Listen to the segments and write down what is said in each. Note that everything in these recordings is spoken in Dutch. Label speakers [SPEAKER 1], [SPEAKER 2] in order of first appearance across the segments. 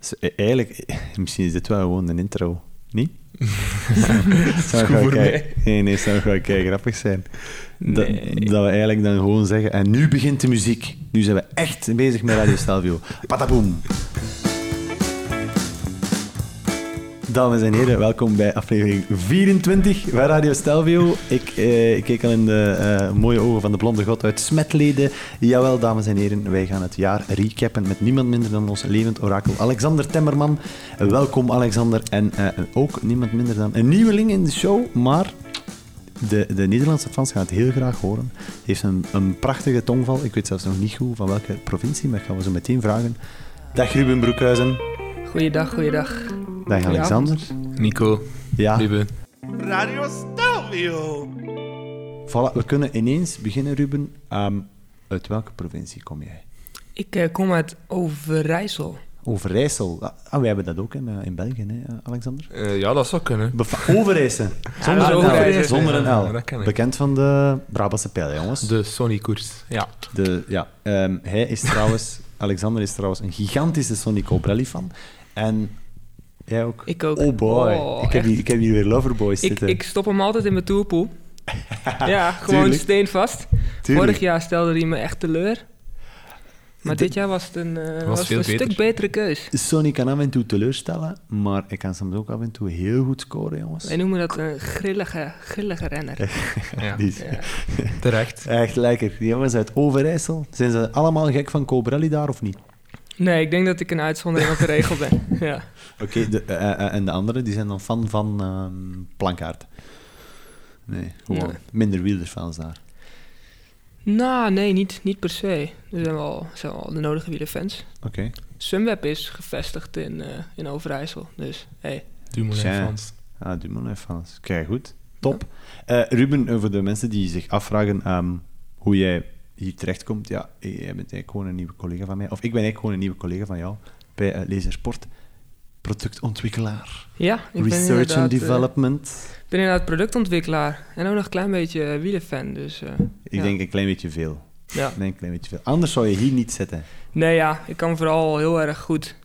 [SPEAKER 1] Zo, e- Eigenlijk, misschien is dit wel gewoon een intro, niet? zou
[SPEAKER 2] goed voor
[SPEAKER 1] kei-
[SPEAKER 2] mij.
[SPEAKER 1] Nee, nee, zou gewoon kei grappig zijn. Dat,
[SPEAKER 2] Nee.
[SPEAKER 1] dat we eigenlijk dan gewoon zeggen, en nu begint de muziek. Nu zijn we echt bezig met Radio Stelvio. Pataboom! Dames en heren, welkom bij aflevering 24 van Radio Stelvio. Ik, eh, ik keek al in de eh, mooie ogen van de blonde god uit Smetleden. Jawel, dames en heren, wij gaan het jaar recappen met niemand minder dan ons levend orakel Alexander Temmerman. Welkom Alexander en eh, ook niemand minder dan een nieuweling in de show, maar de, de Nederlandse fans gaan het heel graag horen. Heeft een, een prachtige tongval. Ik weet zelfs nog niet goed van welke provincie, maar ik ga we zo meteen vragen. Dag Ruben Broekhuizen.
[SPEAKER 3] Goeiedag, goeiedag.
[SPEAKER 1] Dag Alexander.
[SPEAKER 2] Nico,
[SPEAKER 1] Ja,
[SPEAKER 2] lieve.
[SPEAKER 4] Radio Stelvio.
[SPEAKER 1] voilà, we kunnen ineens beginnen, Ruben. Ehm, uit welke provincie kom jij?
[SPEAKER 3] Ik eh, kom uit Overijssel.
[SPEAKER 1] Overijssel. Ah, ah, wij hebben dat ook in, eh, in België, hè, eh, Alexander.
[SPEAKER 2] Eh, ja, dat zou kunnen.
[SPEAKER 1] Beva- Overijssen. Zonder
[SPEAKER 3] dat is
[SPEAKER 1] een L.
[SPEAKER 3] Overijssen.
[SPEAKER 1] Zonder
[SPEAKER 2] Ja,
[SPEAKER 1] een L.
[SPEAKER 2] dat ken ik.
[SPEAKER 1] Bekend van de Brabantse pijl, jongens.
[SPEAKER 2] De Sony-koers. Ja.
[SPEAKER 1] De, ja, ehm, hij is trouwens, Alexander is trouwens een gigantische Sonic Obrelli fan. En jij ook?
[SPEAKER 3] Ik ook.
[SPEAKER 1] Oh boy.
[SPEAKER 3] Oh,
[SPEAKER 1] ik, heb
[SPEAKER 3] echt.
[SPEAKER 1] hier, ik heb hier weer Loverboys
[SPEAKER 3] Ik,
[SPEAKER 1] zitten.
[SPEAKER 3] ik stop hem altijd in mijn toerpoel. ja, gewoon
[SPEAKER 1] Tuurlijk.
[SPEAKER 3] steenvast.
[SPEAKER 1] Tuurlijk.
[SPEAKER 3] Vorig jaar stelde hij me echt teleur. Maar dit jaar was het een, eh, was het
[SPEAKER 2] veel
[SPEAKER 3] een
[SPEAKER 2] beter.
[SPEAKER 3] stuk betere keus.
[SPEAKER 1] Sonic kan af en toe teleurstellen, maar ik kan soms ook af en toe heel goed scoren, jongens.
[SPEAKER 3] Wij noemen dat een grillige, grillige renner.
[SPEAKER 2] ja.
[SPEAKER 1] Die is
[SPEAKER 2] Terecht.
[SPEAKER 1] echt lekker. Die jongens uit Overijssel, zijn ze allemaal gek van Cobrelli daar of niet?
[SPEAKER 3] Nee, ik denk dat ik een uitzondering op de regel ben. Ja.
[SPEAKER 1] Oké, de- eh, eh, en de anderen die zijn dan fan van ehm Plankaart. Nee, gewoon
[SPEAKER 3] Nee.
[SPEAKER 1] minder wielerfans daar.
[SPEAKER 3] Nou, nee, niet, niet per se. Er zijn wel, zijn wel de nodige wielerfans.
[SPEAKER 1] Oké.
[SPEAKER 3] Sunweb is gevestigd in, eh, in Overijssel. Dus, hey.
[SPEAKER 2] Dumoulin
[SPEAKER 1] Tja.
[SPEAKER 2] Frans.
[SPEAKER 1] Ah, Dumoulin Frans. Kijk, goed. Top. Eh, Ruben, eh, voor de mensen die zich afvragen ehm, hoe jij hier terechtkomt, ja, eh, jij bent eigenlijk gewoon een nieuwe collega van mij. Of ik ben eigenlijk gewoon een nieuwe collega van jou bij eh, Lasersport. Productontwikkelaar,
[SPEAKER 3] Ja, ik ben
[SPEAKER 1] research
[SPEAKER 3] inderdaad,
[SPEAKER 1] and
[SPEAKER 3] eh,
[SPEAKER 1] development.
[SPEAKER 3] Ik ben inderdaad productontwikkelaar en ook nog een klein beetje eh, wielerfan, dus... eh,
[SPEAKER 1] ik
[SPEAKER 3] ja.
[SPEAKER 1] denk een klein beetje veel.
[SPEAKER 3] Ja.
[SPEAKER 1] Ik denk een klein beetje veel. Anders zou je hier niet zitten.
[SPEAKER 3] Nee, ja, ik kan vooral heel erg goed.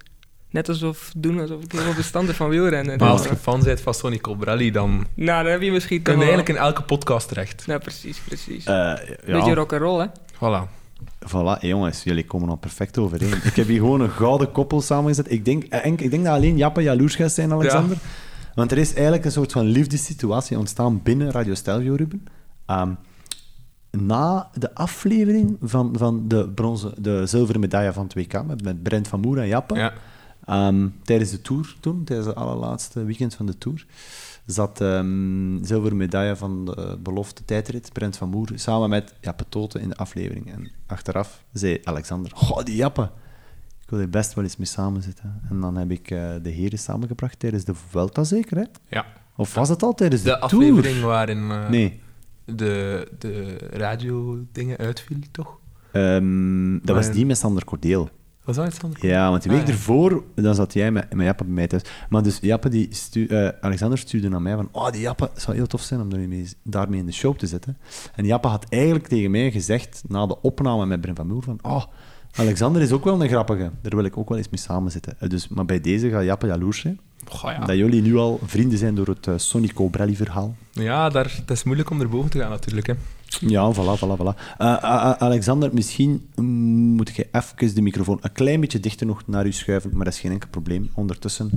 [SPEAKER 3] Net alsof doen alsof ik heel veel verstand heb van wielrennen.
[SPEAKER 2] Maar
[SPEAKER 3] Dus,
[SPEAKER 2] als je fan bent van Sony Cobrelli, dan
[SPEAKER 3] eh, nou, dan heb je misschien
[SPEAKER 2] kun
[SPEAKER 3] toch
[SPEAKER 2] je
[SPEAKER 3] wel-
[SPEAKER 2] eigenlijk in elke podcast terecht.
[SPEAKER 3] Nou, precies, precies.
[SPEAKER 1] Eh,
[SPEAKER 3] Beetje
[SPEAKER 1] ja,
[SPEAKER 3] rock'n'roll, hè?
[SPEAKER 2] Voilà.
[SPEAKER 1] voilà, hé, jongens, jullie komen al perfect overeen. ik heb hier gewoon een gouden koppel samengezet. Ik denk, eh, Henk, ik denk dat alleen Jappe jaloers gaat zijn, Alexander. Want er is eigenlijk een soort van liefdessituatie ontstaan binnen Radio Stelvio, Ruben. Ehm, na de aflevering van, van de, bronzen, de zilveren medaille van het WK met, met Brent van Moer en Jappe,
[SPEAKER 2] Ja.
[SPEAKER 1] Ehm, tijdens de tour toen, tijdens het allerlaatste weekend van de tour, zat ehm zilveren medaille van de eh, belofte tijdrit, Brent van Moer, samen met Jappe Toten in de aflevering. En achteraf zei Alexander, goh, die Jappe, ik wil er best wel eens mee samenzitten. En dan heb ik eh, de heren samengebracht tijdens de Vuelta zeker, hè?
[SPEAKER 2] ja.
[SPEAKER 1] Of was het al tijdens de,
[SPEAKER 2] De
[SPEAKER 1] tour?
[SPEAKER 2] aflevering waarin eh,
[SPEAKER 1] Nee,
[SPEAKER 2] de, de radio-dingen uitviel, toch?
[SPEAKER 1] ehm, dat was
[SPEAKER 2] Maar-
[SPEAKER 1] die met Sander Cordeel.
[SPEAKER 2] Was dat iets anders?
[SPEAKER 1] Ja, want die week
[SPEAKER 2] Ah, ja.
[SPEAKER 1] ervoor, dan zat jij met, met Jappe bij mij thuis. Maar dus Jappe, die stu- eh, Alexander stuurde naar mij van oh, die Jappe, het zou heel tof zijn om daarmee, daarmee in de show te zetten. En Jappe had eigenlijk tegen mij gezegd, na de opname met Brin van Moer, van oh, Alexander is ook wel een grappige. Daar wil ik ook wel eens mee samen zitten. Eh, Dus, maar bij deze gaat Jappe jaloers zijn.
[SPEAKER 2] Goh, ja.
[SPEAKER 1] Dat jullie nu al vrienden zijn door het eh, Sonico Brelli-verhaal.
[SPEAKER 2] Ja, daar, dat is moeilijk om erboven te gaan natuurlijk. Hè.
[SPEAKER 1] Ja, voilà, voilà, voilà. Eh, eh, eh, Alexander, misschien mm, moet je even de microfoon een klein beetje dichter nog naar u schuiven, maar dat is geen enkel probleem. Ondertussen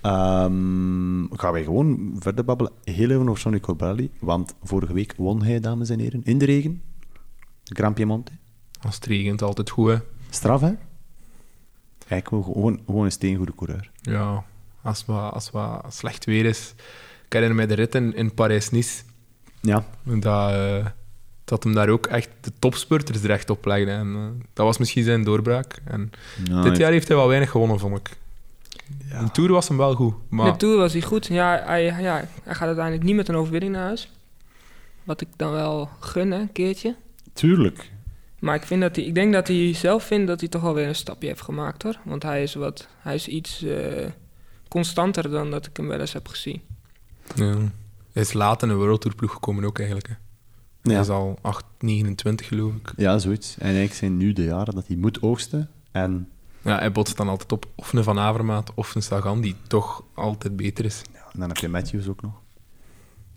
[SPEAKER 1] ehm, gaan wij gewoon verder babbelen. Heel even over Sonny Corbelli, want vorige week won hij, dames en heren, in de regen. Gran Piemonte.
[SPEAKER 2] Als het regent, altijd goed. Hè.
[SPEAKER 1] Straf, hè? Kijk, gewoon, gewoon een steengoede coureur.
[SPEAKER 2] Ja, als het wat- als het wat slecht weer is. Ik herinner mij de rit in, in Parijs-Nice.
[SPEAKER 1] Ja,
[SPEAKER 2] Dat, eh, dat hem daar ook echt de topspurters er echt op legde. En, eh, dat was misschien zijn doorbraak. En
[SPEAKER 1] Ah,
[SPEAKER 2] dit jaar heeft hij wel weinig gewonnen, vond ik.
[SPEAKER 1] Ja.
[SPEAKER 2] De Tour was hem wel goed, maar
[SPEAKER 3] De Tour was hij goed. Ja hij, ja, hij gaat uiteindelijk niet met een overwinning naar huis. Wat ik dan wel gun, hè, een keertje.
[SPEAKER 1] Tuurlijk.
[SPEAKER 3] Maar ik, vind dat hij, ik denk dat hij zelf vindt dat hij toch alweer een stapje heeft gemaakt, hoor. Want hij is, wat, hij is iets eh, constanter dan dat ik hem wel eens heb gezien.
[SPEAKER 2] ja. hij is laat in de World Tour ploeg gekomen ook eigenlijk. Hè. Hij
[SPEAKER 1] Ja.
[SPEAKER 2] is al 8, 29 geloof ik.
[SPEAKER 1] ja, zoiets. En eigenlijk zijn nu de jaren dat hij moet oogsten. En
[SPEAKER 2] Ja, hij botst dan altijd op of een Van Avermaat of een Sagan, die toch altijd beter is.
[SPEAKER 1] En dan heb je Matthews ook nog.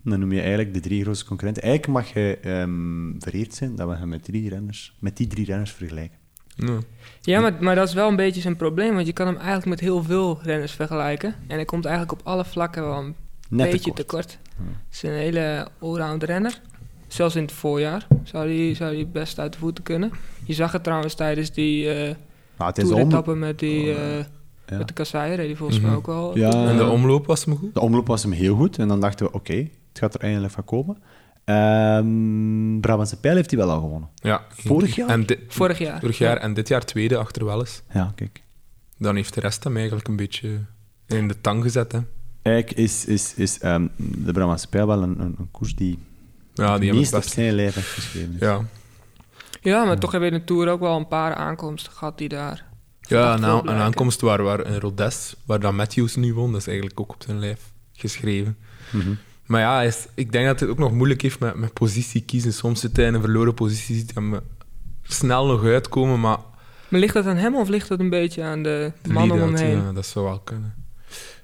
[SPEAKER 1] En Dan noem je eigenlijk de drie grootste concurrenten. Eigenlijk mag je ehm vereerd zijn dat we hem met, drie renners, met die drie renners vergelijken.
[SPEAKER 2] Ja.
[SPEAKER 3] Ja, maar, maar dat is wel een beetje zijn probleem, want je kan hem eigenlijk met heel veel renners vergelijken. En hij komt eigenlijk op alle vlakken wel een
[SPEAKER 1] Net
[SPEAKER 3] beetje
[SPEAKER 1] tekort.
[SPEAKER 3] tekort. Het is een hele allround renner. Zelfs in het voorjaar zou die, zou die best uit de voeten kunnen. Je zag het trouwens tijdens die eh
[SPEAKER 1] Maar Nou, het is de, om...
[SPEAKER 3] toeretappen met, die, eh,
[SPEAKER 1] ja.
[SPEAKER 3] met de kasseien, reed hij volgens mij
[SPEAKER 2] Mhm.
[SPEAKER 3] ook wel.
[SPEAKER 1] Ja.
[SPEAKER 2] En de omloop was hem goed.
[SPEAKER 1] de omloop was hem heel goed. En dan dachten we, oké, het gaat er eindelijk van komen. Ehm Brabantse Pijl heeft hij wel al gewonnen.
[SPEAKER 2] Ja.
[SPEAKER 1] Vorig jaar?
[SPEAKER 2] En dit,
[SPEAKER 3] Vorig jaar.
[SPEAKER 2] vorig jaar en dit jaar tweede achter Welles.
[SPEAKER 1] Ja, kijk.
[SPEAKER 2] Dan heeft de rest hem eigenlijk een beetje in de tang gezet. Hè.
[SPEAKER 1] Eigenlijk is, is, is ehm, de Brabantse Pijl wel een, een, een koers die,
[SPEAKER 2] Ja, die hebben het
[SPEAKER 1] meest op
[SPEAKER 2] best.
[SPEAKER 1] zijn lijf heeft geschreven. is.
[SPEAKER 2] Ja,
[SPEAKER 3] Ja, maar toch hebben we in de Tour ook wel een paar aankomsten gehad die daar...
[SPEAKER 2] ja een,
[SPEAKER 3] veel
[SPEAKER 2] aan- een
[SPEAKER 3] blijken.
[SPEAKER 2] aankomst waar, waar een Rodes, waar dan Matthews nu won, dat is eigenlijk ook op zijn lijf geschreven.
[SPEAKER 1] Mhm.
[SPEAKER 2] Maar ja, hij is, ik denk dat het ook nog moeilijk heeft met, met positie kiezen. Soms zit hij in een verloren positie, ziet hem eh, snel nog uitkomen, maar
[SPEAKER 3] Maar ligt dat aan hem of ligt dat een beetje aan de,
[SPEAKER 2] de
[SPEAKER 3] man om hem
[SPEAKER 2] lead-out,
[SPEAKER 3] heen?
[SPEAKER 2] ja, eh, dat zou wel kunnen.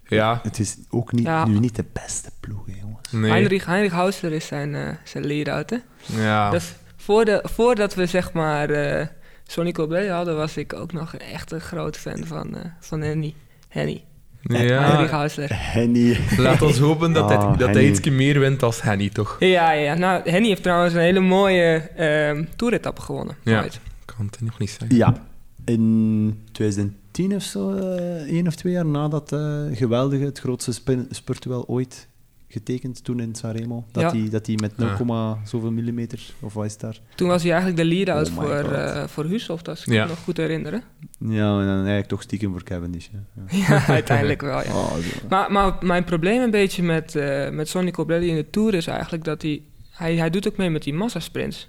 [SPEAKER 2] Ja,
[SPEAKER 1] Het is ook niet,
[SPEAKER 3] Ja.
[SPEAKER 1] nu niet de beste ploeg, hè, jongens.
[SPEAKER 2] nee.
[SPEAKER 3] Heinrich, Heinrich Hausler is zijn, eh zijn lead-out, hè?
[SPEAKER 2] Ja.
[SPEAKER 3] Dat is- voor de- voordat we zeg maar eh Sonny Colbert hadden, was ik ook nog echt een groot fan van, eh van Henny. Henny. Henry
[SPEAKER 2] ja.
[SPEAKER 3] Hausler.
[SPEAKER 1] Henny.
[SPEAKER 2] Laat ons hopen
[SPEAKER 1] Ah,
[SPEAKER 2] dat, hij, dat hij
[SPEAKER 1] Henny.
[SPEAKER 2] iets meer wint als Henny, toch?
[SPEAKER 3] Ja, ja. Nou, Henny heeft trouwens een hele mooie ehm toeretappe gewonnen.
[SPEAKER 2] Ja.
[SPEAKER 3] ooit.
[SPEAKER 2] Ik kan het nog niet zeggen.
[SPEAKER 1] Ja, in 2010 of zo, eh, één of twee jaar nadat eh geweldige, het grootste spin- spurtduel ooit getekend, toen in Sanremo, dat
[SPEAKER 3] Ja.
[SPEAKER 1] hij dat die met 0,
[SPEAKER 2] Ja.
[SPEAKER 1] zoveel millimeter, of wat is daar?
[SPEAKER 3] Toen was hij eigenlijk de lead-out
[SPEAKER 1] Oh my
[SPEAKER 3] voor,
[SPEAKER 1] God.
[SPEAKER 3] eh voor Husoft, als ik
[SPEAKER 2] Ja.
[SPEAKER 3] me nog goed herinner. hè?
[SPEAKER 1] Ja, en dan eigenlijk toch stiekem voor Cavendish. hè. Ja.
[SPEAKER 3] ja, uiteindelijk wel, Ah, ja.
[SPEAKER 1] Oh, zo.
[SPEAKER 3] Maar, maar mijn probleem een beetje met, eh met Sonny Colbrelli in de Tour is eigenlijk dat hij... Hij, hij doet ook mee met die massasprints.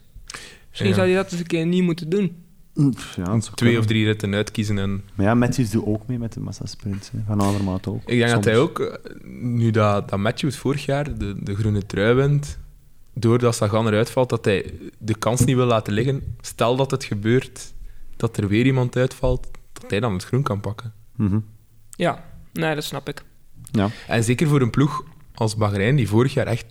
[SPEAKER 3] Misschien
[SPEAKER 2] Ja.
[SPEAKER 3] zou hij dat eens een keer niet moeten doen.
[SPEAKER 1] Mm, pff, ja, dat zou
[SPEAKER 2] Twee
[SPEAKER 1] kunnen.
[SPEAKER 2] of drie ritten uitkiezen en
[SPEAKER 1] Maar ja, Matthews doet ook mee met de massasprint. hè. Van Avermaat ook.
[SPEAKER 2] Ik denk dat
[SPEAKER 1] Soms.
[SPEAKER 2] hij ook, eh, nu dat, dat Matthews vorig jaar de, de groene trui wint, doordat Sagan eruit valt, dat hij de kans niet wil laten liggen. Stel dat het gebeurt, dat er weer iemand uitvalt, dat hij dan het groen kan pakken.
[SPEAKER 1] Mhm.
[SPEAKER 3] Ja, nee, dat snap ik.
[SPEAKER 1] Ja.
[SPEAKER 2] En zeker voor een ploeg als Bahrein, die vorig jaar echt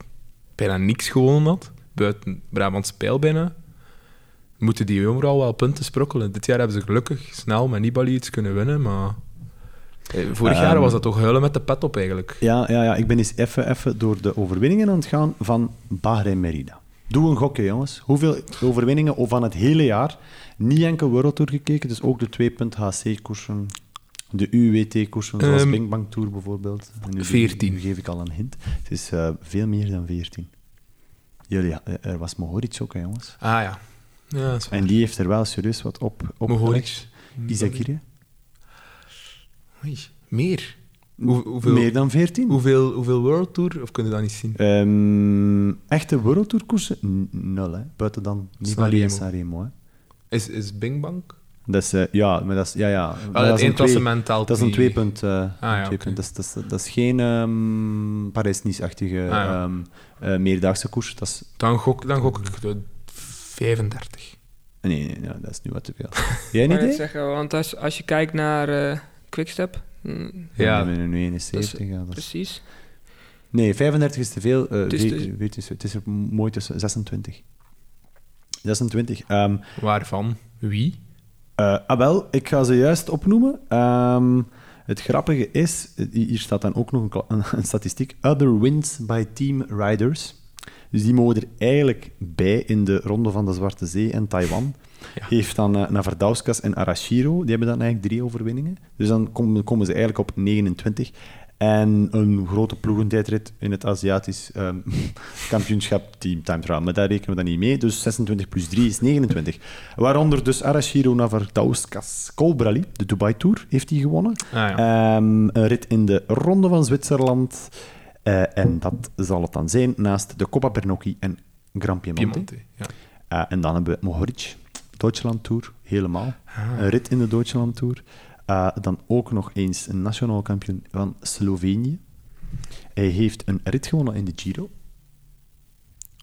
[SPEAKER 2] bijna niks gewonnen had, buiten Brabantse pijl bijna, moeten die overal wel punten sprokkelen. Dit jaar hebben ze gelukkig snel met Nibali iets kunnen winnen, maar... eh, Vorig
[SPEAKER 1] Ehm.
[SPEAKER 2] jaar was dat toch huilen met de pet op, eigenlijk.
[SPEAKER 1] Ja, ja, ja, ik ben eens even, even door de overwinningen aan het gaan van Bahrein Merida. Doe een gokje, jongens. Hoeveel overwinningen of van het hele jaar? Niet enkel World Tour gekeken, dus ook de 2.HC-koersen, de UWT-koersen, zoals
[SPEAKER 2] Ehm,
[SPEAKER 1] Bing Bang Tour bijvoorbeeld. En nu-
[SPEAKER 2] 14.
[SPEAKER 1] Nu geef ik al een hint. Het is eh, veel meer dan 14. Jullie, eh, er was Mohoric ook, hè, jongens.
[SPEAKER 2] Ah ja. Ja, dat is waar.
[SPEAKER 1] En die heeft er wel serieus wat op. op
[SPEAKER 2] Mohoric.
[SPEAKER 1] Izakiri.
[SPEAKER 2] Oei, meer? Hoe- hoeveel,
[SPEAKER 1] Meer dan 14.
[SPEAKER 2] hoeveel, hoeveel World Tour? Of kunnen we dat niet zien?
[SPEAKER 1] Ehm, echte World Tour koersen? N- Nul, hè. Buiten dan Nibali en
[SPEAKER 2] Sanremo.
[SPEAKER 1] Sanremo, hè.
[SPEAKER 2] Is, is Bing Bang?
[SPEAKER 1] Dat is, eh, ja, maar dat is, ja, ja. Maar
[SPEAKER 2] Ah,
[SPEAKER 1] dat
[SPEAKER 2] het
[SPEAKER 1] is een twee,
[SPEAKER 2] eindklassement telt
[SPEAKER 1] Dat is een
[SPEAKER 2] niet. Ah,
[SPEAKER 1] tweepunt. eh, een
[SPEAKER 2] ja,
[SPEAKER 1] tweepunt.
[SPEAKER 2] oké.
[SPEAKER 1] Dat, is, dat, is, dat is geen ehm Parijs-Nice-achtige
[SPEAKER 2] Ah, ja.
[SPEAKER 1] ehm, eh, meerdaagse koers. Dat is,
[SPEAKER 2] Dan gok, dan gok ik de 35.
[SPEAKER 1] nee, nee, nee, dat is nu wat te veel. Jij een
[SPEAKER 3] Ik wou net
[SPEAKER 1] idee?
[SPEAKER 3] zeggen, want als, als je kijkt naar eh, Quickstep, mm,
[SPEAKER 2] Ja.
[SPEAKER 1] Nee, nee, nee, 71. ja, dat is-
[SPEAKER 3] precies.
[SPEAKER 1] Nee, 35 is te veel. eh,
[SPEAKER 3] Het is
[SPEAKER 1] weet-
[SPEAKER 3] dus-
[SPEAKER 1] weet- Het is, het is er mooi tussen 26. 26. ehm,
[SPEAKER 2] Waarvan? Wie?
[SPEAKER 1] Eh, ah, wel, ik ga ze juist opnoemen. Ehm, het grappige is, hi- hier staat dan ook nog een, kla- een, een statistiek: Other wins by team riders. Dus die mogen er eigenlijk bij in de Ronde van de Zwarte Zee en Taiwan.
[SPEAKER 2] Ja.
[SPEAKER 1] Heeft dan eh, Navardauskas en Arashiro, die hebben dan eigenlijk drie overwinningen. Dus dan komen, komen ze eigenlijk op 29. En een grote ploegentijdrit in het Aziatisch ehm, kampioenschap Team Time Trial. Maar daar rekenen we dan niet mee. Dus 26 plus 3 is 29. Waaronder dus Arashiro Navardauskas Colbrelli, de Dubai Tour, heeft hij gewonnen.
[SPEAKER 2] Ah, ja.
[SPEAKER 1] Ehm, een rit in de Ronde van Zwitserland. Eh, en dat zal het dan zijn naast de Coppa Bernocchi en Grand Piemonte.
[SPEAKER 2] Piemonte. Ja.
[SPEAKER 1] Eh, en dan hebben we Mohoric, Deutschland Tour, helemaal.
[SPEAKER 2] Ah.
[SPEAKER 1] Een rit in de Deutschland Tour. Eh, dan ook nog eens een nationaal kampioen van Slovenië. Hij heeft een rit gewonnen in de Giro.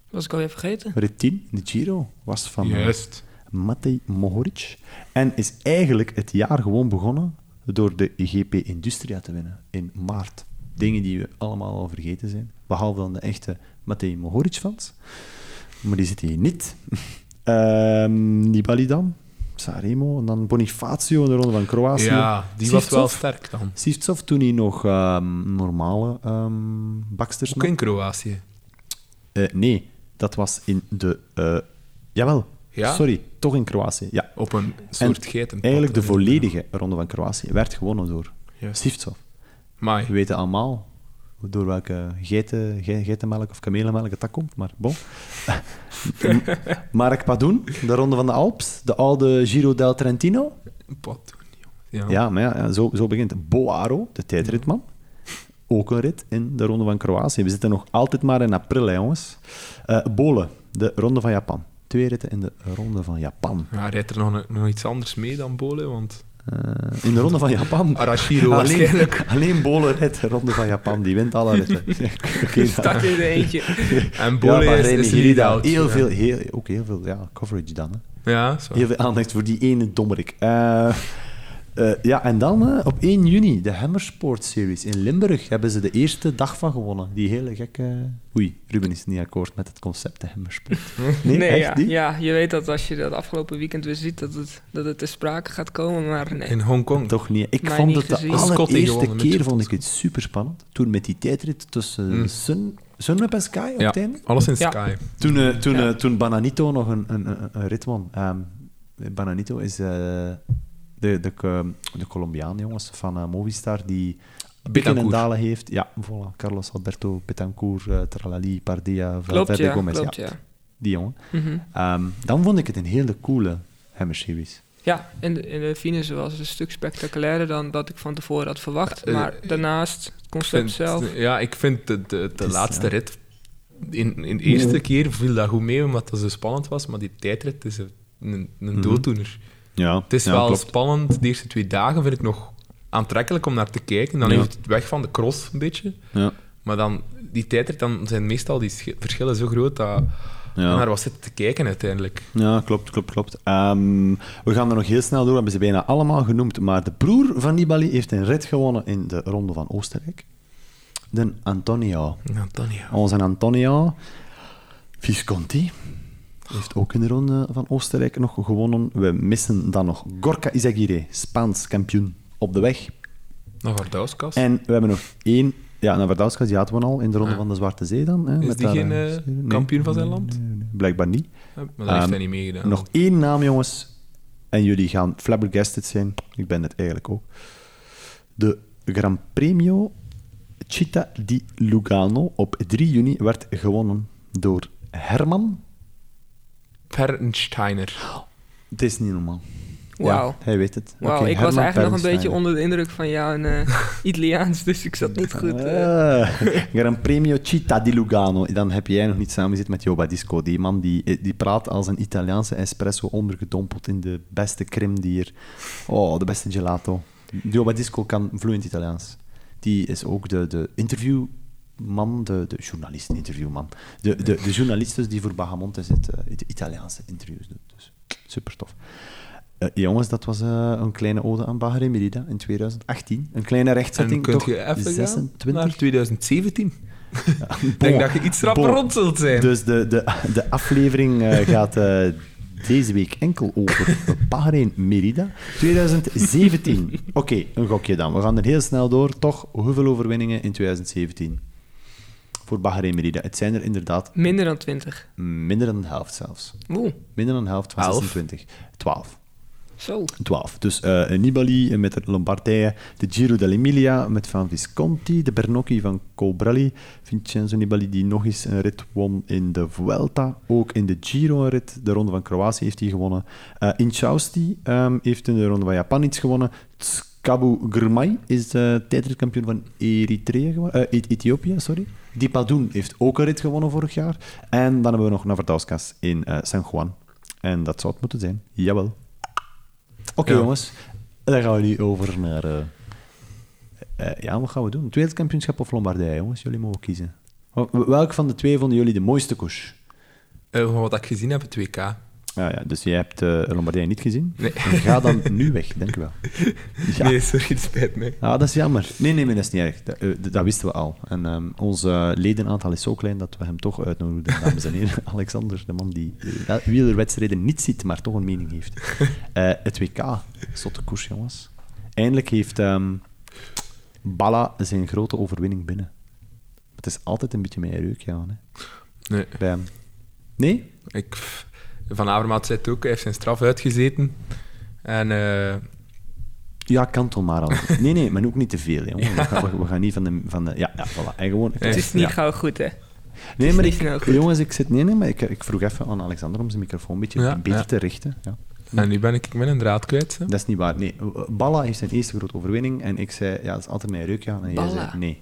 [SPEAKER 3] Was ik alweer vergeten?
[SPEAKER 1] Rit 10 in de Giro was van... eh,
[SPEAKER 2] Juist.
[SPEAKER 1] Matej Mohoric. En is eigenlijk het jaar gewoon begonnen door de GP Industria te winnen in maart. Dingen die we allemaal al vergeten zijn, behalve dan de echte Matej Mohoric-fans. Maar die zitten hier niet. Ehm Nibali dan, Saremo, en dan Bonifacio in de Ronde van Kroatië.
[SPEAKER 2] Ja, die was wel
[SPEAKER 1] Sivtsov.
[SPEAKER 2] sterk dan.
[SPEAKER 1] Sivtsov toen hij nog ehm, normale ehm baksters
[SPEAKER 2] Ook in Kroatië.
[SPEAKER 1] Eh, nee, dat was in de. eh, jawel,
[SPEAKER 2] Ja?
[SPEAKER 1] sorry, toch in Kroatië. Ja.
[SPEAKER 2] Op een
[SPEAKER 1] En
[SPEAKER 2] soort geitenpad.
[SPEAKER 1] eigenlijk de volledige ronde van Kroatië werd gewonnen door
[SPEAKER 2] Juist.
[SPEAKER 1] Sivtsov. We
[SPEAKER 2] Mai.
[SPEAKER 1] weten allemaal door welke geiten, ge- geitenmelk of kamelenmelk het dat komt, maar bon. M- Mark Padoen, de ronde van de Alps, de oude Giro del Trentino.
[SPEAKER 2] Wat doen die jongens? Ja.
[SPEAKER 1] Ja, maar ja, ja, zo, zo begint Boaro, de tijdritman. Ook een rit in de Ronde van Kroatië. We zitten nog altijd maar in april, hè, jongens. Eh Bolen, de Ronde van Japan. Twee ritten in de Ronde van Japan.
[SPEAKER 2] Ja, rijdt er nog, een- nog iets anders mee dan Bolen? Want
[SPEAKER 1] Eh, in de Ronde van Japan.
[SPEAKER 2] Arashiro
[SPEAKER 1] alleen,
[SPEAKER 2] waarschijnlijk.
[SPEAKER 1] alleen Bolen rijdt de Ronde van Japan. Die wint alle ritten. Oké, dan.
[SPEAKER 3] Start in de eentje.
[SPEAKER 2] En
[SPEAKER 1] Ja,
[SPEAKER 2] Bolen
[SPEAKER 1] maar
[SPEAKER 2] is,
[SPEAKER 1] Remy
[SPEAKER 2] is niet
[SPEAKER 1] Gerida,
[SPEAKER 2] oud.
[SPEAKER 1] heel
[SPEAKER 2] ja.
[SPEAKER 1] veel, heel, ook heel veel ja, coverage dan. Hè.
[SPEAKER 2] Ja, zo.
[SPEAKER 1] Heel veel aandacht voor die ene dommerik. Eh, eh, ja, en dan eh, op 1 juni de Hammersport Series in Limburg hebben ze de eerste dag van gewonnen. Die hele gekke... Oei, Ruben is niet akkoord met het concept de Hammersport. Nee, echt
[SPEAKER 3] ja,
[SPEAKER 1] niet?
[SPEAKER 3] ja, je weet dat als je dat afgelopen weekend weer ziet, dat het, dat het ter sprake gaat komen. Maar nee,
[SPEAKER 2] In Hongkong.
[SPEAKER 1] Toch niet. Ik
[SPEAKER 3] Mij
[SPEAKER 1] vond
[SPEAKER 3] niet
[SPEAKER 1] het de
[SPEAKER 3] gezien.
[SPEAKER 2] Scotty
[SPEAKER 1] allereerste
[SPEAKER 2] gewonnen met
[SPEAKER 1] keer
[SPEAKER 2] Jeff
[SPEAKER 1] vond ik het super spannend. Toen met die tijdrit tussen Sun, Sunweb en Sky op
[SPEAKER 2] Mm. Ja,
[SPEAKER 1] het einde.
[SPEAKER 2] alles in
[SPEAKER 3] Ja.
[SPEAKER 2] Sky.
[SPEAKER 1] Toen, eh, toen,
[SPEAKER 3] Ja.
[SPEAKER 1] eh, toen Bananito nog een, een, een, een rit won. Ehm, Bananito is eh, de, de, de Colombiaan, jongens, van eh, Movistar, die pikken en
[SPEAKER 2] Betancourt.
[SPEAKER 1] dalen heeft. Ja, voilà. Carlos Alberto, Betancourt, eh, Tralali, Pardea,
[SPEAKER 3] klopt
[SPEAKER 1] Valverde
[SPEAKER 3] ja,
[SPEAKER 1] Gomez.
[SPEAKER 3] klopt
[SPEAKER 1] ja.
[SPEAKER 3] ja.
[SPEAKER 1] Die jongen.
[SPEAKER 3] Mhm.
[SPEAKER 1] Ehm, dan vond ik het een hele coole Hammer-series.
[SPEAKER 3] Ja, en de, en de finish was een stuk spectaculairder dan dat ik van tevoren had verwacht.
[SPEAKER 2] Eh,
[SPEAKER 3] maar
[SPEAKER 2] eh,
[SPEAKER 3] daarnaast, het
[SPEAKER 2] Ik
[SPEAKER 3] concept
[SPEAKER 2] vind-
[SPEAKER 3] zelf.
[SPEAKER 2] Ja, ik vind de, de, de
[SPEAKER 1] is,
[SPEAKER 2] laatste
[SPEAKER 1] ja.
[SPEAKER 2] rit... In, in de eerste keer viel dat goed mee, omdat dat zo spannend was. Maar die tijdrit is een, een, een dooddoener.
[SPEAKER 1] Mhm. Ja,
[SPEAKER 2] Het is wel spannend. De eerste twee dagen vind ik nog aantrekkelijk om naar te kijken. Dan
[SPEAKER 1] Ja.
[SPEAKER 2] heeft het weg van de cross een beetje.
[SPEAKER 1] Ja.
[SPEAKER 2] Maar dan, die tijdrit, dan zijn meestal die sche- verschillen zo groot dat je
[SPEAKER 1] Ja.
[SPEAKER 2] naar wat zit te kijken uiteindelijk.
[SPEAKER 1] Ja, klopt, klopt, klopt. Ehm, we gaan er nog heel snel door, we hebben ze bijna allemaal genoemd. Maar de broer van Nibali heeft een rit gewonnen in de Ronde van Oostenrijk. De Antonio.
[SPEAKER 2] Antonio.
[SPEAKER 1] Onze Antonio Visconti heeft ook in de Ronde van Oostenrijk nog gewonnen. We missen dan nog Gorka Izagirre, Spaans kampioen, op de weg.
[SPEAKER 2] Nog Ardauskas.
[SPEAKER 1] En we hebben nog één... Ja, Navardauskas, die hadden we al in de Ronde
[SPEAKER 2] Ah.
[SPEAKER 1] van de Zwarte Zee dan. Hè,
[SPEAKER 2] Is
[SPEAKER 1] met
[SPEAKER 2] die
[SPEAKER 1] haar,
[SPEAKER 2] geen
[SPEAKER 1] eh,
[SPEAKER 2] eh,
[SPEAKER 1] nee,
[SPEAKER 2] kampioen van zijn land?
[SPEAKER 1] nee, nee, Blijkbaar niet.
[SPEAKER 2] Maar daar heeft
[SPEAKER 1] Ehm,
[SPEAKER 2] hij niet meegedaan.
[SPEAKER 1] Nog één naam, jongens. En jullie gaan flabbergasted zijn. Ik ben het eigenlijk ook. De Gran Premio Città di Lugano op 3 juni werd gewonnen door Herman.
[SPEAKER 2] Pernsteiner.
[SPEAKER 1] Het is niet normaal.
[SPEAKER 3] Wauw.
[SPEAKER 1] Ja, hij weet het.
[SPEAKER 3] Wauw,
[SPEAKER 1] Oké,
[SPEAKER 3] ik was
[SPEAKER 1] Herman
[SPEAKER 3] eigenlijk nog een beetje
[SPEAKER 1] Pernstein.
[SPEAKER 3] onder de indruk van jou en Italiaans, dus ik zat niet goed. eh.
[SPEAKER 1] Eh, Gran Premio Città di Lugano. Dan heb jij nog niet samen zitten met Joba Disco. Die man die, die praat als een Italiaanse espresso ondergedompeld in de beste crème die er... Oh, de beste gelato. Joba Disco kan vloeiend Italiaans. Die is ook de, de interviewman, de, de journalist, interviewman. De, de, de journalist dus die voor Bahamonte zit, eh, de Italiaanse interviews doet. Dus super tof. jongens, dat was eh, een kleine ode aan Bahrein Merida in 2018. Een kleine
[SPEAKER 2] En
[SPEAKER 1] rechtzetting,
[SPEAKER 2] kun
[SPEAKER 1] toch?
[SPEAKER 2] je even
[SPEAKER 1] 26
[SPEAKER 2] gaan naar 2017? Ik denk
[SPEAKER 1] Bon.
[SPEAKER 2] dat je iets rapper
[SPEAKER 1] Bon.
[SPEAKER 2] rond zult zijn.
[SPEAKER 1] Dus de, de, de aflevering eh, gaat eh, deze week enkel over Bahrein Merida 2017. Oké, een gokje dan. We gaan er heel snel door. Toch, hoeveel overwinningen in 2017? Voor Bahrein Merida. Het zijn er inderdaad
[SPEAKER 3] Minder dan 20.
[SPEAKER 1] minder dan de helft zelfs.
[SPEAKER 3] Oeh,
[SPEAKER 1] Minder dan de helft van
[SPEAKER 2] Elf.
[SPEAKER 1] 26. 12.
[SPEAKER 3] zo.
[SPEAKER 1] 12. Dus eh, Nibali met Lombardije, de Giro dell'Emilia met Van Visconti, de Bernocchi van Colbrelli, Vincenzo Nibali die nog eens een rit won in de Vuelta, ook in de Giro een rit, de Ronde van Kroatië heeft hij gewonnen. Eh Inchausti ehm, heeft in de Ronde van Japan iets gewonnen. Tskabu Grmai is eh tijdritkampioen van Eritrea geworden, eh, Eth- Ethiopië, sorry. Dipadoen heeft ook een rit gewonnen vorig jaar. En dan hebben we nog Navardauskas in eh, San Juan. En dat zou het moeten zijn. Jawel. Oké,
[SPEAKER 2] Ja.
[SPEAKER 1] jongens. Dan gaan we nu over naar... eh, eh, ja, wat gaan we doen? Wereldkampioenschap of Lombardij, jongens? Jullie mogen kiezen. Wel- Welk van de twee vonden jullie de mooiste koers?
[SPEAKER 2] Eh, van wat ik gezien heb, het WK.
[SPEAKER 1] Ja, ja, dus jij hebt eh Lombardije niet gezien?
[SPEAKER 2] Nee.
[SPEAKER 1] Ga dan nu weg, denk ik wel. Ja.
[SPEAKER 2] Nee, sorry, het spijt me.
[SPEAKER 1] Ah, dat is jammer. Nee, nee, maar dat is niet erg. Dat, eh, d- dat wisten we al. En ehm, ons eh, ledenaantal is zo klein dat we hem toch uitnodigen, dames en heren. Alexander, de man die eh, wel- wielerwedstrijden niet ziet, maar toch een mening heeft. Eh, het WK, zotte koers, jongens. Eindelijk heeft ehm, Balla zijn grote overwinning binnen. Het is altijd een beetje mijn reuk, ja. Hè,
[SPEAKER 2] Nee,
[SPEAKER 1] bij hem. Nee?
[SPEAKER 2] ik, Van Avermaat zei het ook, hij heeft zijn straf uitgezeten. En eh,
[SPEAKER 1] Ja, kantel maar al. Nee, nee, maar ook niet te veel, jongen. We, gaan, we- we gaan niet van de... Van de ja, ja, voilà. En gewoon...
[SPEAKER 2] Het
[SPEAKER 3] Het is niet
[SPEAKER 1] Eh, Ja.
[SPEAKER 3] gauw goed, hè?
[SPEAKER 1] Nee,
[SPEAKER 3] is
[SPEAKER 1] maar
[SPEAKER 3] niet
[SPEAKER 1] ik,
[SPEAKER 3] snel goed.
[SPEAKER 1] jongens, ik zit. Nee, nee, maar ik, ik vroeg even aan Alexander om zijn microfoon een beetje
[SPEAKER 2] Ja,
[SPEAKER 1] beter
[SPEAKER 2] ja.
[SPEAKER 1] te richten. Ja.
[SPEAKER 2] En nu ben ik met een draad kwijt. hè.
[SPEAKER 1] Dat is niet waar. Nee, eh, Balla heeft zijn eerste grote overwinning en ik zei, ja, dat is altijd mijn reuk. Ja. En jij
[SPEAKER 3] Balla.
[SPEAKER 1] zei, nee.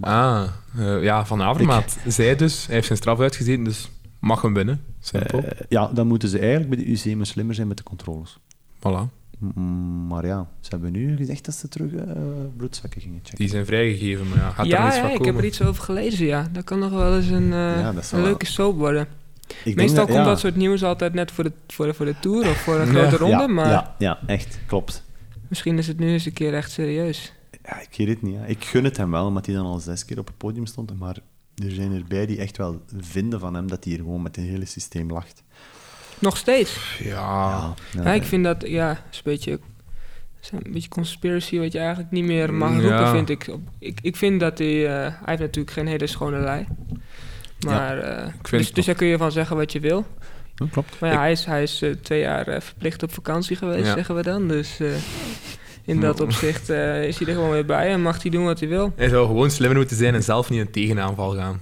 [SPEAKER 2] Ah, eh, ja, Van Avermaat zei dus, hij heeft zijn straf uitgezeten, dus mag hem winnen. Simpel.
[SPEAKER 3] Oh.
[SPEAKER 1] Eh, ja, dan moeten ze eigenlijk bij de UC maar slimmer zijn met de controles.
[SPEAKER 2] voilà.
[SPEAKER 1] Mm, maar ja, ze hebben nu gezegd dat ze terug eh, bloedzakken gingen checken.
[SPEAKER 2] Die zijn vrijgegeven, maar ja, gaat er
[SPEAKER 3] ja,
[SPEAKER 2] nog iets
[SPEAKER 3] ja,
[SPEAKER 2] van
[SPEAKER 3] ik
[SPEAKER 2] komen?
[SPEAKER 3] heb er iets over gelezen, ja. Dat kan nog wel eens een, eh,
[SPEAKER 1] Ja, dat is
[SPEAKER 3] een
[SPEAKER 1] wel-
[SPEAKER 3] leuke soap worden.
[SPEAKER 1] Ik denk
[SPEAKER 3] Meestal komt
[SPEAKER 1] ja.
[SPEAKER 3] dat soort nieuws altijd net voor de, voor de, voor de tour of voor
[SPEAKER 2] Ja.
[SPEAKER 3] een grote ronde,
[SPEAKER 1] ja,
[SPEAKER 3] maar
[SPEAKER 1] Ja, ja, echt, klopt.
[SPEAKER 3] misschien is het nu eens een keer echt serieus.
[SPEAKER 1] Ja, ik weet het niet. hè. Ik gun het hem wel, omdat hij dan al zes keer op het podium stond. Maar er zijn erbij die echt wel vinden van hem dat hij hier gewoon met het hele systeem lacht.
[SPEAKER 3] Nog steeds.
[SPEAKER 2] Ja,
[SPEAKER 1] Ja,
[SPEAKER 3] Ah. Ja, ik vind dat, ja, is een beetje, is een beetje conspiracy wat je eigenlijk niet meer mag
[SPEAKER 2] Ja.
[SPEAKER 3] roepen, vind ik. Op- Ik, ik vind dat hij, eh, hij heeft natuurlijk geen hele schone lei. Maar, eh,
[SPEAKER 2] vind
[SPEAKER 3] dus,
[SPEAKER 2] het
[SPEAKER 3] dus daar kun je van zeggen wat je wil.
[SPEAKER 1] Ja, klopt.
[SPEAKER 3] Maar ja,
[SPEAKER 2] Ik-
[SPEAKER 3] hij is, hij is eh, twee jaar eh, verplicht op vakantie geweest,
[SPEAKER 2] Ja.
[SPEAKER 3] zeggen we dan. Dus eh, in dat
[SPEAKER 1] Nou.
[SPEAKER 3] opzicht eh, is hij er gewoon weer bij en mag hij doen wat hij wil.
[SPEAKER 2] hij zou gewoon slimmer moeten zijn en zelf niet in tegenaanval gaan.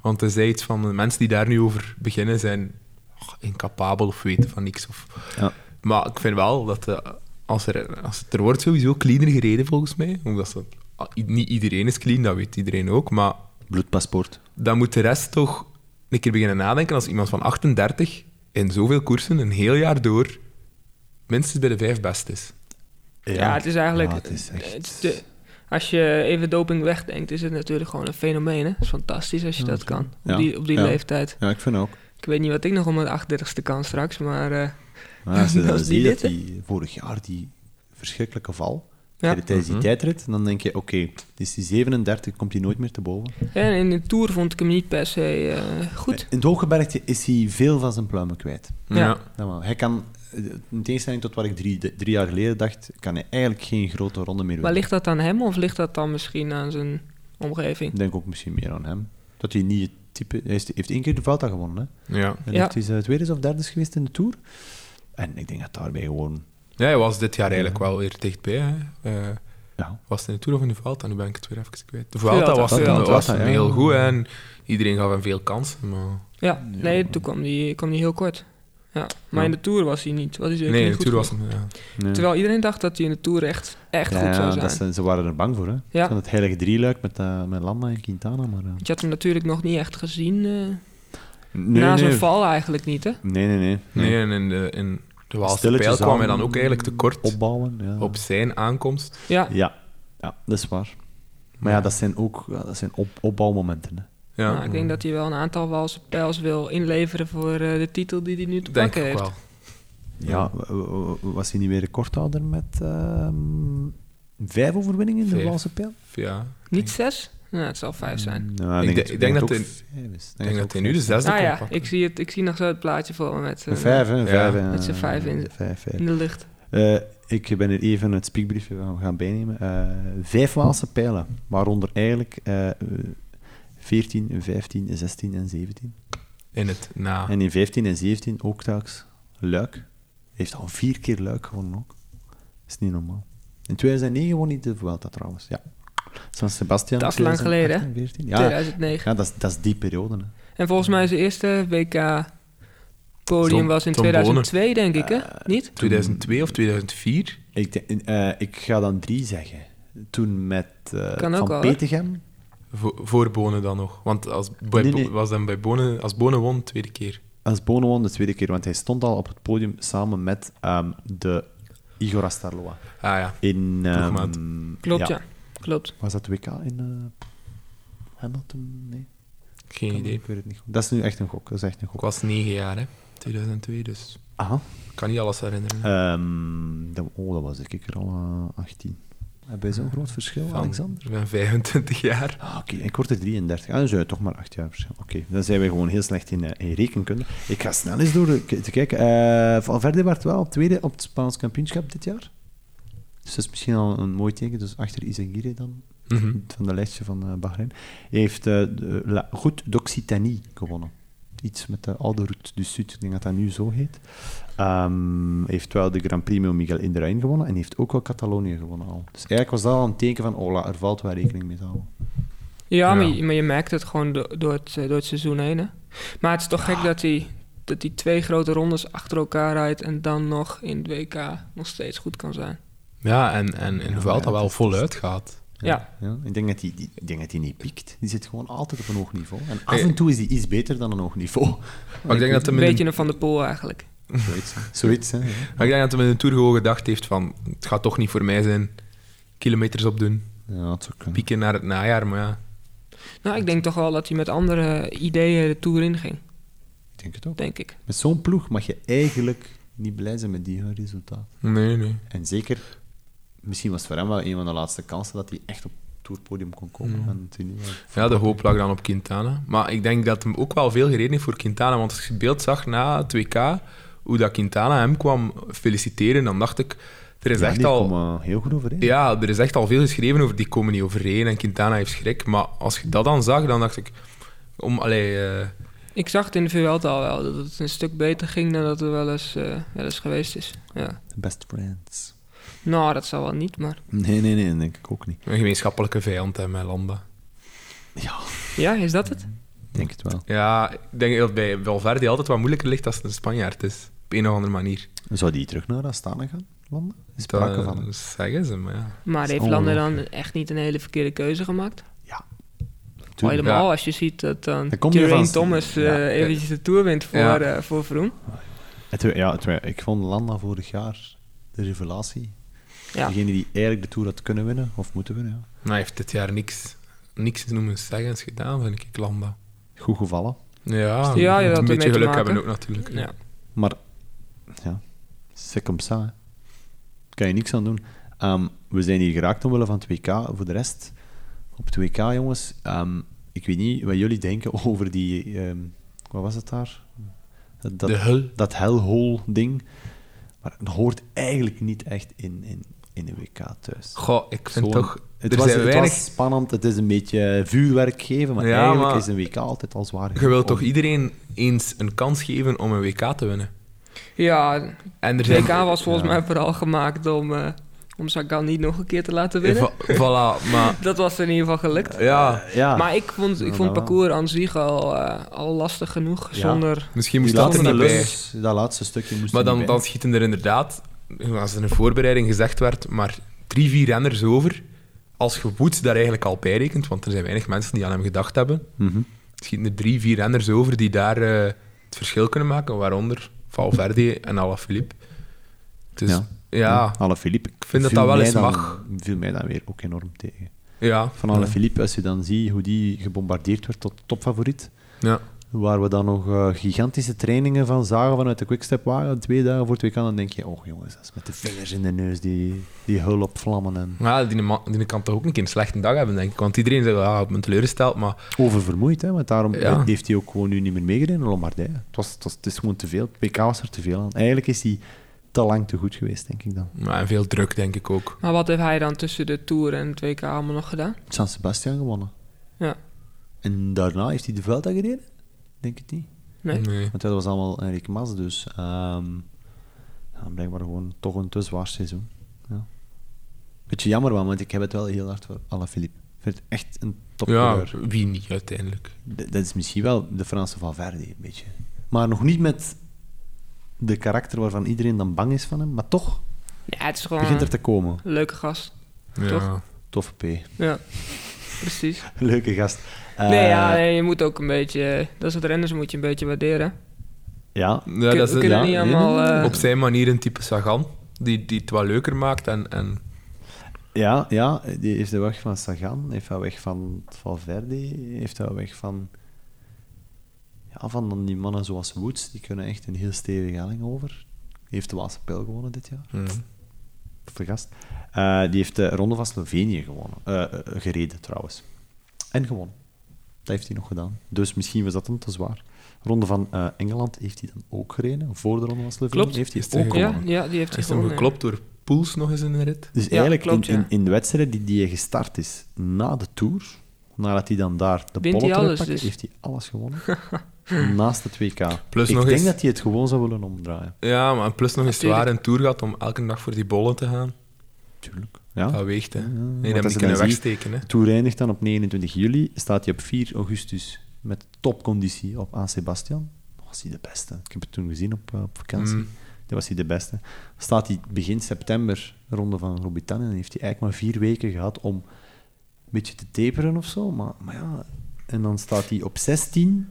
[SPEAKER 2] Want er zijn iets van de mensen die daar nu over beginnen zijn och, incapabel of weten van niks. Of...
[SPEAKER 1] Ja.
[SPEAKER 2] Maar ik vind wel dat eh, als er, als er wordt sowieso cleaner gereden volgens mij, omdat ze, ah, i- niet iedereen is clean, dat weet iedereen ook, maar
[SPEAKER 1] Bloedpaspoort.
[SPEAKER 2] dan moet de rest toch een keer beginnen nadenken als iemand van 38 in zoveel koersen een heel jaar door minstens bij de vijf best is.
[SPEAKER 3] Ja, het is eigenlijk...
[SPEAKER 1] Ja, nou, het is echt-
[SPEAKER 3] het is de- als je even doping wegdenkt, is het natuurlijk gewoon een fenomeen. Hè? Het is fantastisch als je dat kan, op
[SPEAKER 1] Ja.
[SPEAKER 3] die, op die
[SPEAKER 1] Ja.
[SPEAKER 3] leeftijd.
[SPEAKER 1] Ja, ik vind ook.
[SPEAKER 3] Ik weet niet wat ik nog om mijn 38ste kan straks, maar... eh,
[SPEAKER 1] Maar als je dan
[SPEAKER 3] Als die
[SPEAKER 1] ziet dat
[SPEAKER 3] dit, hè?
[SPEAKER 1] die vorig jaar die verschrikkelijke val
[SPEAKER 3] Ja.
[SPEAKER 1] tijdens die tijdrit, dan denk je, oké, dus die 37 komt hij nooit meer te boven.
[SPEAKER 3] en in de Tour vond ik hem niet per se eh, goed.
[SPEAKER 1] In het hooggebergte is hij veel van zijn pluimen kwijt.
[SPEAKER 3] Ja.
[SPEAKER 1] Dat wel. Hij kan, eh, in tegenstelling tot wat ik drie, de- drie jaar geleden dacht, kan hij eigenlijk geen grote ronde meer
[SPEAKER 3] Maar
[SPEAKER 1] winnen.
[SPEAKER 3] ligt dat aan hem of ligt dat dan misschien aan zijn omgeving?
[SPEAKER 1] Ik denk ook misschien meer aan hem. Dat hij niet het type... Hij is- heeft één keer de Vuelta gewonnen, hè.
[SPEAKER 2] ja.
[SPEAKER 1] En
[SPEAKER 3] Ja.
[SPEAKER 1] heeft hij zijn tweede of derde is geweest in de Tour. En ik denk dat daarbij gewoon...
[SPEAKER 2] Ja, hij was dit jaar eigenlijk wel weer dichtbij. Hè. Eh,
[SPEAKER 1] Ja,
[SPEAKER 2] was het in de Tour of in de Vuelta? Nu ben ik het weer even kwijt. De Vuelta
[SPEAKER 3] Vuelta.
[SPEAKER 2] was, hem-
[SPEAKER 1] Vuelta,
[SPEAKER 2] was
[SPEAKER 1] Vuelta,
[SPEAKER 2] hem
[SPEAKER 1] ja.
[SPEAKER 2] heel goed hè, en iedereen gaf hem veel kansen. Maar...
[SPEAKER 3] Ja, nee, toen kwam die, kwam die heel kort. Ja. Maar
[SPEAKER 1] Ja.
[SPEAKER 3] in de Tour was hij niet. Was hij zeker
[SPEAKER 2] Nee, in
[SPEAKER 3] niet
[SPEAKER 2] de
[SPEAKER 3] goed
[SPEAKER 2] Tour was
[SPEAKER 3] genoeg.
[SPEAKER 2] hem... Ja.
[SPEAKER 1] nee.
[SPEAKER 3] Terwijl iedereen dacht dat hij in de Tour echt, echt
[SPEAKER 1] Ja,
[SPEAKER 3] goed zou
[SPEAKER 1] ja,
[SPEAKER 3] zijn.
[SPEAKER 1] dat
[SPEAKER 2] eh,
[SPEAKER 1] ze, ze waren er bang voor, hè?
[SPEAKER 3] Ja.
[SPEAKER 1] Van het heilige drieluik met, eh, met Landa en Quintana. Maar, eh,
[SPEAKER 3] Want Je had hem natuurlijk nog niet echt gezien eh,
[SPEAKER 1] nee,
[SPEAKER 3] na zijn
[SPEAKER 1] nee.
[SPEAKER 3] val eigenlijk niet, hè?
[SPEAKER 1] Nee, nee, nee.
[SPEAKER 2] Nee, en in de, in de Waalse
[SPEAKER 1] Stilletjes
[SPEAKER 2] Pijl kwam hij
[SPEAKER 1] aan-
[SPEAKER 2] dan ook eigenlijk tekort op,
[SPEAKER 1] Opbouwen, ja.
[SPEAKER 2] op zijn aankomst.
[SPEAKER 3] Ja,
[SPEAKER 1] Ja. ja, dat is waar. Maar ja, dat zijn ook ja, dat zijn op, opbouwmomenten. Hè.
[SPEAKER 2] Ja,
[SPEAKER 3] Nou, ik denk dat hij wel een aantal Waalse pijls wil inleveren voor eh, de titel die hij nu te
[SPEAKER 2] denk
[SPEAKER 3] pakken
[SPEAKER 2] ik
[SPEAKER 3] heeft.
[SPEAKER 2] wel.
[SPEAKER 1] Ja, w- w- w- was hij niet weer recordhouder met ehm, vijf overwinningen in de
[SPEAKER 2] Vijf.
[SPEAKER 1] Waalse pijl?
[SPEAKER 2] Ja.
[SPEAKER 3] Niet zes? Nou, het zal vijf zijn.
[SPEAKER 1] Nou,
[SPEAKER 2] Ik
[SPEAKER 1] het-
[SPEAKER 2] denk- ik denk
[SPEAKER 1] het
[SPEAKER 2] dat
[SPEAKER 1] ook
[SPEAKER 2] hij-
[SPEAKER 1] vijf is.
[SPEAKER 2] Ik denk Mm, dat
[SPEAKER 1] het
[SPEAKER 2] hij
[SPEAKER 1] ook
[SPEAKER 2] nu de
[SPEAKER 1] vijf
[SPEAKER 2] zesde
[SPEAKER 3] Ah
[SPEAKER 2] komt
[SPEAKER 3] ja,
[SPEAKER 2] pakken.
[SPEAKER 3] ik zie, het, ik zie nog zo het plaatje voor me met, eh,
[SPEAKER 1] is. Vijf, hè? Vijf,
[SPEAKER 2] Ja,
[SPEAKER 1] eh,
[SPEAKER 3] met z'n vijf in-
[SPEAKER 1] Vijf, vijf.
[SPEAKER 3] in de lucht.
[SPEAKER 1] Eh, ik ben er even het spiekbriefje gaan, gaan bijnemen. Eh, vijf Waalse pijlen, waaronder eigenlijk eh, eh, 14, 15, 16 en 17.
[SPEAKER 2] In het
[SPEAKER 3] Ah.
[SPEAKER 2] na.
[SPEAKER 1] En in 15 en 17 ook telkens Luik. Hij heeft al vier keer Luik gewonnen ook. is niet normaal. In 2009 won hij de Vuelta trouwens, ja. San Sebastian.
[SPEAKER 3] Dat is lang
[SPEAKER 1] 2008
[SPEAKER 3] geleden,
[SPEAKER 1] en 14. Ja,
[SPEAKER 3] 2009.
[SPEAKER 1] ja dat, is, dat is die periode. Hè.
[SPEAKER 3] En volgens mij zijn eerste WK-podium
[SPEAKER 2] Tom-
[SPEAKER 3] was in
[SPEAKER 2] Tom Eh, Bonen.
[SPEAKER 3] 2002, denk ik, hè? Niet?
[SPEAKER 2] 2002 of 2004?
[SPEAKER 1] Ik, denk- eh, ik ga dan drie zeggen. Toen met eh,
[SPEAKER 3] Kan ook
[SPEAKER 1] Van
[SPEAKER 3] al, hè?
[SPEAKER 1] Petegem.
[SPEAKER 2] Vo- voor Bonen dan nog. Want als, bij
[SPEAKER 1] Nee,
[SPEAKER 2] Bo-
[SPEAKER 1] nee.
[SPEAKER 2] Was dan bij Bonen, als Bonen won, tweede keer.
[SPEAKER 1] Als Bono won de tweede keer, want hij stond al op het podium samen met ehm, de Igor Astarloa.
[SPEAKER 2] Ah ja.
[SPEAKER 1] In, ehm,
[SPEAKER 2] Ploegmaat.
[SPEAKER 3] Klopt, ja. Klopt.
[SPEAKER 1] Was dat WK in eh, Hamilton? Nee,
[SPEAKER 2] Geen
[SPEAKER 1] kan-
[SPEAKER 2] idee.
[SPEAKER 1] ik weet het niet goed. Dat is nu echt een gok. Dat is echt een
[SPEAKER 2] Ik
[SPEAKER 1] gok.
[SPEAKER 2] was negen jaar, hè. 2002, dus
[SPEAKER 1] Aha.
[SPEAKER 2] ik kan niet alles herinneren.
[SPEAKER 1] Ehm, dat- oh, dat was ik er al eh, 18. Hebben wij zo'n groot verschil,
[SPEAKER 2] Van-
[SPEAKER 1] Alexander?
[SPEAKER 2] Ik ben 25 jaar.
[SPEAKER 1] Ah, Oké, ik word er 33. Ah, dan zijn we toch maar 8 jaar verschil. Oké, dan zijn we gewoon heel slecht in, eh, in rekenkunde. Ik ga snel eens door k- te kijken. Eh, Valverde werd wel op tweede op het Spaans kampioenschap dit jaar. Dus dat is misschien al een mooi teken. Dus achter Izagirre dan,
[SPEAKER 2] Mhm.
[SPEAKER 1] van de lijstje van eh, Bahrein. Hij heeft eh, de La Route d'Occitanie gewonnen. Iets met de oude Route du Sud, ik denk dat dat nu zo heet. Ehm, hij heeft wel de Grand Premio Miguel Indurain gewonnen en hij heeft ook wel Catalonië gewonnen al. Dus eigenlijk was dat al een teken van, oh, la, er valt wel rekening mee te houden.
[SPEAKER 3] Ja, Maar,
[SPEAKER 2] Ja.
[SPEAKER 3] je, maar je merkt het gewoon do- door, het, eh, door het seizoen heen. Hè? Maar het is toch gek dat hij, dat hij twee grote rondes achter elkaar rijdt en dan nog in het WK nog steeds goed kan zijn.
[SPEAKER 2] Ja, en, en in
[SPEAKER 1] Ja,
[SPEAKER 2] de Vuelta
[SPEAKER 1] ja,
[SPEAKER 2] wel
[SPEAKER 1] dat is-
[SPEAKER 2] voluit gaat.
[SPEAKER 3] Ja.
[SPEAKER 1] Ik denk dat die, die, ik denk dat die niet piekt. Die zit gewoon altijd op een hoog niveau. En af
[SPEAKER 2] Hey.
[SPEAKER 1] en toe is die iets beter dan een hoog niveau.
[SPEAKER 2] Maar ik denk dat
[SPEAKER 3] Een
[SPEAKER 2] hem in de
[SPEAKER 3] beetje een Van der Poel eigenlijk.
[SPEAKER 1] Zoiets. Zoiets, hè. ja.
[SPEAKER 2] Maar ik denk dat hij met een Tour gewoon gedacht heeft van... Het gaat toch niet voor mij zijn. Kilometers opdoen.
[SPEAKER 1] Ja, dat zou kunnen.
[SPEAKER 2] Pieken naar het najaar, maar ja.
[SPEAKER 3] Nou, ik denk toch wel dat hij met andere ideeën de Tour inging,
[SPEAKER 1] Ik denk het ook.
[SPEAKER 3] denk ik.
[SPEAKER 1] Met zo'n ploeg mag je eigenlijk niet blij zijn met die resultaat.
[SPEAKER 2] Nee, nee.
[SPEAKER 1] En zeker, misschien was het voor hem wel een van de laatste kansen dat hij echt op het toerpodium kon
[SPEAKER 2] Mm.
[SPEAKER 1] komen. En natuurlijk wel.
[SPEAKER 2] Ja, de hoop lag dan op Quintana. Maar ik denk dat hem ook wel veel gereden heeft voor Quintana. Want als je het beeld zag na het WK, hoe dat Quintana hem kwam feliciteren, dan dacht ik... Er is
[SPEAKER 1] Ja,
[SPEAKER 2] echt
[SPEAKER 1] die
[SPEAKER 2] al...
[SPEAKER 1] komen heel goed overeen.
[SPEAKER 2] Ja, er is echt al veel geschreven over die komen niet overeen en Quintana heeft schrik. Maar als je dat dan zag, dan dacht ik... Om, allee, eh,
[SPEAKER 3] Ik zag het in de Vuelta al wel, dat het een stuk beter ging dan dat er wel eens, eh, wel eens geweest is. Ja.
[SPEAKER 1] Best friends.
[SPEAKER 3] Nou, dat zal wel niet, maar...
[SPEAKER 1] Nee, nee, nee, dat denk ik ook niet.
[SPEAKER 2] een gemeenschappelijke vijand hè, met Landa.
[SPEAKER 1] Ja,
[SPEAKER 3] Ja, is dat het?
[SPEAKER 1] ik denk het wel.
[SPEAKER 2] Ja, ik denk dat bij Valverde altijd wat moeilijker ligt als het een Spanjaard is. Op een of andere manier.
[SPEAKER 1] Zou die terug naar Astana gaan, Wanda? Is sprake
[SPEAKER 2] Dat eh,
[SPEAKER 1] van. hè?
[SPEAKER 2] zeggen ze, maar ja.
[SPEAKER 3] Maar heeft Landa dan echt niet een hele verkeerde keuze gemaakt?
[SPEAKER 1] Ja.
[SPEAKER 3] Al
[SPEAKER 1] Tuurlijk.
[SPEAKER 3] helemaal
[SPEAKER 2] Ja.
[SPEAKER 3] als je ziet dat dan
[SPEAKER 1] Dan kom je
[SPEAKER 3] Geraint
[SPEAKER 1] van-
[SPEAKER 3] Thomas eh,
[SPEAKER 1] Ja.
[SPEAKER 3] eventjes de Tour wint voor,
[SPEAKER 2] Ja.
[SPEAKER 3] eh, voor Vroom.
[SPEAKER 1] Het, wa- ja, het, wa- ik vond Landa vorig jaar de revelatie.
[SPEAKER 3] Ja.
[SPEAKER 1] Degene die eigenlijk de Tour had kunnen winnen, of moeten winnen. Ja.
[SPEAKER 2] Maar Nou, hij heeft dit jaar niks, niks noemenszeggends gedaan, vind ik, Landa.
[SPEAKER 1] Goed gevallen.
[SPEAKER 2] Ja,
[SPEAKER 3] Ja, je
[SPEAKER 2] een
[SPEAKER 3] had ermee te
[SPEAKER 2] beetje geluk
[SPEAKER 3] maken.
[SPEAKER 2] hebben ook natuurlijk.
[SPEAKER 3] Ja.
[SPEAKER 1] Maar, ja, c'est comme ça. Hè. Kan je niks aan doen. Ehm, we zijn hier geraakt omwille van het WK. Voor de rest, op het WK, jongens, ehm, ik weet niet wat jullie denken over die... ehm, wat was het daar? Dat,
[SPEAKER 2] De hul.
[SPEAKER 1] dat hellhole-ding. Maar het hoort eigenlijk niet echt in, in, in de WK thuis.
[SPEAKER 2] Goh, ik vind
[SPEAKER 1] Gewoon-
[SPEAKER 2] toch...
[SPEAKER 1] het,
[SPEAKER 2] er
[SPEAKER 1] was,
[SPEAKER 2] zijn
[SPEAKER 1] het
[SPEAKER 2] weinig...
[SPEAKER 1] was spannend, het is een beetje vuurwerk geven, maar
[SPEAKER 2] Ja,
[SPEAKER 1] eigenlijk
[SPEAKER 2] maar-
[SPEAKER 1] is een WK altijd al zwaar.
[SPEAKER 2] Je wilt
[SPEAKER 1] genoeg
[SPEAKER 2] toch
[SPEAKER 1] om-
[SPEAKER 2] iedereen eens een kans geven om een WK te winnen?
[SPEAKER 3] ja,
[SPEAKER 2] En er
[SPEAKER 3] de
[SPEAKER 2] zijn...
[SPEAKER 3] WK was volgens
[SPEAKER 1] Ja.
[SPEAKER 3] mij vooral gemaakt om, eh om Sagan niet nog een keer te laten winnen.
[SPEAKER 2] Va- voilà, maar...
[SPEAKER 3] Dat was in ieder geval gelukt.
[SPEAKER 2] Ja,
[SPEAKER 1] Ja,
[SPEAKER 3] Maar ik vond,
[SPEAKER 1] Ja,
[SPEAKER 3] ik
[SPEAKER 1] dat
[SPEAKER 3] vond het
[SPEAKER 1] wel.
[SPEAKER 3] parcours aan zich al, eh, al lastig genoeg.
[SPEAKER 1] Ja.
[SPEAKER 3] Zonder,
[SPEAKER 2] misschien
[SPEAKER 1] die
[SPEAKER 2] moest dat er
[SPEAKER 1] laatste
[SPEAKER 2] niet bij.
[SPEAKER 1] lus, dat laatste stukje moest
[SPEAKER 2] Maar
[SPEAKER 1] er
[SPEAKER 2] dan,
[SPEAKER 1] niet bij.
[SPEAKER 2] dan schieten er inderdaad, als er een voorbereiding gezegd werd, maar drie, vier renners over. Als je Woods daar eigenlijk al bij rekent, want er zijn weinig mensen die aan hem gedacht hebben,
[SPEAKER 1] Mhm.
[SPEAKER 2] schieten er drie, vier renners over die daar eh, het verschil kunnen maken, waaronder Valverde en Alaphilippe. Dus
[SPEAKER 1] Ja. Ja,
[SPEAKER 2] ja, ja,
[SPEAKER 1] Alaphilippe.
[SPEAKER 2] Ik vind dat
[SPEAKER 1] viel
[SPEAKER 2] dat wel
[SPEAKER 1] mij
[SPEAKER 2] eens
[SPEAKER 1] dan-
[SPEAKER 2] mag.
[SPEAKER 1] viel mij dan weer ook enorm tegen.
[SPEAKER 2] ja.
[SPEAKER 1] Van Alaphilippe, als je dan ziet hoe die gebombardeerd werd tot topfavoriet,
[SPEAKER 2] Ja.
[SPEAKER 1] waar we dan nog eh, gigantische trainingen van zagen vanuit de Quickstep waren, twee dagen voor het WK, dan denk je, oh jongens, dat is met de vingers in de neus, die, die hul op vlammen en
[SPEAKER 2] Maar ja, die, man- die kan toch ook een keer een slechte dag hebben, denk ik. Want iedereen zegt, ja, ik ben teleurgesteld, maar
[SPEAKER 1] oververmoeid, hè, want daarom
[SPEAKER 2] Ja.
[SPEAKER 1] heeft hij ook gewoon nu niet meer meegedaan in Lombardije. Het, was, het, was- het is gewoon te veel. PK was er te veel aan. Eigenlijk is hij te lang te goed geweest, denk ik dan.
[SPEAKER 2] ja, en veel druk, denk ik ook.
[SPEAKER 3] maar wat heeft hij dan tussen de Tour en het WK allemaal nog gedaan?
[SPEAKER 1] San Sebastian gewonnen.
[SPEAKER 3] Ja.
[SPEAKER 1] En daarna heeft hij de Vuelta gereden? Denk het niet.
[SPEAKER 3] Nee?
[SPEAKER 2] Nee.
[SPEAKER 1] Want dat was allemaal Enric Mas, dus ehm, ja, blijkbaar gewoon toch een te zwaar seizoen. Ja. Beetje jammer wel, want ik heb het wel heel hard voor Alaphilippe. Ik vind het echt een
[SPEAKER 2] Ja,
[SPEAKER 1] topcoureur.
[SPEAKER 2] wie niet uiteindelijk.
[SPEAKER 1] D- Dat is misschien wel de Franse Valverde, een beetje. Maar nog niet met de karakter waarvan iedereen dan bang is van hem. Maar toch
[SPEAKER 3] Ja, het is
[SPEAKER 1] begint
[SPEAKER 3] gewoon
[SPEAKER 1] er
[SPEAKER 3] een
[SPEAKER 1] te komen.
[SPEAKER 3] leuke gast.
[SPEAKER 2] Ja.
[SPEAKER 3] Toch?
[SPEAKER 1] Toffe P.
[SPEAKER 3] Ja, precies.
[SPEAKER 1] Leuke gast. Eh,
[SPEAKER 3] Nee, ja, nee, je moet ook een beetje... eh, Dat soort renners moet je een beetje waarderen.
[SPEAKER 1] ja.
[SPEAKER 2] Ja,
[SPEAKER 3] Kun-
[SPEAKER 2] dat
[SPEAKER 3] we
[SPEAKER 2] is,
[SPEAKER 3] kunnen
[SPEAKER 1] ja,
[SPEAKER 3] niet
[SPEAKER 1] nee, nee,
[SPEAKER 3] allemaal... eh,
[SPEAKER 2] op zijn manier een type Sagan, die, die het wel leuker maakt. En, en
[SPEAKER 1] Ja, ja, die heeft de weg van Sagan, heeft wel weg van Valverde, heeft wel weg van... Ja, ja, van dan die mannen zoals Woods, die kunnen echt een heel stevige helling over. Die heeft de Waalse Pijl gewonnen dit jaar. Of de gast. Eh, die heeft de Ronde van Slovenië gewonnen. Eh, eh, gereden trouwens. En gewonnen. Dat heeft hij nog gedaan. Dus misschien was dat hem te zwaar. Ronde van eh, Engeland heeft hij dan ook gereden. Voor de Ronde van Slovenië
[SPEAKER 3] Klopt.
[SPEAKER 1] heeft hij
[SPEAKER 2] Is hij
[SPEAKER 1] ook
[SPEAKER 2] gewonnen?
[SPEAKER 1] gewonnen.
[SPEAKER 3] Ja, ja, die heeft hij
[SPEAKER 2] Is hem
[SPEAKER 3] gewonnen.
[SPEAKER 2] geklopt door Poels nog eens in de rit?
[SPEAKER 1] Dus
[SPEAKER 3] Ja,
[SPEAKER 1] eigenlijk
[SPEAKER 3] klopt,
[SPEAKER 1] in, in,
[SPEAKER 3] ja.
[SPEAKER 1] in de wedstrijd die, die hij gestart is na de Tour, nadat hij dan daar de
[SPEAKER 3] Wint
[SPEAKER 1] bollen
[SPEAKER 3] hij alles
[SPEAKER 1] terugpakt,
[SPEAKER 3] dus?
[SPEAKER 1] heeft hij alles gewonnen. Naast het WK.
[SPEAKER 2] Plus
[SPEAKER 1] ik
[SPEAKER 2] nog
[SPEAKER 1] denk
[SPEAKER 2] eens-
[SPEAKER 1] dat hij het gewoon zou willen omdraaien.
[SPEAKER 2] Ja, maar plus nog eens
[SPEAKER 3] Natuurlijk.
[SPEAKER 2] waar een tour gaat om elke dag voor die bollen te gaan.
[SPEAKER 1] Tuurlijk. Ja.
[SPEAKER 2] Dat weegt, hè. Nee,
[SPEAKER 1] als
[SPEAKER 2] dat moet
[SPEAKER 1] je
[SPEAKER 2] je kunnen
[SPEAKER 1] dan ziet-
[SPEAKER 2] wegsteken, hè.
[SPEAKER 1] De Tour eindigt dan op 29 juli, staat hij op 4 augustus met topconditie op aan Sebastian. Was hij de beste? Ik heb het toen gezien op, eh, op vakantie.
[SPEAKER 2] Mm.
[SPEAKER 1] Dat was hij de beste. Staat hij begin september de ronde van Robitan en heeft hij eigenlijk maar vier weken gehad om een beetje te taperen of zo. Maar, maar ja, en dan staat hij op 16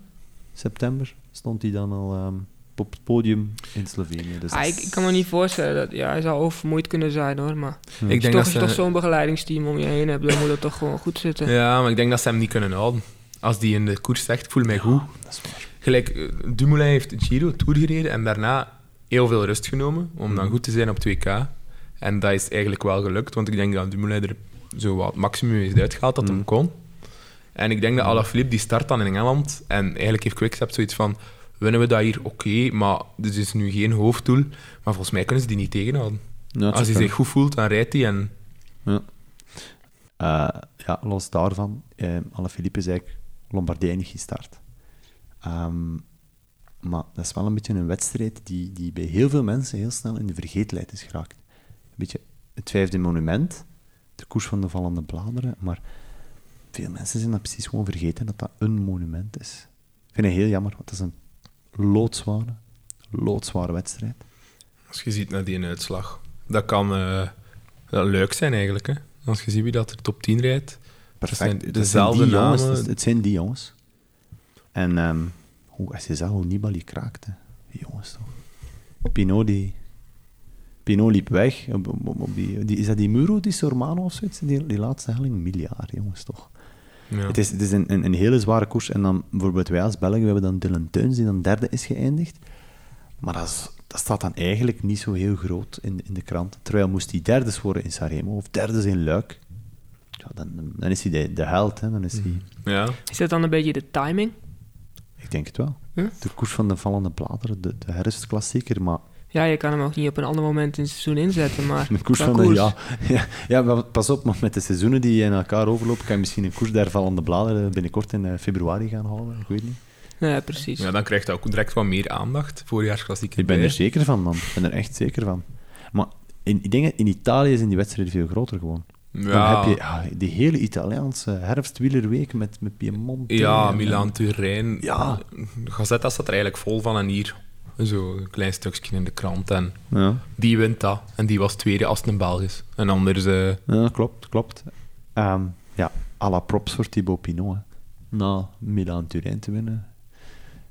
[SPEAKER 1] september, stond hij dan al ehm, op het podium in Slovenië. Dus
[SPEAKER 3] Ah,
[SPEAKER 1] dat
[SPEAKER 3] ik,
[SPEAKER 1] is-
[SPEAKER 3] ik kan me niet voorstellen dat... Ja, hij zou oververmoeid kunnen zijn, hoor. Maar
[SPEAKER 2] Ik denk
[SPEAKER 3] toch,
[SPEAKER 2] dat
[SPEAKER 3] als je toch
[SPEAKER 2] ze...
[SPEAKER 3] zo'n begeleidingsteam om je heen hebt, dan moet dat toch gewoon goed zitten.
[SPEAKER 2] Ja, maar ik denk dat ze hem niet kunnen houden. Als die in de koers zegt, ik voel mij goed.
[SPEAKER 3] Ah,
[SPEAKER 1] Dat is waar.
[SPEAKER 2] Gelijk, eh, Dumoulin heeft Giro, Tour gereden en daarna heel veel rust genomen om
[SPEAKER 1] Mhm.
[SPEAKER 2] dan goed te zijn op 2K. En dat is eigenlijk wel gelukt, want ik denk dat Dumoulin er zo wat het maximum is uitgehaald dat hem
[SPEAKER 1] Mhm.
[SPEAKER 2] kon. En ik denk dat Alaphilippe die start dan in Engeland en eigenlijk heeft Quickstep zoiets van winnen we dat hier, oké, maar dit is nu geen hoofddoel. Maar volgens mij kunnen ze die niet tegenhouden.
[SPEAKER 1] Ja, het zou
[SPEAKER 2] Als hij zich
[SPEAKER 1] kunnen.
[SPEAKER 2] goed voelt, dan rijdt hij en...
[SPEAKER 1] Eh, ja, los daarvan, eh Alaphilippe is eigenlijk Lombardij niet gestart. Ehm, maar dat is wel een beetje een wedstrijd die, die bij heel veel mensen heel snel in de vergetelheid is geraakt. Een beetje het vijfde monument, de koers van de vallende bladeren, maar veel mensen zijn dat precies gewoon vergeten dat dat een monument is. Ik vind het heel jammer, want dat is een loodzware, loodzware wedstrijd.
[SPEAKER 2] Als je ziet naar die uitslag, dat kan eh, dat leuk zijn eigenlijk. Hè? Als je ziet wie dat er top 10 rijdt. zijn
[SPEAKER 1] Dat
[SPEAKER 2] dezelfde
[SPEAKER 1] die jongens,
[SPEAKER 2] namen.
[SPEAKER 1] dat- het zijn die jongens. En ehm hoe, als je zag hoe Nibali kraakte. Die jongens toch. Pinot, die, Pinot liep weg. Op, op- op- op die, die, is dat die Muro, die Sormano of zoiets? Die, die laatste helling? Miljard, jongens toch.
[SPEAKER 2] Ja.
[SPEAKER 1] Het is, het is een, een, een hele zware koers. En dan bijvoorbeeld wij als Belgen, we hebben dan Dylan Teuns, die dan derde is geëindigd. Maar dat, is- dat staat dan eigenlijk niet zo heel groot in, de- in de krant. Terwijl moest hij derde worden in Saremo of derde in Luik. Ja, dan, dan is hij de, de held. Hè. Dan is hij,
[SPEAKER 2] ja.
[SPEAKER 3] Is dat dan een beetje de timing?
[SPEAKER 1] Ik denk het wel.
[SPEAKER 3] Hm?
[SPEAKER 1] De koers van de vallende bladeren, de, de herfstklassieker. Maar
[SPEAKER 3] Ja, je kan hem ook niet op een ander moment in het seizoen inzetten, maar...
[SPEAKER 1] een koers
[SPEAKER 3] qua
[SPEAKER 1] van de- Ja, ja, ja, maar pas op, maar met de seizoenen die in elkaar overlopen, kan je misschien een koers der vallende bladeren binnenkort in eh, februari gaan halen. Ik weet niet.
[SPEAKER 3] Ja, precies.
[SPEAKER 2] Dus ja, dan krijgt dat ook direct wat meer aandacht. Voorjaarsklassiek.
[SPEAKER 1] Ik ben er zeker van, man. Ik ben er echt zeker van. Maar in, ik denk, dat in Italië zijn die wedstrijden veel groter gewoon. Dan
[SPEAKER 2] Ja.
[SPEAKER 1] heb je ja, die hele Italiaanse herfstwielerweek met, met Piemonte.
[SPEAKER 2] Ja,
[SPEAKER 1] en-
[SPEAKER 2] Milaan, Turijn.
[SPEAKER 1] Ja.
[SPEAKER 2] Gazetta staat er eigenlijk vol van. En hier zo een klein stukje in de krant. En
[SPEAKER 1] Ja,
[SPEAKER 2] die wint dat. En die was tweede als het een Belg is. En anders... eh,
[SPEAKER 1] ja, klopt, klopt. Ehm, ja, à la props voor Thibaut Pinot. hè. Na Milaan-Turijn te winnen.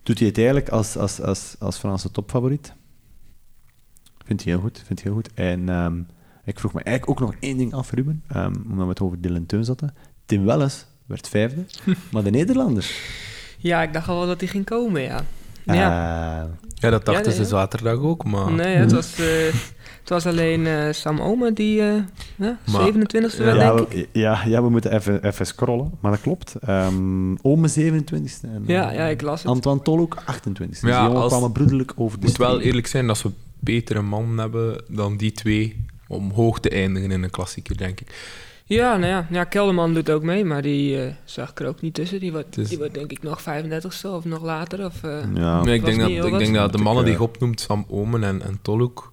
[SPEAKER 1] Doet hij het eigenlijk als, als, als, als Franse topfavoriet? Vindt hij heel goed, vindt hij heel goed. En ehm, ik vroeg me eigenlijk ook nog één ding af, Ruben, ehm, omdat we het over Dylan Teun zaten. Tim Welles werd vijfde, maar de Nederlander...
[SPEAKER 3] Ja, ik dacht al wel dat hij ging komen, ja.
[SPEAKER 1] eh,
[SPEAKER 3] Ja.
[SPEAKER 2] ja, dat dachten
[SPEAKER 3] Ja, ja.
[SPEAKER 2] ze zaterdag ook, maar...
[SPEAKER 1] Ah.
[SPEAKER 3] Nee, het was, eh, het was alleen eh, Sam Oma die eh, ja,
[SPEAKER 2] Maar-
[SPEAKER 3] 27e wel,
[SPEAKER 1] ja,
[SPEAKER 3] denk ik.
[SPEAKER 1] we, ja, ja, we moeten even, even scrollen, maar dat klopt. Ehm Ome 27e. En,
[SPEAKER 3] Ja,
[SPEAKER 1] eh,
[SPEAKER 3] ja, ik las het.
[SPEAKER 1] Antoine Tolhoek 28e.
[SPEAKER 2] Ja,
[SPEAKER 1] die jongen
[SPEAKER 2] als-
[SPEAKER 1] kwamen broederlijk over de
[SPEAKER 2] Het moet wel
[SPEAKER 1] streep.
[SPEAKER 2] eerlijk zijn dat ze betere mannen hebben dan die twee om hoog te eindigen in een klassieker, denk ik.
[SPEAKER 3] Ja, nou ja. ja, Kelderman doet ook mee, maar die eh, zag ik er ook niet tussen. Die wordt,
[SPEAKER 2] Dus-
[SPEAKER 3] die wordt denk ik nog 35ste of nog later. Of, eh,
[SPEAKER 1] Ja,
[SPEAKER 2] Nee, ik
[SPEAKER 3] was
[SPEAKER 2] denk,
[SPEAKER 3] niet
[SPEAKER 2] dat,
[SPEAKER 3] heel
[SPEAKER 2] ik denk
[SPEAKER 3] wat.
[SPEAKER 2] dat de mannen die je opnoemt, Sam Omen en, en Tolhoek,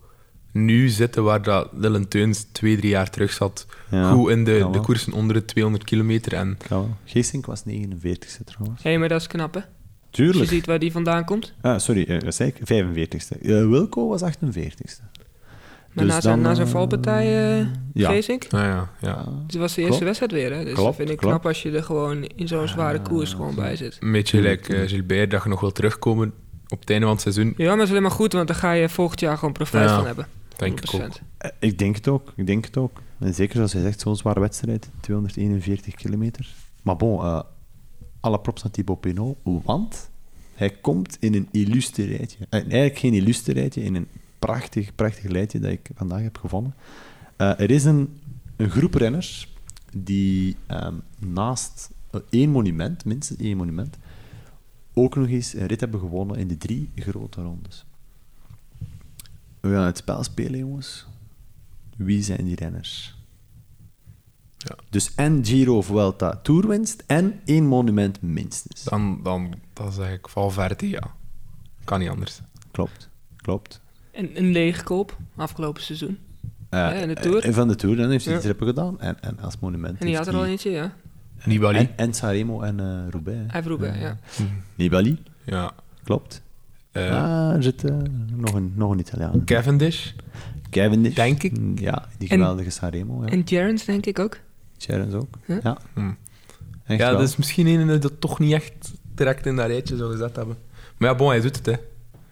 [SPEAKER 2] nu zitten waar dat Dylan Teuns twee, drie jaar terug zat.
[SPEAKER 1] Ja,
[SPEAKER 2] goed in de,
[SPEAKER 1] kan
[SPEAKER 2] de
[SPEAKER 1] wel.
[SPEAKER 2] koersen onder de 200 kilometer. En
[SPEAKER 1] kan wel. Geesink was 49e trouwens.
[SPEAKER 3] Hé, maar dat is knap, hè? Als je
[SPEAKER 1] Tuurlijk.
[SPEAKER 3] ziet waar die vandaan komt.
[SPEAKER 1] Ah, sorry, eh, wat zei ik? 45e. Eh, Wilco was 48e.
[SPEAKER 3] Maar
[SPEAKER 1] Dus
[SPEAKER 3] na, zijn,
[SPEAKER 1] dan,
[SPEAKER 3] na zijn
[SPEAKER 1] eh,
[SPEAKER 3] valpartij, eh
[SPEAKER 1] ja.
[SPEAKER 3] Geesink,
[SPEAKER 2] nou ja, ja,
[SPEAKER 3] dit was de
[SPEAKER 1] Klopt.
[SPEAKER 3] eerste wedstrijd weer, hè? Dus
[SPEAKER 1] Klopt,
[SPEAKER 3] dat vind ik
[SPEAKER 1] klopt.
[SPEAKER 3] knap als je er gewoon in zo'n zware koers gewoon bij zit.
[SPEAKER 2] een beetje gelijk eh, Gilbert, dat je nog wil terugkomen op het einde van het seizoen.
[SPEAKER 3] Ja, maar dat is alleen maar goed, want dan ga je volgend jaar gewoon profijt
[SPEAKER 2] Ja,
[SPEAKER 3] van hebben.
[SPEAKER 2] Denk ik ook.
[SPEAKER 3] 100%.
[SPEAKER 1] Eh, Ik denk het ook, ik denk het ook. En zeker zoals hij zegt, zo'n zware wedstrijd, 241 kilometer. Maar bon, eh alle props aan Thibaut Pinot, want hij Hij komt in een illustre rijtje. Eh, eigenlijk geen illustre rijtje, in een prachtig, prachtig lijntje dat ik vandaag heb gevonden. Eh, er is een, een groep renners die ehm, naast eh, één monument, minstens één monument, ook nog eens een rit hebben gewonnen in de drie grote rondes. We gaan het spel spelen, jongens. Wie zijn die renners?
[SPEAKER 2] Ja.
[SPEAKER 1] Dus en Giro of Vuelta toerwinst en één monument minstens.
[SPEAKER 2] Dan, dan, dan zeg ik Valverde, ja. Kan niet anders.
[SPEAKER 1] Klopt, klopt.
[SPEAKER 3] En een leegkoop afgelopen seizoen.
[SPEAKER 1] Eh,
[SPEAKER 3] Hè, in de Tour.
[SPEAKER 1] eh, Van de Tour, dan heeft hij
[SPEAKER 3] Ja.
[SPEAKER 1] die trippen gedaan. En, en als monument.
[SPEAKER 3] En die had
[SPEAKER 1] heeft
[SPEAKER 3] er al
[SPEAKER 1] hij-
[SPEAKER 3] eentje, ja.
[SPEAKER 2] Nibali.
[SPEAKER 1] En, en Sanremo en eh Roubaix. hè.
[SPEAKER 3] Hij vroeg, ja.
[SPEAKER 1] Eh,
[SPEAKER 3] ja.
[SPEAKER 1] Nibali,
[SPEAKER 2] Ja.
[SPEAKER 1] klopt.
[SPEAKER 2] Eh,
[SPEAKER 1] ah, er zit eh, nog, een, nog een Italiaan.
[SPEAKER 2] Cavendish.
[SPEAKER 1] Cavendish.
[SPEAKER 2] Denk ik.
[SPEAKER 1] Mm, Ja, die
[SPEAKER 3] En-
[SPEAKER 1] geweldige Sanremo. Ja.
[SPEAKER 3] En Jarens denk ik ook.
[SPEAKER 1] Gerrans ook.
[SPEAKER 3] Ja.
[SPEAKER 1] Ja.
[SPEAKER 2] Hm.
[SPEAKER 1] Echt
[SPEAKER 2] ja, dus-
[SPEAKER 1] wel.
[SPEAKER 2] dat is misschien een dat toch niet echt direct in dat rijtje zou gezet hebben. Maar ja, bon, hij doet het, hè.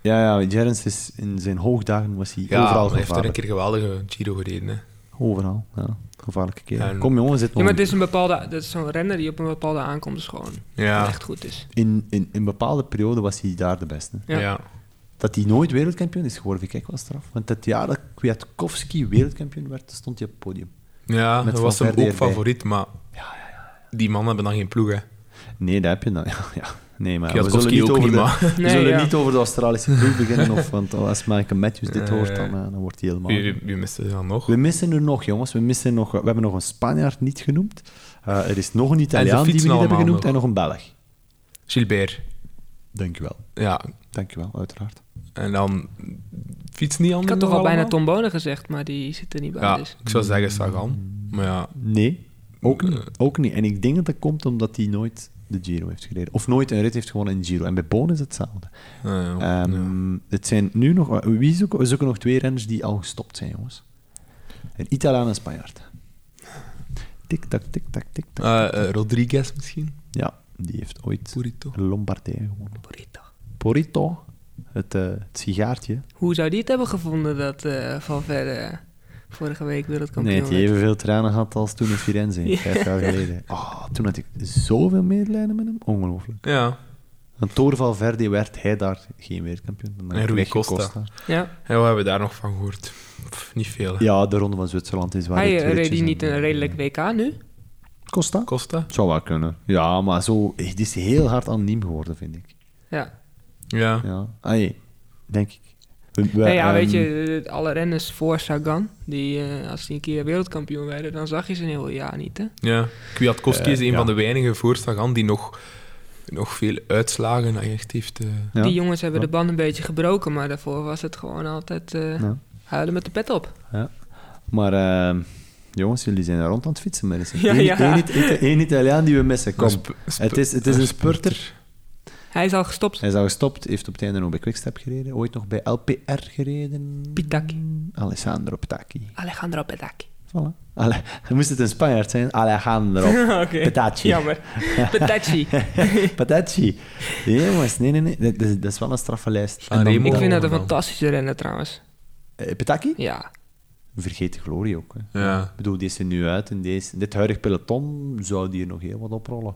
[SPEAKER 1] ja, ja Gerrans is in zijn hoogdagen was hij
[SPEAKER 2] Ja,
[SPEAKER 1] overal
[SPEAKER 2] hij heeft er een
[SPEAKER 1] gevaarlijk.
[SPEAKER 2] keer geweldige Giro gereden, hè.
[SPEAKER 1] Overal, ja. Gevaarlijke keer.
[SPEAKER 2] En-
[SPEAKER 1] Kom jongen, zit
[SPEAKER 3] Ja,
[SPEAKER 1] nog
[SPEAKER 3] maar het is een bepaalde... Dat is zo'n renner die op een bepaalde aankomst gewoon
[SPEAKER 2] Ja.
[SPEAKER 3] echt goed is.
[SPEAKER 1] in, in, in bepaalde periode was hij daar de beste.
[SPEAKER 3] Ja.
[SPEAKER 2] Ja.
[SPEAKER 1] Dat hij nooit wereldkampioen is geworden, vind ik echt wel straf. Want het jaar dat Kwiatkowski wereldkampioen werd, stond hij op het podium.
[SPEAKER 2] Ja,
[SPEAKER 1] Met
[SPEAKER 2] dat was hem ook
[SPEAKER 1] Valverde erbij.
[SPEAKER 2] favoriet, maar die mannen hebben dan geen ploeg, hè.
[SPEAKER 1] Nee, dat heb je dan. Ja, ja. Nee, maar we zullen,
[SPEAKER 2] Kwiatkowski
[SPEAKER 1] niet
[SPEAKER 2] ook
[SPEAKER 1] over,
[SPEAKER 2] niet,
[SPEAKER 1] de,
[SPEAKER 2] maar-
[SPEAKER 1] we
[SPEAKER 3] Nee,
[SPEAKER 1] zullen
[SPEAKER 3] ja.
[SPEAKER 1] niet over de Australische ploeg beginnen. Of, want als Michael Matthews dit
[SPEAKER 2] Eh.
[SPEAKER 1] hoort, dan, eh, dan wordt hij helemaal...
[SPEAKER 2] Wie, wie miste ze dan nog?
[SPEAKER 1] We missen er nog, jongens. We, missen nog, we hebben nog een Spanjaard niet genoemd. Eh, er is nog een Italiaan die we
[SPEAKER 2] fietsen
[SPEAKER 1] niet hebben
[SPEAKER 2] allemaal
[SPEAKER 1] genoemd.
[SPEAKER 2] nog.
[SPEAKER 1] En nog een Belg.
[SPEAKER 2] Gilbert.
[SPEAKER 1] Dankjewel.
[SPEAKER 2] Ja,
[SPEAKER 1] Dankjewel, uiteraard.
[SPEAKER 2] en dan fiets niet anders.
[SPEAKER 3] Ik had toch al
[SPEAKER 2] nog
[SPEAKER 3] bijna
[SPEAKER 2] allemaal?
[SPEAKER 3] Tom Bonen gezegd, maar die zit er niet bij.
[SPEAKER 2] Ja,
[SPEAKER 3] Dus.
[SPEAKER 2] ik zou zeggen Sagan. Maar ja,
[SPEAKER 1] Nee, ook
[SPEAKER 2] Eh.
[SPEAKER 1] niet. Ook niet. En ik denk dat dat komt omdat hij nooit de Giro heeft gereden. Of nooit een rit heeft gewonnen in Giro. En bij Boon is hetzelfde.
[SPEAKER 2] eh, ja.
[SPEAKER 1] Ehm, Het zijn nu nog... Wie zoeken? We zoeken nog twee renners die al gestopt zijn, jongens. Een Italiaan en een Spanjaard. Tik-tak, tik-tak, tik-tak.
[SPEAKER 2] Eh, eh, Rodriguez misschien?
[SPEAKER 1] Ja, die heeft ooit
[SPEAKER 2] Purito.
[SPEAKER 1] Lombardije gewonnen.
[SPEAKER 3] Burrito.
[SPEAKER 1] Porito, het, eh, het sigaartje.
[SPEAKER 3] Hoe zou die het hebben gevonden dat eh Valverde vorige week wereldkampioen
[SPEAKER 1] Nee, die
[SPEAKER 3] werd?
[SPEAKER 1] evenveel tranen had als toen in Firenze, vijf jaar geleden. Ah, toen had ik zoveel medelijden met hem. Ongelooflijk.
[SPEAKER 2] Ja,
[SPEAKER 1] Want door Valverde werd hij daar geen wereldkampioen. Dan
[SPEAKER 2] En Rui
[SPEAKER 1] kreeg je
[SPEAKER 2] Costa.
[SPEAKER 3] Ja,
[SPEAKER 2] en wat hebben we daar nog van gehoord? Pff, niet veel. hè.
[SPEAKER 1] Ja, de Ronde van Zwitserland is waar.
[SPEAKER 3] hij
[SPEAKER 1] dit
[SPEAKER 3] eh, reed
[SPEAKER 1] wereldjes
[SPEAKER 3] die
[SPEAKER 1] en-
[SPEAKER 3] niet een redelijk WK nu.
[SPEAKER 1] Costa?
[SPEAKER 2] Costa?
[SPEAKER 1] Zou wel kunnen. Ja, maar zo, het is heel hard anoniem geworden, vind ik.
[SPEAKER 3] Ja,
[SPEAKER 2] Ja.
[SPEAKER 1] Ja. Ah, denk ik. We- we-
[SPEAKER 3] nee, ja
[SPEAKER 1] ehm,
[SPEAKER 3] weet je, eh, alle renners voor Sagan, die eh, als die een keer wereldkampioen werden, dan zag je ze een heel jaar niet, hè?
[SPEAKER 2] ja. Kwiatkowski
[SPEAKER 1] Eh,
[SPEAKER 2] is een
[SPEAKER 1] ja.
[SPEAKER 2] van de weinigen voor Sagan die nog, nog veel uitslagen echt heeft. eh.
[SPEAKER 1] ja.
[SPEAKER 3] Die jongens hebben de band een beetje gebroken, maar daarvoor was het gewoon altijd eh,
[SPEAKER 1] Ja.
[SPEAKER 3] huilen met de pet op.
[SPEAKER 1] Maar ehm, jongens, jullie zijn rond aan het fietsen. Maar er is
[SPEAKER 3] Ja,
[SPEAKER 1] één,
[SPEAKER 3] ja.
[SPEAKER 1] één It- Ita- één Italiaan die we missen. Kom.
[SPEAKER 2] Een sp- sp-
[SPEAKER 1] Het is, het is een spurter.
[SPEAKER 3] Hij is al gestopt.
[SPEAKER 1] Hij is al gestopt, heeft op het einde nog bij Quickstep gereden. Ooit nog bij LPR gereden.
[SPEAKER 3] Pitaki.
[SPEAKER 1] Alessandro Pitaki.
[SPEAKER 3] Alejandro Petaki.
[SPEAKER 1] Voilà. Ale- Moest het een Spanjaard zijn? Alejandro
[SPEAKER 3] Oké.
[SPEAKER 1] Petacci.
[SPEAKER 3] Jammer. Petacci.
[SPEAKER 1] Patacci. Nee, jongens, nee, nee, nee. Dat, dat is- dat is wel een straffe lijst.
[SPEAKER 2] Ah, Remo.
[SPEAKER 3] Ik vind dat een
[SPEAKER 2] dan.
[SPEAKER 3] fantastische renner trouwens.
[SPEAKER 1] Eh, Petacchi?
[SPEAKER 3] Ja.
[SPEAKER 1] Vergeet de glorie ook. Hè.
[SPEAKER 2] Ja.
[SPEAKER 1] Ik bedoel, die is er nu uit. En deze, dit huidige peloton zou die er nog heel wat oprollen.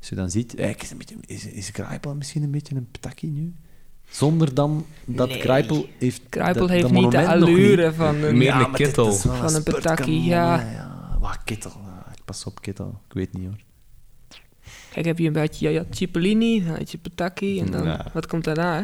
[SPEAKER 1] Als je dan ziet, eh, is, een beetje, is, is Kruipel misschien een beetje een Petacchi nu? Zonder dan dat
[SPEAKER 3] Nee.
[SPEAKER 1] Kruipel heeft...
[SPEAKER 3] Kruipel
[SPEAKER 1] dat-
[SPEAKER 3] heeft
[SPEAKER 1] dat
[SPEAKER 3] niet de
[SPEAKER 1] monument nog
[SPEAKER 3] allure van een...
[SPEAKER 2] Meer een
[SPEAKER 1] maar dit
[SPEAKER 2] kittel.
[SPEAKER 1] is wel
[SPEAKER 3] Van een
[SPEAKER 1] spurt,
[SPEAKER 3] Petacchi,
[SPEAKER 1] kan-
[SPEAKER 3] ja.
[SPEAKER 1] ja. Wat kittel. Ah, Pas op, kittel. Ik weet niet hoor.
[SPEAKER 3] Kijk, heb je een beetje... Ja, je had Cipollini, dan had je Petacchi en dan...
[SPEAKER 1] Ja.
[SPEAKER 3] Wat komt daarna, hè?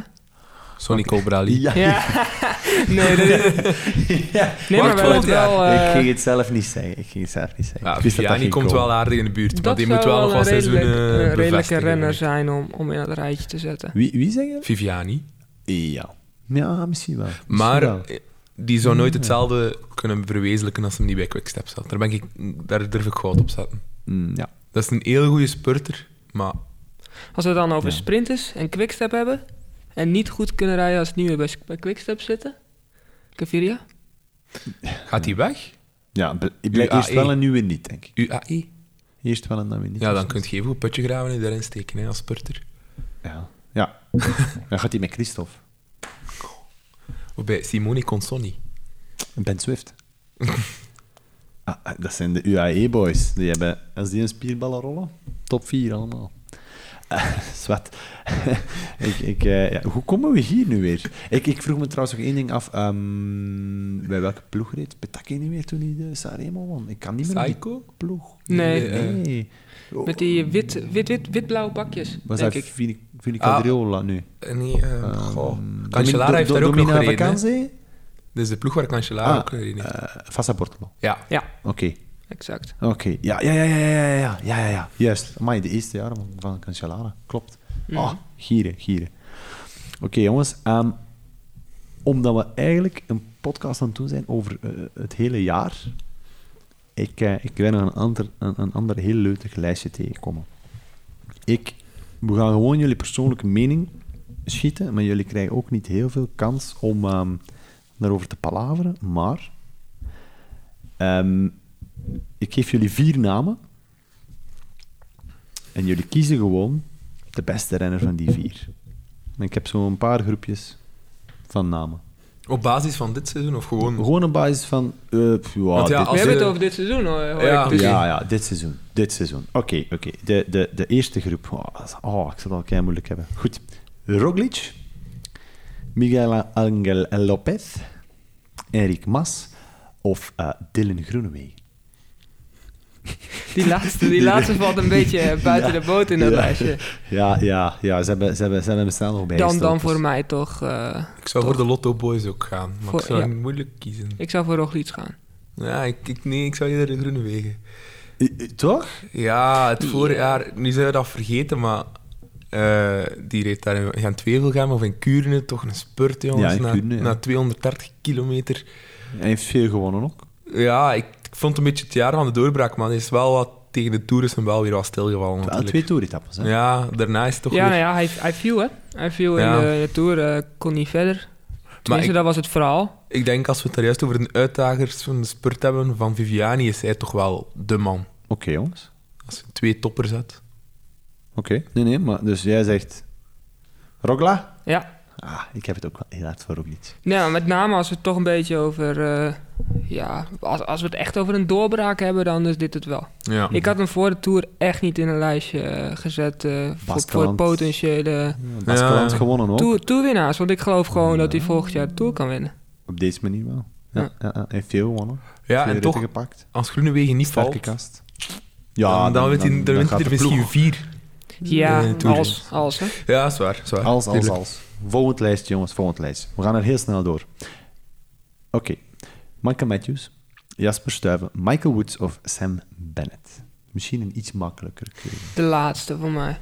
[SPEAKER 2] Sonny Colbrelli.
[SPEAKER 3] Ja. nee, dat is het. Nee, maar
[SPEAKER 2] Wacht,
[SPEAKER 3] wel...
[SPEAKER 2] volgend jaar.
[SPEAKER 3] wel
[SPEAKER 1] ik
[SPEAKER 3] eh,
[SPEAKER 1] ging het zelf niet zeggen. Ik ging het zelf niet zeggen.
[SPEAKER 2] Ja,
[SPEAKER 1] ik wist dat dat
[SPEAKER 2] Viviani
[SPEAKER 1] ging
[SPEAKER 2] komt
[SPEAKER 1] komen.
[SPEAKER 2] wel aardig in de buurt, maar
[SPEAKER 3] dat
[SPEAKER 2] die moet
[SPEAKER 3] zou
[SPEAKER 2] wel nog
[SPEAKER 3] een
[SPEAKER 2] wat seizoenen
[SPEAKER 3] redelijk-
[SPEAKER 1] eh,
[SPEAKER 3] een
[SPEAKER 2] bevestigen.
[SPEAKER 3] redelijke renner zijn om, om in het rijtje te zetten.
[SPEAKER 1] Wie, wie zeg je?
[SPEAKER 2] Viviani.
[SPEAKER 1] Ja. Ja, misschien wel. Misschien wel.
[SPEAKER 2] Maar eh, die zou
[SPEAKER 1] Hmm.
[SPEAKER 2] nooit hetzelfde kunnen verwezenlijken als hem niet bij Quickstep zat. Daar, ben ik, daar durf ik goud op zetten.
[SPEAKER 1] Mm, ja.
[SPEAKER 2] Dat is een heel goede spurter, maar
[SPEAKER 3] Als we het dan over
[SPEAKER 1] Ja.
[SPEAKER 3] sprinters en quickstep hebben... en niet goed kunnen rijden als nieuwe bij, bij quickstep zitten... Caviria?
[SPEAKER 2] gaat hij weg?
[SPEAKER 1] Ja, bl- ik blijf
[SPEAKER 2] UAE.
[SPEAKER 1] eerst wel een nieuwe niet, denk ik.
[SPEAKER 2] UAE?
[SPEAKER 1] Eerst wel en dan weer niet.
[SPEAKER 2] Ja, dan kun je even een putje graven en daarin steken hè, als spurter.
[SPEAKER 1] Ja. ja. dan gaat hij met Christophe.
[SPEAKER 2] Of bij Simone Consonni.
[SPEAKER 1] Ben Swift. ah, E dat zijn de UAE-boys. Die hebben, als die een spierbal rollen, top 4 allemaal. Ehm, Zwat. ik, ik, eh, ja, hoe komen we hier nu weer? Ik, ik vroeg me trouwens nog één ding af. ehm, bij welke ploeg reed Petaki niet meer toen hij de Sanremo won? Ik kan niet meer met
[SPEAKER 2] Psycho?
[SPEAKER 1] die ploeg.
[SPEAKER 3] Nee.
[SPEAKER 2] eh,
[SPEAKER 1] Nee.
[SPEAKER 3] Met die wit, wit, wit, wit-blauwe pakjes,
[SPEAKER 1] Oh. Was
[SPEAKER 3] denk
[SPEAKER 1] dat
[SPEAKER 3] ik.
[SPEAKER 1] Vini Vini
[SPEAKER 2] Ah.
[SPEAKER 1] Cadriola nu?
[SPEAKER 2] Nee, eh, goh.
[SPEAKER 1] Ehm,
[SPEAKER 2] Cancellara
[SPEAKER 1] Domi-
[SPEAKER 2] heeft
[SPEAKER 1] Do-
[SPEAKER 2] daar ook nog
[SPEAKER 1] Domina
[SPEAKER 2] gereden. hè.
[SPEAKER 1] Vacanze?
[SPEAKER 2] Dit is de ploeg waar Cancellara
[SPEAKER 1] Ah,
[SPEAKER 2] ook gereden heeft.
[SPEAKER 1] eh, Fassa Bortolo.
[SPEAKER 2] ja.
[SPEAKER 3] Ja,
[SPEAKER 1] Oké.
[SPEAKER 3] exact.
[SPEAKER 1] Oké, ja, ja, ja, ja, ja, ja, ja, ja, ja, ja, juist. Amai, de eerste jaren van, van Cancellara, klopt.
[SPEAKER 3] Mhm.
[SPEAKER 1] Ah, gieren, gieren. Oké, jongens, ehm, omdat we eigenlijk een podcast aan het doen zijn over eh, het hele jaar, ik, eh, ik ben nog een ander, een, een ander heel leuk lijstje tegenkomen. Ik, we gaan gewoon jullie persoonlijke mening schieten, maar jullie krijgen ook niet heel veel kans om ehm, daarover te palaveren, maar... ehm, ik geef jullie vier namen. En jullie kiezen gewoon de beste renner van die vier. En ik heb zo'n paar groepjes van namen.
[SPEAKER 2] Op basis van dit seizoen of gewoon...
[SPEAKER 1] Gewoon op basis van... eh, pff, ja,
[SPEAKER 2] Want ja,
[SPEAKER 1] dit-
[SPEAKER 3] We
[SPEAKER 2] Als
[SPEAKER 3] hebben
[SPEAKER 2] de-
[SPEAKER 3] het over dit seizoen hoor. hoor
[SPEAKER 2] Ja,
[SPEAKER 3] ik, dus-
[SPEAKER 1] ja, ja, dit seizoen. Dit seizoen. Oké, oké. De, de, de eerste groep. Oh, dat is- oh, ik zal het al kei moeilijk hebben. Goed. Roglic. Miguel Angel Lopez. Erik Mas. Of eh, Dylan Groenewegen.
[SPEAKER 3] Die laatste, die laatste valt een beetje eh, buiten
[SPEAKER 1] Ja.
[SPEAKER 3] de boot in dat
[SPEAKER 1] Ja.
[SPEAKER 3] lijstje.
[SPEAKER 1] Ja, ja, ja. Ze hebben, ze hebben, ze hebben hem snel nog bij
[SPEAKER 3] Dan, dan voor mij toch. eh,
[SPEAKER 2] Ik zou voor de Lotto Boys ook gaan, maar
[SPEAKER 3] Voor-
[SPEAKER 2] ik zou
[SPEAKER 3] ja.
[SPEAKER 2] moeilijk kiezen.
[SPEAKER 3] ik zou voor Roglic gaan.
[SPEAKER 2] Ja, ik, ik- nee, ik zou eerder de Groene Wegen.
[SPEAKER 1] Toch?
[SPEAKER 2] Ja, het voorjaar,
[SPEAKER 3] eh,
[SPEAKER 2] nu zijn we dat vergeten, maar eh, die reed daar in gaan Twevelgem of in Kuurne, toch een spurt, jongens,
[SPEAKER 1] Ja, in
[SPEAKER 2] na,
[SPEAKER 1] Kuurne, ja.
[SPEAKER 2] na 230 kilometer.
[SPEAKER 1] Hij heeft veel gewonnen ook.
[SPEAKER 2] Ja, ik, ik vond het een beetje het jaar van de doorbraak, maar het is wel wat, tegen de Tour is hem wel weer wat stilgevallen.
[SPEAKER 1] Wel
[SPEAKER 2] natuurlijk.
[SPEAKER 1] twee toeretappes, hè?
[SPEAKER 2] Ja, daarna is het toch
[SPEAKER 3] Ja,
[SPEAKER 2] weer...
[SPEAKER 3] nou ja, hij, hij viel hè. Hij viel
[SPEAKER 2] Ja.
[SPEAKER 3] in, de, in de Tour, eh, kon niet verder. Tenminste,
[SPEAKER 2] ik-
[SPEAKER 3] dat was het verhaal.
[SPEAKER 2] Ik denk als we het daar juist over de uitdagers van de spurt hebben, van Viviani is hij toch wel de man.
[SPEAKER 1] Oké, jongens.
[SPEAKER 2] Als je twee toppers hebt.
[SPEAKER 1] Oké. Nee, nee, maar dus jij zegt... Rogla?
[SPEAKER 3] Ja.
[SPEAKER 1] Ah, ik heb het ook wel heel hard voor Roglic.
[SPEAKER 3] Nee, maar met name als we het toch een beetje over... eh, ja, als, als we het echt over een doorbraak hebben, dan is dit het wel.
[SPEAKER 2] Ja.
[SPEAKER 3] Ik had hem voor de Tour echt niet in een lijstje eh, gezet eh, voor, voor
[SPEAKER 1] Baskeland.
[SPEAKER 3] potentiële
[SPEAKER 1] Baskeland
[SPEAKER 2] Ja.
[SPEAKER 1] gewonnen ook.
[SPEAKER 3] tour, toerwinnaars. Want ik geloof gewoon dat hij volgend jaar de Tour kan winnen.
[SPEAKER 1] Op deze manier wel. Ja, ja.
[SPEAKER 3] Ja.
[SPEAKER 1] ja, hij heeft veel gewonnen.
[SPEAKER 2] ja,
[SPEAKER 1] Twee
[SPEAKER 2] en
[SPEAKER 1] ritten
[SPEAKER 2] toch,
[SPEAKER 1] gepakt.
[SPEAKER 2] als Groenewegen niet
[SPEAKER 1] Sterke
[SPEAKER 2] valt,
[SPEAKER 1] kast.
[SPEAKER 2] ja, dan, wint hij, dan wint hij
[SPEAKER 1] gaat
[SPEAKER 2] er
[SPEAKER 1] de ploeg.
[SPEAKER 2] misschien vier.
[SPEAKER 3] Ja,
[SPEAKER 2] eh, Tour.
[SPEAKER 3] als, als hè.
[SPEAKER 2] Ja, is waar. Is waar.
[SPEAKER 1] Als, als,
[SPEAKER 2] Tuurlijk.
[SPEAKER 1] als. Volgend lijst, jongens, volgend lijst. We gaan er heel snel door. Oké. Michael Matthews, Jasper Stuyven, Michael Woods of Sam Bennett. Misschien een iets makkelijker keuze.
[SPEAKER 3] De laatste voor mij.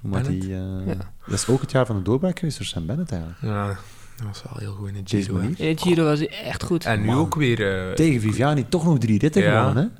[SPEAKER 1] Maar
[SPEAKER 2] Bennett?
[SPEAKER 1] die, eh,
[SPEAKER 3] Ja.
[SPEAKER 1] Dat is ook het jaar van de doorbraak geweest door Sam Bennett eigenlijk.
[SPEAKER 2] Ja, dat was wel heel goed in de
[SPEAKER 1] Deze
[SPEAKER 2] Giro. hè.
[SPEAKER 1] manier.
[SPEAKER 3] In de Giro was hij echt goed.
[SPEAKER 2] E. En nu
[SPEAKER 1] Man.
[SPEAKER 2] ook weer... eh,
[SPEAKER 1] Tegen Viviani toch nog drie ritten
[SPEAKER 2] Ja.
[SPEAKER 1] gewonnen,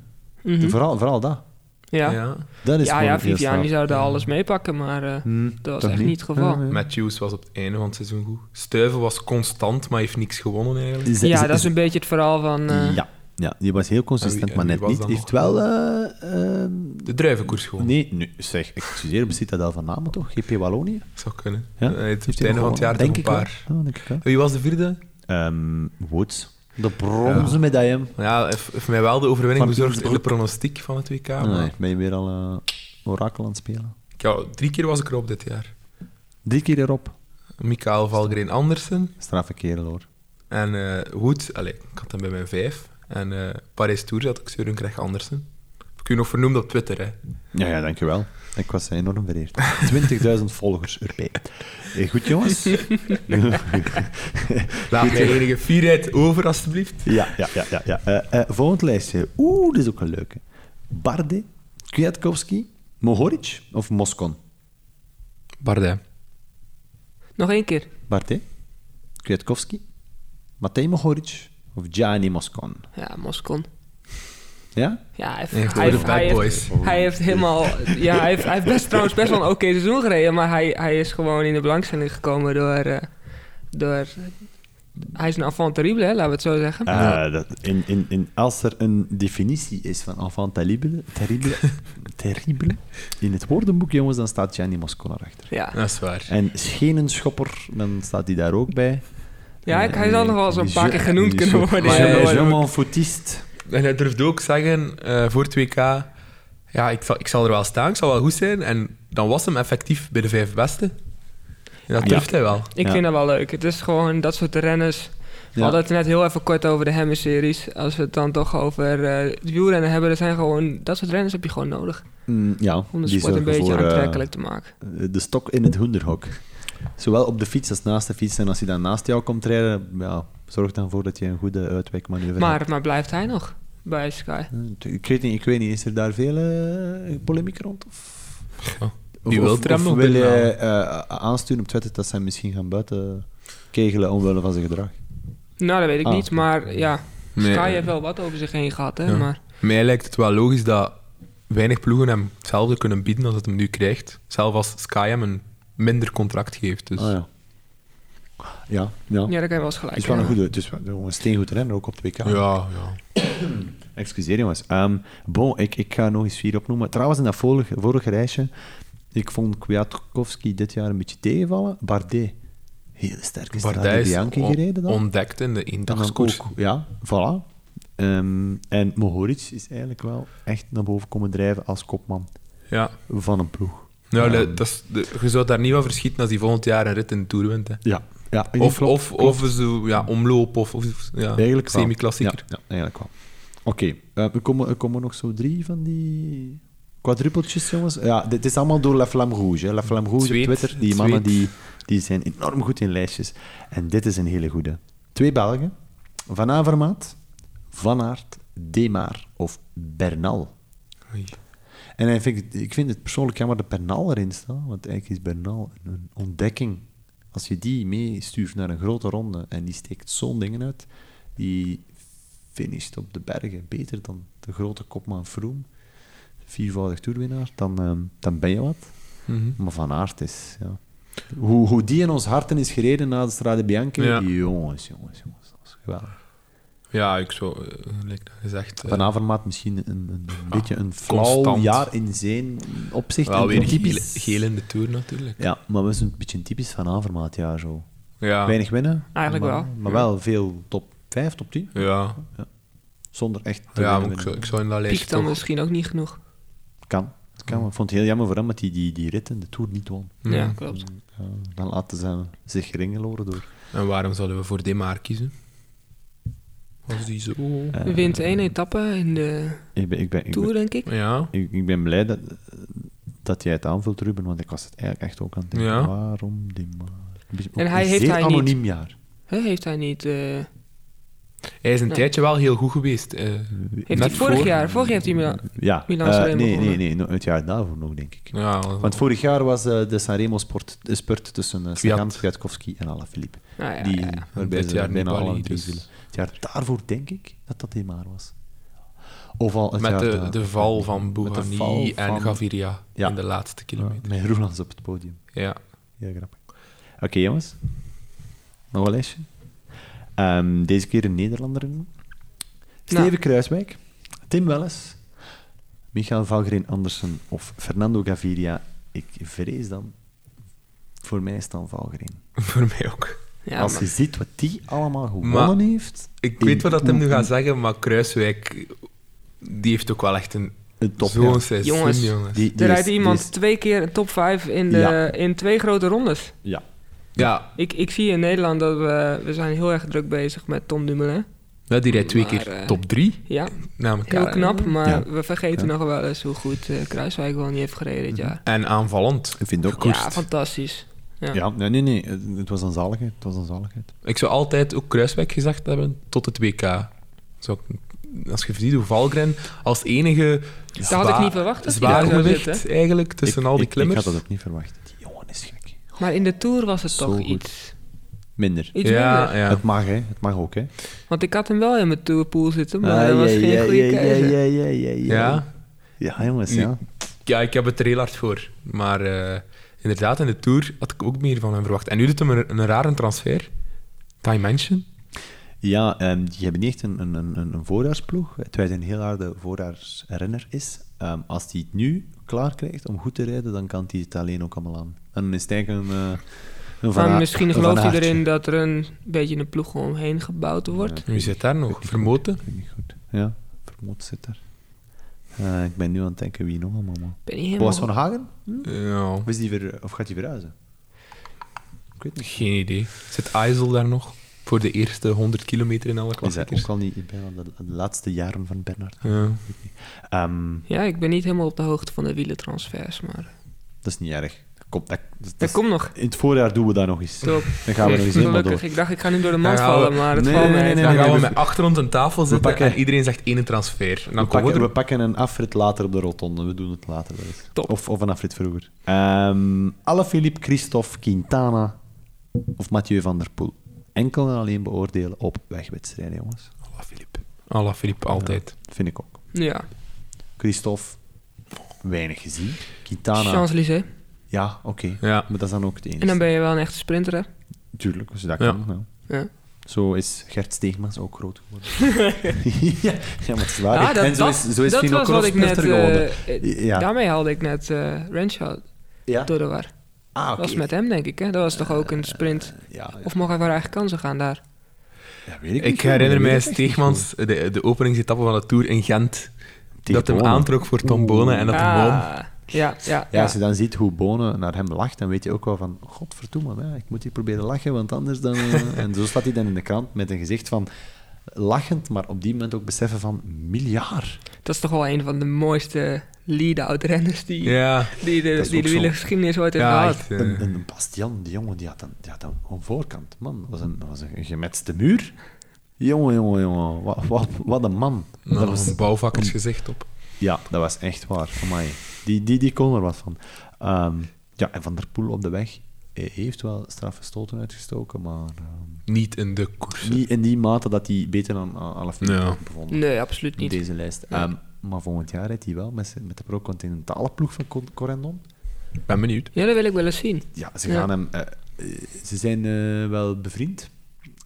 [SPEAKER 1] hè?
[SPEAKER 3] Mhm.
[SPEAKER 1] Vooral, vooral dat.
[SPEAKER 3] Ja, ja,
[SPEAKER 2] ja.
[SPEAKER 1] Dat is
[SPEAKER 3] ja,
[SPEAKER 1] gewoon heel
[SPEAKER 3] Viviani
[SPEAKER 1] straf.
[SPEAKER 3] zou daar alles meepakken, maar eh,
[SPEAKER 1] Hm,
[SPEAKER 3] dat was
[SPEAKER 1] toch
[SPEAKER 3] echt niet het geval.
[SPEAKER 1] Ja, ja.
[SPEAKER 2] Matthews was op het einde van het seizoen goed. Stuiven was constant, maar heeft niks gewonnen eigenlijk.
[SPEAKER 1] Is-
[SPEAKER 3] ja,
[SPEAKER 1] is-
[SPEAKER 3] dat is
[SPEAKER 1] is-
[SPEAKER 3] een beetje het verhaal van... eh,
[SPEAKER 1] Ja. ja, die was heel consistent,
[SPEAKER 2] En wie- en
[SPEAKER 1] maar
[SPEAKER 2] Ah, wie
[SPEAKER 1] net
[SPEAKER 2] was
[SPEAKER 1] niet.
[SPEAKER 2] dan
[SPEAKER 1] Heeft wel... eh, ehm,
[SPEAKER 2] De druivenkoers gewonnen.
[SPEAKER 1] nee, nu, zeg, excuseer, bestaat dat al van namen toch? GP Wallonië?
[SPEAKER 2] Zou kunnen.
[SPEAKER 1] Ja?
[SPEAKER 2] Eh, het
[SPEAKER 1] Heeft
[SPEAKER 2] het
[SPEAKER 1] hij
[SPEAKER 2] einde
[SPEAKER 1] nog
[SPEAKER 2] van het jaar
[SPEAKER 1] gewonnen?
[SPEAKER 2] toch
[SPEAKER 1] denk
[SPEAKER 2] een
[SPEAKER 1] ik wel.
[SPEAKER 2] paar.
[SPEAKER 1] Ja, denk ik wel.
[SPEAKER 2] Wie was de vierde?
[SPEAKER 1] Ehm, Woods. De bronzen medaille.
[SPEAKER 2] Ja, heeft heeft mij wel de overwinning
[SPEAKER 1] Van
[SPEAKER 2] bezorgd in de
[SPEAKER 1] Pietersbroek.
[SPEAKER 2] pronostiek van het WK. maar-
[SPEAKER 1] Nee, ben je weer al eh, orakel aan het spelen?
[SPEAKER 2] Ja, drie keer was ik erop dit jaar.
[SPEAKER 1] Drie keer erop.
[SPEAKER 2] Mikael Valgren Andersen
[SPEAKER 1] Straffe kerel, hoor.
[SPEAKER 2] en eh Wood. Allee, ik had hem bij mijn vijf. En eh Paris Tour zat ik Søren Krijg Andersen. Ik u nog vernoemd op Twitter, hè.
[SPEAKER 1] Ja, ja, dankjewel. Ik was enorm vereerd. 20.000 volgers erbij. Eh, Goed, jongens.
[SPEAKER 2] Laat mij enige fierheid over, alstublieft.
[SPEAKER 1] ja, ja, ja. ja, ja. Eh, eh, volgend lijstje. Oeh, dit is ook een leuke. Barde, Kwiatkowski, Mohoric of Moskon?
[SPEAKER 2] Bardet.
[SPEAKER 3] Nog één keer.
[SPEAKER 1] Barde, Kwiatkowski, Matej Mohoric of Gianni Moskon?
[SPEAKER 3] Ja, Moscon.
[SPEAKER 1] Ja?
[SPEAKER 3] Ja, hij heeft,
[SPEAKER 2] Echt door
[SPEAKER 3] hij heeft,
[SPEAKER 2] de bad
[SPEAKER 3] hij heeft-
[SPEAKER 2] boys.
[SPEAKER 3] hij heeft helemaal... Ja, hij heeft, hij heeft best, trouwens best wel een oké seizoen gereden, maar hij, hij is gewoon in de belangstelling gekomen door... eh, door hij is een enfant terrible, hè, laten we het zo zeggen.
[SPEAKER 1] Eh, dat, in, in, in, als er een definitie is van enfant terrible, terrible, terrible in het woordenboek, jongens, dan staat Gianni Moscon erachter.
[SPEAKER 3] ja.
[SPEAKER 2] Dat is waar.
[SPEAKER 1] En Schenenschopper, dan staat hij daar ook bij.
[SPEAKER 3] ja, hij, hij zal nog wel eens een paar keer genoemd kunnen worden.
[SPEAKER 2] Maar, eh,
[SPEAKER 3] Ja,
[SPEAKER 1] Je
[SPEAKER 3] worden.
[SPEAKER 1] m'en foutist.
[SPEAKER 2] En hij durfde ook zeggen eh, voor het WK... Ja, ik zal, ik zal er wel staan, ik zal wel goed zijn. En dan was hem effectief bij de vijf beste. En dat
[SPEAKER 1] Ja.
[SPEAKER 2] treft hij wel.
[SPEAKER 3] Ik
[SPEAKER 1] Ja.
[SPEAKER 3] vind dat wel leuk. Het is gewoon dat soort renners. We
[SPEAKER 1] Ja.
[SPEAKER 3] hadden het net heel even kort over de Hemmen-series. Als we het dan toch over eh het wielrennen hebben, er zijn gewoon, dat soort renners heb je gewoon nodig.
[SPEAKER 1] Mm, ja,
[SPEAKER 3] Om de
[SPEAKER 1] die
[SPEAKER 3] sport
[SPEAKER 1] zorgen
[SPEAKER 3] een beetje
[SPEAKER 1] voor, eh,
[SPEAKER 3] aantrekkelijk te maken.
[SPEAKER 1] de stok in het hoenderhok. Zowel op de fiets als naast de fiets. En als hij dan naast jou komt rijden, ja, zorg dan voor dat je een goede uitwijkmanoeuvre hebt.
[SPEAKER 3] Maar, maar blijft hij nog bij Sky?
[SPEAKER 1] Eh, Ik weet niet, ik weet niet is er daar veel eh, polemiek rond? Of,
[SPEAKER 2] Ja.
[SPEAKER 1] of,
[SPEAKER 2] Die
[SPEAKER 1] of-
[SPEAKER 2] wil er
[SPEAKER 1] of
[SPEAKER 2] hem op
[SPEAKER 1] wil je
[SPEAKER 2] inhalen.
[SPEAKER 1] eh, aansturen op Twitter dat zij misschien gaan buiten kegelen omwille van zijn gedrag?
[SPEAKER 3] Nou, dat weet ik
[SPEAKER 1] Ah.
[SPEAKER 3] niet. Maar ja,
[SPEAKER 2] Nee,
[SPEAKER 3] Sky
[SPEAKER 2] eh,
[SPEAKER 3] heeft wel wat over zich heen gehad. Hè,
[SPEAKER 2] Ja.
[SPEAKER 3] maar,
[SPEAKER 2] Mij lijkt het wel logisch dat weinig ploegen hem hetzelfde kunnen bieden als het hem nu krijgt. Zelfs als Sky hem een minder contract geeft. Dus.
[SPEAKER 1] Ah ja. Ja, ja.
[SPEAKER 3] ja, dat kan je wel eens gelijk
[SPEAKER 1] Het is wel een
[SPEAKER 3] hebben.
[SPEAKER 1] goede, het is wel een steengoed renner ook op het WK.
[SPEAKER 2] ja, ja.
[SPEAKER 1] Excuseer jongens. Ehm, bon, ik, ik ga nog eens vier opnoemen. Trouwens, in dat vorige, vorige reisje, ik vond Kwiatkowski dit jaar een beetje tegenvallen. Bardet, heel sterk is naar
[SPEAKER 2] Bardet
[SPEAKER 1] de
[SPEAKER 2] is
[SPEAKER 1] Bianchi
[SPEAKER 2] on-
[SPEAKER 1] gereden dan.
[SPEAKER 2] ontdekt in de
[SPEAKER 1] En dan
[SPEAKER 2] eendagskoers.
[SPEAKER 1] ook- Ja, voilà. Ehm, en Mohoric is eigenlijk wel echt naar boven komen drijven als kopman
[SPEAKER 2] Ja.
[SPEAKER 1] van een ploeg.
[SPEAKER 2] Nou,
[SPEAKER 1] Ja.
[SPEAKER 2] dat is, de- je zou daar niet van verschieten als hij volgend jaar een rit in de Tour wint. Hè.
[SPEAKER 1] Ja, ja ik denk
[SPEAKER 2] Of,
[SPEAKER 1] Ah, klopt,
[SPEAKER 2] of, of zo, ja, omloop of, of ja,
[SPEAKER 1] Eigenlijk wel.
[SPEAKER 2] semi-klassieker.
[SPEAKER 1] Ja, ja, eigenlijk wel. Oké, eh, er, komen, er komen nog zo drie van die quadruppeltjes, jongens. Ja, dit is allemaal door La Flamme Rouge. Hè. La Flamme Rouge
[SPEAKER 2] Zweet,
[SPEAKER 1] op Twitter, die
[SPEAKER 2] zweet.
[SPEAKER 1] mannen die, die zijn enorm goed in lijstjes. En dit is een hele goede. Twee Belgen, Van Avermaat, Van Aert, Demaar of Bernal.
[SPEAKER 2] Oei.
[SPEAKER 1] En hij vindt- ik vind het persoonlijk jammer dat Bernal erin staat, want eigenlijk is Bernal een- een ontdekking. Als je die meestuurt naar een grote ronde en die steekt zo'n dingen uit, die finisht op de bergen beter dan de grote kopman Froome, viervoudig toerwinnaar, dan, ehm, dan ben je wat.
[SPEAKER 2] Mhm.
[SPEAKER 1] Maar Van Aert is, ja. Hoe, hoe die in ons harten is gereden na de Strade Bianca,
[SPEAKER 2] Ja.
[SPEAKER 1] jongens, jongens, jongens, dat was geweldig.
[SPEAKER 2] Ja, ik zou, eh, gelijk dat gezegd, eh,
[SPEAKER 1] Van Avermaat misschien een, een, een beetje een flauw
[SPEAKER 2] Ah, constant.
[SPEAKER 1] jaar in zijn opzicht.
[SPEAKER 2] wel
[SPEAKER 1] en
[SPEAKER 2] weer
[SPEAKER 1] typisch-
[SPEAKER 2] geel, geel in de Tour natuurlijk.
[SPEAKER 1] Ja, maar we zijn een beetje een typisch van Avermaat jaar zo.
[SPEAKER 2] Ja,
[SPEAKER 1] Weinig winnen.
[SPEAKER 3] Eigenlijk
[SPEAKER 1] maar,
[SPEAKER 3] wel.
[SPEAKER 1] Maar wel veel top 5, top 10.
[SPEAKER 2] ja.
[SPEAKER 1] Zonder echt te
[SPEAKER 2] ja
[SPEAKER 1] winnen
[SPEAKER 2] maar ik,
[SPEAKER 1] winnen.
[SPEAKER 2] zou, ik zou in dat lijstje
[SPEAKER 3] Piekt dan
[SPEAKER 2] toch...
[SPEAKER 3] misschien ook niet genoeg.
[SPEAKER 1] Kan. kan. maar Ik vond het heel jammer voor hem dat hij die, die rit in de Tour niet won.
[SPEAKER 2] Mhm.
[SPEAKER 3] Ja, klopt.
[SPEAKER 1] Ja, dan laten ze hem zich geringeloren door.
[SPEAKER 2] En waarom zouden we voor Demar kiezen? Was die zo...
[SPEAKER 1] Eh,
[SPEAKER 3] Wint één etappe in de
[SPEAKER 1] ik, ben, ik, ben, ik,
[SPEAKER 3] Tour,
[SPEAKER 1] ben,
[SPEAKER 3] denk ik.
[SPEAKER 2] Ja,
[SPEAKER 1] ik, ik ben blij dat, dat jij het aanvult, Ruben, want ik was het eigenlijk echt ook aan het denken.
[SPEAKER 2] Ja.
[SPEAKER 1] Waarom die maar? Een beetje-
[SPEAKER 3] En
[SPEAKER 1] ook
[SPEAKER 3] hij
[SPEAKER 1] een
[SPEAKER 3] heeft
[SPEAKER 1] zeer
[SPEAKER 3] hij niet.
[SPEAKER 1] anoniem jaar.
[SPEAKER 3] Hè, Heeft hij niet... eh,
[SPEAKER 2] hij is een
[SPEAKER 3] Ja.
[SPEAKER 2] tijdje wel heel goed geweest. eh,
[SPEAKER 3] Heeft hij vorig
[SPEAKER 2] voor-
[SPEAKER 3] jaar, vorig jaar heeft hij me
[SPEAKER 1] Ja,
[SPEAKER 3] Milan
[SPEAKER 1] eh,
[SPEAKER 3] Sanremo
[SPEAKER 1] nee, nee,
[SPEAKER 3] gewonnen.
[SPEAKER 1] nee, no- het jaar daarvoor nog, denk ik.
[SPEAKER 2] Ja, wel-
[SPEAKER 1] Want vorig jaar was eh, de Sanremo sport, de spurt tussen eh Sagan, Kwiatkowski en Alaphilippe.
[SPEAKER 3] Nou ja,
[SPEAKER 1] die,
[SPEAKER 3] ja, ja.
[SPEAKER 1] Waarbij
[SPEAKER 2] Dit
[SPEAKER 1] ze
[SPEAKER 2] jaar
[SPEAKER 1] bijna
[SPEAKER 2] Nibali,
[SPEAKER 1] alle drie
[SPEAKER 2] dus-
[SPEAKER 1] vielen. Het jaar daarvoor denk ik dat dat Demar was. Of al het
[SPEAKER 2] met
[SPEAKER 1] jaar
[SPEAKER 2] de,
[SPEAKER 1] daar-
[SPEAKER 2] de val van
[SPEAKER 1] Met de val
[SPEAKER 2] Bougani en
[SPEAKER 1] van-
[SPEAKER 2] Gaviria
[SPEAKER 1] Ja.
[SPEAKER 2] in de laatste kilometer.
[SPEAKER 1] Met Roelands op het podium.
[SPEAKER 2] Ja.
[SPEAKER 1] Heel grappig. Oké, jongens. Nog een lijstje. Ehm, deze keer een Nederlander in. Steven
[SPEAKER 3] Nou.
[SPEAKER 1] Kruiswijk, Tim Welles, Michael Valgren Andersen of Fernando Gaviria. Ik vrees dan... Voor mij is dan Valgren.
[SPEAKER 2] Voor mij ook.
[SPEAKER 3] Ja,
[SPEAKER 1] Als
[SPEAKER 3] maar-
[SPEAKER 1] je ziet wat die allemaal gewonnen
[SPEAKER 2] Maar-
[SPEAKER 1] heeft...
[SPEAKER 2] Ik weet wat dat hem nu
[SPEAKER 1] Oeh,
[SPEAKER 2] gaat zeggen, maar Kruiswijk, die heeft ook wel echt een
[SPEAKER 1] Een topjaar.
[SPEAKER 2] zo'n seizoen,
[SPEAKER 3] Jongens,
[SPEAKER 2] jongens.
[SPEAKER 1] Die- die
[SPEAKER 3] Er rijdt
[SPEAKER 1] is-
[SPEAKER 3] iemand
[SPEAKER 1] die is-
[SPEAKER 3] twee keer een top 5 in, de,
[SPEAKER 1] Ja.
[SPEAKER 3] in twee grote rondes.
[SPEAKER 1] Ja.
[SPEAKER 2] Ja,
[SPEAKER 3] Ik, ik zie in Nederland dat we... We zijn heel erg druk bezig met Tom Dumoulin.
[SPEAKER 2] ja, die rijdt twee
[SPEAKER 3] Maar,
[SPEAKER 2] keer
[SPEAKER 3] eh,
[SPEAKER 2] top drie
[SPEAKER 3] Ja,
[SPEAKER 2] na
[SPEAKER 3] heel
[SPEAKER 2] elkaar.
[SPEAKER 3] knap. Maar
[SPEAKER 1] Ja. Mhm.
[SPEAKER 3] we vergeten nog wel eens hoe goed eh, Kruiswijk wel niet heeft gereden dit jaar.
[SPEAKER 2] En aanvallend.
[SPEAKER 1] Ik vind het ook
[SPEAKER 3] Ja, fantastisch. Ja.
[SPEAKER 1] Ja, nee, nee, nee. Het het was een zaligheid. Het was een zaligheid.
[SPEAKER 2] Ik zou altijd ook Kruiswijk gezegd hebben tot het WK. Zou ik- als je ziet hoe Valgren als enige
[SPEAKER 3] Dat had ik niet verwacht dat hij daar
[SPEAKER 2] zwaar
[SPEAKER 3] zou
[SPEAKER 2] gewicht
[SPEAKER 3] zitten.
[SPEAKER 2] eigenlijk tussen
[SPEAKER 1] Ik-
[SPEAKER 2] al die
[SPEAKER 1] ik-
[SPEAKER 2] klimmers.
[SPEAKER 1] Ik had dat ook niet verwacht. Die jongen is gek.
[SPEAKER 3] Maar in de Tour was het
[SPEAKER 1] Zo
[SPEAKER 3] toch
[SPEAKER 1] goed.
[SPEAKER 3] iets,
[SPEAKER 1] Minder.
[SPEAKER 3] iets
[SPEAKER 2] ja,
[SPEAKER 3] minder.
[SPEAKER 2] ja.
[SPEAKER 1] Het mag, hè. Het mag ook, hè.
[SPEAKER 3] Want ik had hem wel in mijn Tourpool zitten, maar dat was geen goede keuze.
[SPEAKER 1] Ah, Ja, ja, ja, ja.
[SPEAKER 2] ja.
[SPEAKER 1] Ja, jongens, ja.
[SPEAKER 2] ja, ik heb het er heel hard voor. Maar eh, inderdaad, in de Tour had ik ook meer van hem verwacht. En nu doet hem een, een rare transfer. Dimension.
[SPEAKER 1] Ja, ehm, die hebben niet echt een, een, een, een- een voorjaarsploeg. Terwijl hij een heel harde voorjaarsrenner is. Ehm, als hij het nu klaar krijgt om goed te rijden, dan kan hij het alleen ook allemaal aan. En dan is het eigenlijk een... eh, een
[SPEAKER 3] Maar
[SPEAKER 1] Aert-
[SPEAKER 3] misschien
[SPEAKER 1] een Van
[SPEAKER 3] gelooft hij
[SPEAKER 1] Aertje.
[SPEAKER 3] erin dat er een beetje een ploeg omheen gebouwd wordt.
[SPEAKER 2] Wie zit daar nog? Vermoten.
[SPEAKER 1] Vind ik niet goed. Ja, Vermoot zit daar. Eh, ik ben nu aan het denken wie nog allemaal. man.
[SPEAKER 3] ben niet helemaal...
[SPEAKER 1] Boas van Hagen?
[SPEAKER 2] Ja,
[SPEAKER 1] Of, is die ver, of gaat hij verhuizen? Ik weet niet.
[SPEAKER 2] geen idee. Zit IJssel daar nog? Voor de eerste 100 kilometer in alle
[SPEAKER 1] Is dat
[SPEAKER 2] klassiekers.
[SPEAKER 1] ook al niet bijna de, de laatste jaren van Bernard?
[SPEAKER 2] Ja.
[SPEAKER 1] Ehm,
[SPEAKER 3] Ja, ik ben niet helemaal op de hoogte van de wielentransfers, maar...
[SPEAKER 1] dat is niet erg. Dat komt, dat, dat
[SPEAKER 3] Dat
[SPEAKER 1] is-
[SPEAKER 3] komt nog.
[SPEAKER 1] In het voorjaar doen we dat nog eens.
[SPEAKER 3] Top.
[SPEAKER 1] Dan gaan we nog eens helemaal door.
[SPEAKER 3] Gelukkig. Ik dacht, ik ga nu door de mand
[SPEAKER 2] Dan gaan we-
[SPEAKER 3] vallen, maar het
[SPEAKER 1] Nee,
[SPEAKER 3] valt
[SPEAKER 1] nee,
[SPEAKER 3] mij.
[SPEAKER 1] nee, nee,
[SPEAKER 2] dan
[SPEAKER 1] nee,
[SPEAKER 2] gaan we
[SPEAKER 1] we-
[SPEAKER 2] met acht rond een tafel zitten
[SPEAKER 1] pakken-
[SPEAKER 2] en iedereen zegt één transfer. Nou, En
[SPEAKER 1] We
[SPEAKER 2] dan komen we
[SPEAKER 1] pakken,
[SPEAKER 2] er.
[SPEAKER 1] we pakken een afrit later op de rotonde. We doen het later wel eens.
[SPEAKER 3] Top.
[SPEAKER 1] Of, of een afrit vroeger. Ehm Alaphilippe, Christophe, Quintana of Mathieu van der Poel. Enkel en alleen beoordelen op wegwedstrijden, jongens.
[SPEAKER 2] Alla Filip. Alla Filip, altijd.
[SPEAKER 1] Vind ik ook.
[SPEAKER 3] Ja,
[SPEAKER 1] Christophe, weinig gezien. Quintana,
[SPEAKER 3] Champs-Élysées.
[SPEAKER 1] ja, oké.
[SPEAKER 2] Ja.
[SPEAKER 1] Maar dat is dan ook het enige.
[SPEAKER 3] En dan ben je wel een echte sprinter, hè?
[SPEAKER 1] Tuurlijk, als je dat
[SPEAKER 2] Ja.
[SPEAKER 1] kan. nou. wel.
[SPEAKER 3] Ja.
[SPEAKER 1] Zo is Gert Steegmans ook groot geworden. ja, ja, maar het is waar.
[SPEAKER 3] Ah, dat-
[SPEAKER 1] en zo
[SPEAKER 3] dat-
[SPEAKER 1] is, zo is
[SPEAKER 3] dat
[SPEAKER 1] Fino
[SPEAKER 3] was wat
[SPEAKER 1] Cross
[SPEAKER 3] ik net...
[SPEAKER 1] sprinter geworden.
[SPEAKER 3] eh, eh,
[SPEAKER 1] Ja.
[SPEAKER 3] Daarmee haalde ik net eh Renshaw
[SPEAKER 1] Ja?
[SPEAKER 3] door de war.
[SPEAKER 1] Ah,
[SPEAKER 3] Dat
[SPEAKER 1] oké.
[SPEAKER 3] was met hem, denk ik, hè? Dat was toch ook een sprint?
[SPEAKER 1] Ja, ja.
[SPEAKER 3] Of mocht hij voor eigen kansen gaan daar?
[SPEAKER 1] Ja, weet ik,
[SPEAKER 2] Ik
[SPEAKER 1] niet, dat
[SPEAKER 2] herinner
[SPEAKER 1] weet ik
[SPEAKER 2] mij
[SPEAKER 1] echt niet goed.
[SPEAKER 2] Steegmans, de, de openingsetappe van de Tour in Gent, dat hem
[SPEAKER 1] Bonen.
[SPEAKER 2] aantrok voor Tom Bonen en dat hem won.
[SPEAKER 3] Ah, ja, ja,
[SPEAKER 1] Ja,
[SPEAKER 3] ja.
[SPEAKER 1] als je dan ziet hoe Bonen naar hem lacht, dan weet je ook wel van... Godverdomme, hè, ik moet hier proberen lachen, want anders dan... eh." en zo staat hij dan in de krant met een gezicht van... Lachend, maar op die moment ook beseffen van... Miljard.
[SPEAKER 3] Dat is toch wel een van de mooiste lead-out renners die,
[SPEAKER 2] Ja,
[SPEAKER 3] die
[SPEAKER 1] Dat
[SPEAKER 3] de,
[SPEAKER 1] is
[SPEAKER 3] die
[SPEAKER 1] ook
[SPEAKER 3] de
[SPEAKER 1] zo.
[SPEAKER 3] wielergeschiedenis ooit heeft
[SPEAKER 2] ja
[SPEAKER 3] gehad.
[SPEAKER 2] echt.
[SPEAKER 1] En,
[SPEAKER 2] eh,
[SPEAKER 1] en Bastian, die jongen, die had een, die had een, een voorkant. Man, dat was een, dat was een gemetste muur. Jongen, jongen, jongen. Wat, wat, wat een man.
[SPEAKER 2] nog
[SPEAKER 1] dat was,
[SPEAKER 2] een bouwvakkersgezicht op.
[SPEAKER 1] ja, dat was echt waar. Amai. Die, die, die kon er wat van. Ehm, ja, en Van der Poel op de weg eh, heeft wel straffe stoten uitgestoken, maar... ehm,
[SPEAKER 2] Niet in de koers.
[SPEAKER 1] Niet in die mate dat hij beter aan Alaphilippe
[SPEAKER 2] Ja.
[SPEAKER 1] ja. bevonden.
[SPEAKER 3] Nee, absoluut
[SPEAKER 1] Op
[SPEAKER 3] Mm, niet.
[SPEAKER 1] deze lijst. Ehm, maar volgend jaar rijdt hij wel met, zijn- met de pro-continentale ploeg van Con- Corendon.
[SPEAKER 2] Ik ben benieuwd.
[SPEAKER 3] Ja, dat wil ik wel eens zien.
[SPEAKER 1] Ja, ze
[SPEAKER 3] Ja.
[SPEAKER 1] gaan hem... eh, eh, ze zijn eh, wel bevriend.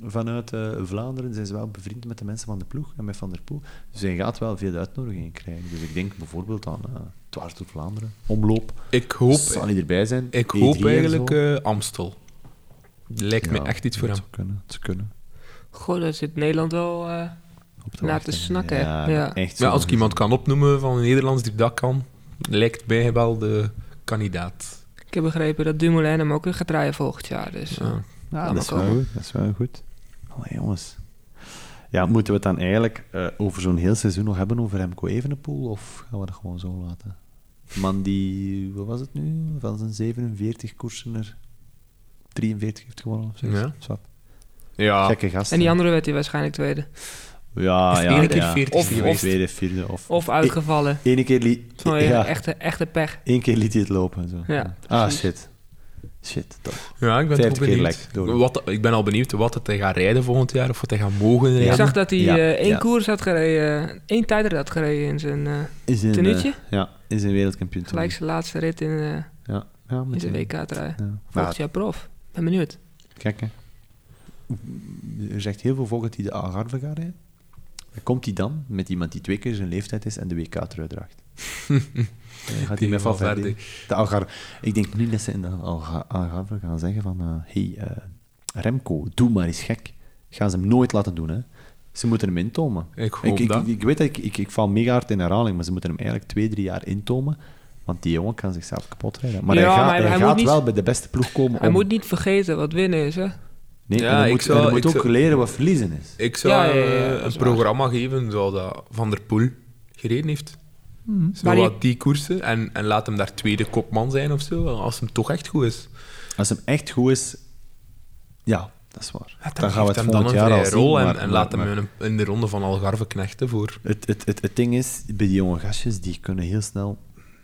[SPEAKER 1] Vanuit eh, Vlaanderen zijn ze wel bevriend met de mensen van de ploeg en met Van der Poel. Dus hij gaat wel veel uitnodigingen krijgen. Dus ik denk bijvoorbeeld aan eh Dwars door Vlaanderen, Omloop.
[SPEAKER 2] Ik hoop,
[SPEAKER 1] Zal hij erbij zijn?
[SPEAKER 2] ik
[SPEAKER 1] E3 E en
[SPEAKER 2] hoop
[SPEAKER 1] zo.
[SPEAKER 2] eigenlijk eh, Amstel. Lijkt me
[SPEAKER 1] Ja,
[SPEAKER 2] echt iets voor
[SPEAKER 1] het
[SPEAKER 2] hem.
[SPEAKER 1] zou kunnen, het zou kunnen.
[SPEAKER 3] Goh, dat zit Nederland wel... eh,
[SPEAKER 1] Op
[SPEAKER 3] Naar
[SPEAKER 1] wachten.
[SPEAKER 3] te snakken, hè.
[SPEAKER 1] Ja,
[SPEAKER 3] Ja.
[SPEAKER 1] echt
[SPEAKER 2] Maar
[SPEAKER 1] zo.
[SPEAKER 2] als ik iemand kan opnoemen van Nederlands die dat kan, lijkt mij wel de kandidaat.
[SPEAKER 3] Ik heb begrepen dat Dumoulin hem ook weer gaat rijden volgend jaar. Dus eh,
[SPEAKER 2] Ja.
[SPEAKER 1] Ja,
[SPEAKER 3] Laat
[SPEAKER 1] dat
[SPEAKER 3] maar
[SPEAKER 1] is, wel
[SPEAKER 3] komen.
[SPEAKER 1] goed, dat is wel goed. Allee, jongens. Ja, moeten we het dan eigenlijk eh, over zo'n heel seizoen nog hebben over Remco Evenepoel? Of gaan we dat gewoon zo laten? De Man die, wat was het nu? Van zijn 47 koersen er 43 heeft gewonnen of zo.
[SPEAKER 2] Ja.
[SPEAKER 1] Zwat.
[SPEAKER 2] Ja,
[SPEAKER 1] Gekke gast.
[SPEAKER 3] en die
[SPEAKER 1] hè.
[SPEAKER 3] andere werd hij waarschijnlijk tweede.
[SPEAKER 1] Ja,
[SPEAKER 2] Is het
[SPEAKER 1] ja,
[SPEAKER 2] ene keer
[SPEAKER 1] ja.
[SPEAKER 2] 40
[SPEAKER 1] Of, of
[SPEAKER 2] geweest?
[SPEAKER 1] tweede, vierde. Of,
[SPEAKER 3] Of uitgevallen.
[SPEAKER 1] Eén keer, li-
[SPEAKER 3] Vanwege
[SPEAKER 1] ja,
[SPEAKER 3] echte, echte pech.
[SPEAKER 1] één keer liet hij het lopen. en Zo.
[SPEAKER 3] Oh, Ja,
[SPEAKER 1] ah,
[SPEAKER 3] precies.
[SPEAKER 1] shit. Shit, toch.
[SPEAKER 2] ja ik ben
[SPEAKER 1] Vijftig
[SPEAKER 2] toch
[SPEAKER 1] keer
[SPEAKER 2] benieuwd.
[SPEAKER 1] lek, door.
[SPEAKER 2] Wat, ik ben al benieuwd wat het hij gaat rijden volgend jaar, of wat hij gaat mogen rijden.
[SPEAKER 1] Ja.
[SPEAKER 3] Ik zag dat hij
[SPEAKER 1] Ja,
[SPEAKER 3] eh, één
[SPEAKER 1] ja.
[SPEAKER 3] koers had gereden, eh, één tijdrit had gereden in zijn, eh,
[SPEAKER 1] Is een,
[SPEAKER 3] Tenuutje?
[SPEAKER 1] eh, ja, is een wereldkampioen.
[SPEAKER 3] gelijk zijn laatste rit in, eh,
[SPEAKER 1] Ja, ja
[SPEAKER 3] in de
[SPEAKER 1] meteen.
[SPEAKER 3] WK-trui.
[SPEAKER 1] Ja. Maar
[SPEAKER 3] Volgend jaar prof. Ben benieuwd.
[SPEAKER 1] Kijk, hè. Er zegt heel veel volk dat hij de Algarve gaat rijden. Dan komt hij dan met iemand die twee keer zijn leeftijd is en de WK-trui draagt. Dan Eh, gaat hij
[SPEAKER 2] Tegen
[SPEAKER 1] met Valverde.
[SPEAKER 2] Valverde.
[SPEAKER 1] De Algarve. Ik denk niet dat ze in de Alga- Algarve gaan zeggen van... eh, hey, eh, Remco, doe maar eens gek. Gaan ze hem nooit laten doen, hè. Ze moeten hem intomen.
[SPEAKER 2] Ik hoop
[SPEAKER 1] ik,
[SPEAKER 2] dat.
[SPEAKER 1] Ik, weet dat ik, ik, ik val mega hard in herhaling, maar ze moeten hem eigenlijk twee, drie jaar intomen. Want die jongen kan zichzelf kapot rijden. Maar
[SPEAKER 3] Ja,
[SPEAKER 1] hij, gaat-
[SPEAKER 3] maar hij-
[SPEAKER 1] hij
[SPEAKER 3] hij moet
[SPEAKER 1] gaat
[SPEAKER 3] niet-
[SPEAKER 1] wel bij de beste ploeg komen
[SPEAKER 3] Hij
[SPEAKER 1] om-
[SPEAKER 3] moet niet vergeten wat winnen is, hè?
[SPEAKER 1] Nee,
[SPEAKER 2] Ja,
[SPEAKER 1] en je
[SPEAKER 2] ik
[SPEAKER 1] moet,
[SPEAKER 2] zou-
[SPEAKER 1] en je moet
[SPEAKER 2] ik
[SPEAKER 1] ook
[SPEAKER 2] zou-
[SPEAKER 1] leren wat verliezen is.
[SPEAKER 2] Ik zou
[SPEAKER 3] Ja, ja, ja, ja,
[SPEAKER 2] eh,
[SPEAKER 3] dat
[SPEAKER 2] een
[SPEAKER 3] is waar.
[SPEAKER 2] programma geven zoals dat Van der Poel gereden heeft. Zo
[SPEAKER 3] Mhm. Maar die-
[SPEAKER 2] wat die koersen en, en laat hem daar tweede kopman zijn of zo, als hem toch echt goed is.
[SPEAKER 1] Als hem echt goed is, ja, dat is waar.
[SPEAKER 2] Ja,
[SPEAKER 1] dan gaan we
[SPEAKER 2] geeft
[SPEAKER 1] het
[SPEAKER 2] hem dan
[SPEAKER 1] volgend
[SPEAKER 2] een
[SPEAKER 1] jaar
[SPEAKER 2] vrije
[SPEAKER 1] al zien.
[SPEAKER 2] rol en,
[SPEAKER 1] maar-
[SPEAKER 2] en
[SPEAKER 1] maar-
[SPEAKER 2] laat hem
[SPEAKER 1] maar-
[SPEAKER 2] in, een- in de ronde van Algarve knechten voor.
[SPEAKER 1] Het, het, het, het ding is, bij die jonge gastjes, die kunnen heel snel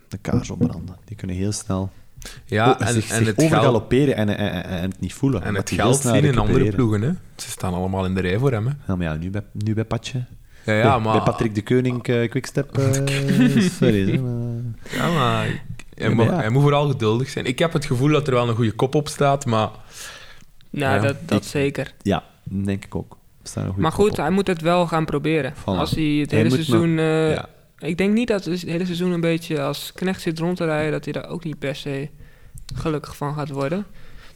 [SPEAKER 1] de kaars opbranden. Die kunnen heel snel
[SPEAKER 2] Ja,
[SPEAKER 1] o-
[SPEAKER 2] en,
[SPEAKER 1] zich,
[SPEAKER 2] en
[SPEAKER 1] zich
[SPEAKER 2] het geld,
[SPEAKER 1] overgalopperen en, en, en, en het niet voelen.
[SPEAKER 2] en
[SPEAKER 1] omdat
[SPEAKER 2] het
[SPEAKER 1] die heel
[SPEAKER 2] geld
[SPEAKER 1] snel
[SPEAKER 2] zien in andere
[SPEAKER 1] recupereren.
[SPEAKER 2] ploegen. Hè. Ze staan allemaal in de rij voor hem. Hè.
[SPEAKER 1] Ja, maar ja, nu bij, nu bij Patje.
[SPEAKER 2] Ja, ja,
[SPEAKER 1] bij,
[SPEAKER 2] maar,
[SPEAKER 1] bij Patrick de Keuning, eh, Quickstep. eh, sorry. hè, maar-
[SPEAKER 2] Ja, maar hij,
[SPEAKER 1] Ja, maar
[SPEAKER 2] moet,
[SPEAKER 1] ja.
[SPEAKER 2] hij moet vooral geduldig zijn. Ik heb het gevoel dat er wel een goede kop op staat, maar
[SPEAKER 3] Nou,
[SPEAKER 2] Ja.
[SPEAKER 3] dat, dat
[SPEAKER 1] Ik-
[SPEAKER 3] zeker.
[SPEAKER 1] Ja, denk ik ook. We staan een goede
[SPEAKER 3] Maar
[SPEAKER 1] kop
[SPEAKER 3] goed,
[SPEAKER 1] op.
[SPEAKER 3] hij moet het wel gaan proberen.
[SPEAKER 1] Voilà.
[SPEAKER 3] Als hij het
[SPEAKER 1] Hij
[SPEAKER 3] hele
[SPEAKER 1] moet nog-
[SPEAKER 3] seizoen... eh,
[SPEAKER 1] Ja.
[SPEAKER 3] Ik denk niet dat hij het hele seizoen een beetje als knecht zit rond te rijden... dat hij daar ook niet per se gelukkig van gaat worden.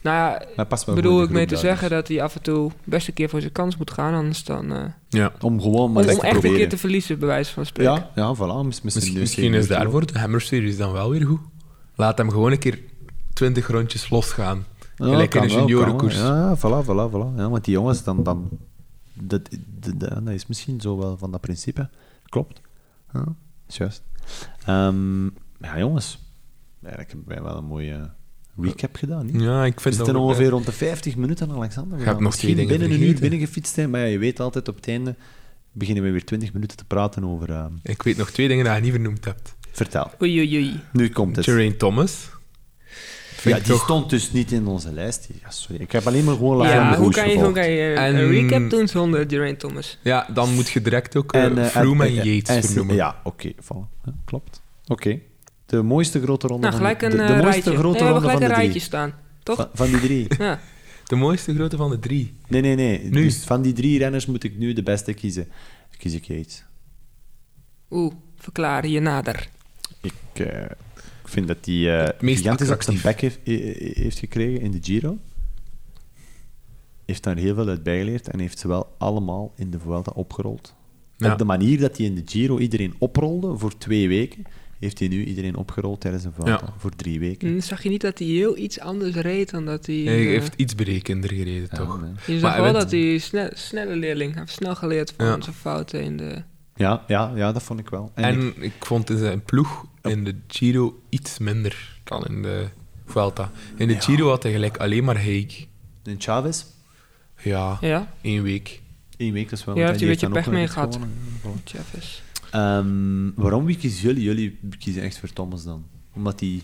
[SPEAKER 3] Nou ja,
[SPEAKER 1] Maar past wel
[SPEAKER 3] bedoel
[SPEAKER 1] goed
[SPEAKER 3] ik
[SPEAKER 1] in de
[SPEAKER 3] mee
[SPEAKER 1] groep
[SPEAKER 3] te
[SPEAKER 1] daar, dus.
[SPEAKER 3] zeggen dat hij af en toe best een keer voor zijn kans moet gaan. Anders dan... eh,
[SPEAKER 2] Ja.
[SPEAKER 1] dus. Om gewoon maar
[SPEAKER 3] om,
[SPEAKER 1] eens
[SPEAKER 3] om
[SPEAKER 1] te
[SPEAKER 3] echt een
[SPEAKER 1] proberen.
[SPEAKER 3] keer te verliezen, bij wijze van spreken.
[SPEAKER 1] Ja, ja, voilà. mis-
[SPEAKER 2] Misschien,
[SPEAKER 1] Misschien,
[SPEAKER 2] misschien is
[SPEAKER 1] misschien-
[SPEAKER 2] daarvoor de Hammer Series dan wel weer goed. Laat hem gewoon een keer 20 rondjes losgaan.
[SPEAKER 1] Ja,
[SPEAKER 2] Gelijk in
[SPEAKER 1] kan
[SPEAKER 2] de
[SPEAKER 1] wel, kan
[SPEAKER 2] juniorenkoers.
[SPEAKER 1] wel. Ja, ja, voilà, voilà, voilà. Ja, want die jongens, dan... dan dat, dat, dat- dat is misschien zo wel van dat principe. Klopt. Ja, is juist. Ehm, ja, jongens. Eigenlijk hebben wij wel een mooie recap gedaan, niet?
[SPEAKER 2] Ja, ik
[SPEAKER 1] We
[SPEAKER 2] vind
[SPEAKER 1] zitten
[SPEAKER 2] dat we-
[SPEAKER 1] ongeveer rond de 50 minuten, Alexander. We
[SPEAKER 2] Gaat
[SPEAKER 1] gaan
[SPEAKER 2] nog
[SPEAKER 1] misschien
[SPEAKER 2] twee dingen
[SPEAKER 1] binnen een uur
[SPEAKER 2] vergeten.
[SPEAKER 1] binnengefietst zijn, maar ja, je weet altijd, op het einde beginnen we weer 20 minuten te praten over... ehm,
[SPEAKER 2] eh, Ik weet nog twee dingen dat je niet vernoemd hebt.
[SPEAKER 1] vertel,
[SPEAKER 3] Oei, oei, oei.
[SPEAKER 1] nu komt het.
[SPEAKER 2] Geraint Thomas.
[SPEAKER 1] Ja,
[SPEAKER 2] Vind
[SPEAKER 1] die
[SPEAKER 2] ik toch-
[SPEAKER 1] stond dus niet in onze lijst. Ja, sorry. Ik heb alleen maar gewoon
[SPEAKER 3] Ja,
[SPEAKER 1] Laflamme Rouge
[SPEAKER 3] hoe kan je, hoe
[SPEAKER 1] gevolgd.
[SPEAKER 3] kan je
[SPEAKER 2] En-
[SPEAKER 3] een recap doen zonder Geraint Thomas?
[SPEAKER 2] Ja, dan moet je direct ook eh,
[SPEAKER 1] eh,
[SPEAKER 2] Froome en,
[SPEAKER 1] eh,
[SPEAKER 2] Yates
[SPEAKER 1] en-
[SPEAKER 2] vernoemen.
[SPEAKER 1] Ja, oké, voilà. Ja, klopt. Oké. De mooiste grote ronde
[SPEAKER 3] Nou, gelijk
[SPEAKER 1] van
[SPEAKER 3] een
[SPEAKER 1] de,
[SPEAKER 3] eh,
[SPEAKER 1] de mooiste
[SPEAKER 3] rijtje.
[SPEAKER 1] grote
[SPEAKER 3] nee, we hebben
[SPEAKER 1] ronde
[SPEAKER 3] gelijk een
[SPEAKER 1] van de
[SPEAKER 3] rijtje
[SPEAKER 1] drie.
[SPEAKER 3] staan, toch?
[SPEAKER 1] Van, van die drie.
[SPEAKER 3] Ja.
[SPEAKER 2] De mooiste grote van de drie.
[SPEAKER 1] Nee, nee, nee.
[SPEAKER 2] Nu.
[SPEAKER 1] Dus van die drie renners moet ik nu de beste kiezen. Kies ik Yates.
[SPEAKER 3] Oeh, verklaar je nader.
[SPEAKER 1] Ik eh, ik vind dat die eh
[SPEAKER 2] meest
[SPEAKER 1] gigantisch op zijn
[SPEAKER 2] attractief.
[SPEAKER 1] bek heeft, eh, eh, heeft gekregen in de Giro. Heeft daar heel veel uit bijgeleerd en heeft ze wel allemaal in de Vuelta opgerold.
[SPEAKER 2] Ja.
[SPEAKER 1] Op de manier dat hij in de Giro iedereen oprolde voor twee weken, heeft hij nu iedereen opgerold tijdens een Vuelta
[SPEAKER 2] Ja.
[SPEAKER 1] voor drie weken.
[SPEAKER 3] Hm, Zag je niet dat hij heel iets anders reed dan dat hij...
[SPEAKER 2] Hij
[SPEAKER 3] eh,
[SPEAKER 2] heeft iets berekender gereden, toch?
[SPEAKER 1] nee.
[SPEAKER 3] Je
[SPEAKER 2] Maar
[SPEAKER 3] zag
[SPEAKER 2] hij
[SPEAKER 3] wel
[SPEAKER 2] wint.
[SPEAKER 3] dat hij sne- snelle leerling heeft snel geleerd van
[SPEAKER 2] Ja.
[SPEAKER 3] zijn fouten in de...
[SPEAKER 1] Ja, ja, ja, dat vond ik wel. En, ik-
[SPEAKER 2] En ik vond in zijn ploeg in de Giro iets minder dan in de Vuelta. In de Giro had hij gelijk alleen maar Heik.
[SPEAKER 1] en Chavez,
[SPEAKER 2] Ja,
[SPEAKER 3] Ja,
[SPEAKER 2] één week.
[SPEAKER 1] één week, dat is wel...
[SPEAKER 3] Ja,
[SPEAKER 1] want
[SPEAKER 3] heeft hij
[SPEAKER 1] die
[SPEAKER 3] een
[SPEAKER 1] heeft
[SPEAKER 3] beetje
[SPEAKER 1] dan
[SPEAKER 3] pech
[SPEAKER 1] ook
[SPEAKER 3] mee
[SPEAKER 1] nog iets gewonnen.
[SPEAKER 3] Chavez.
[SPEAKER 1] Ehm, waarom wie kiezen jullie? Jullie kiezen echt voor Thomas dan? Omdat hij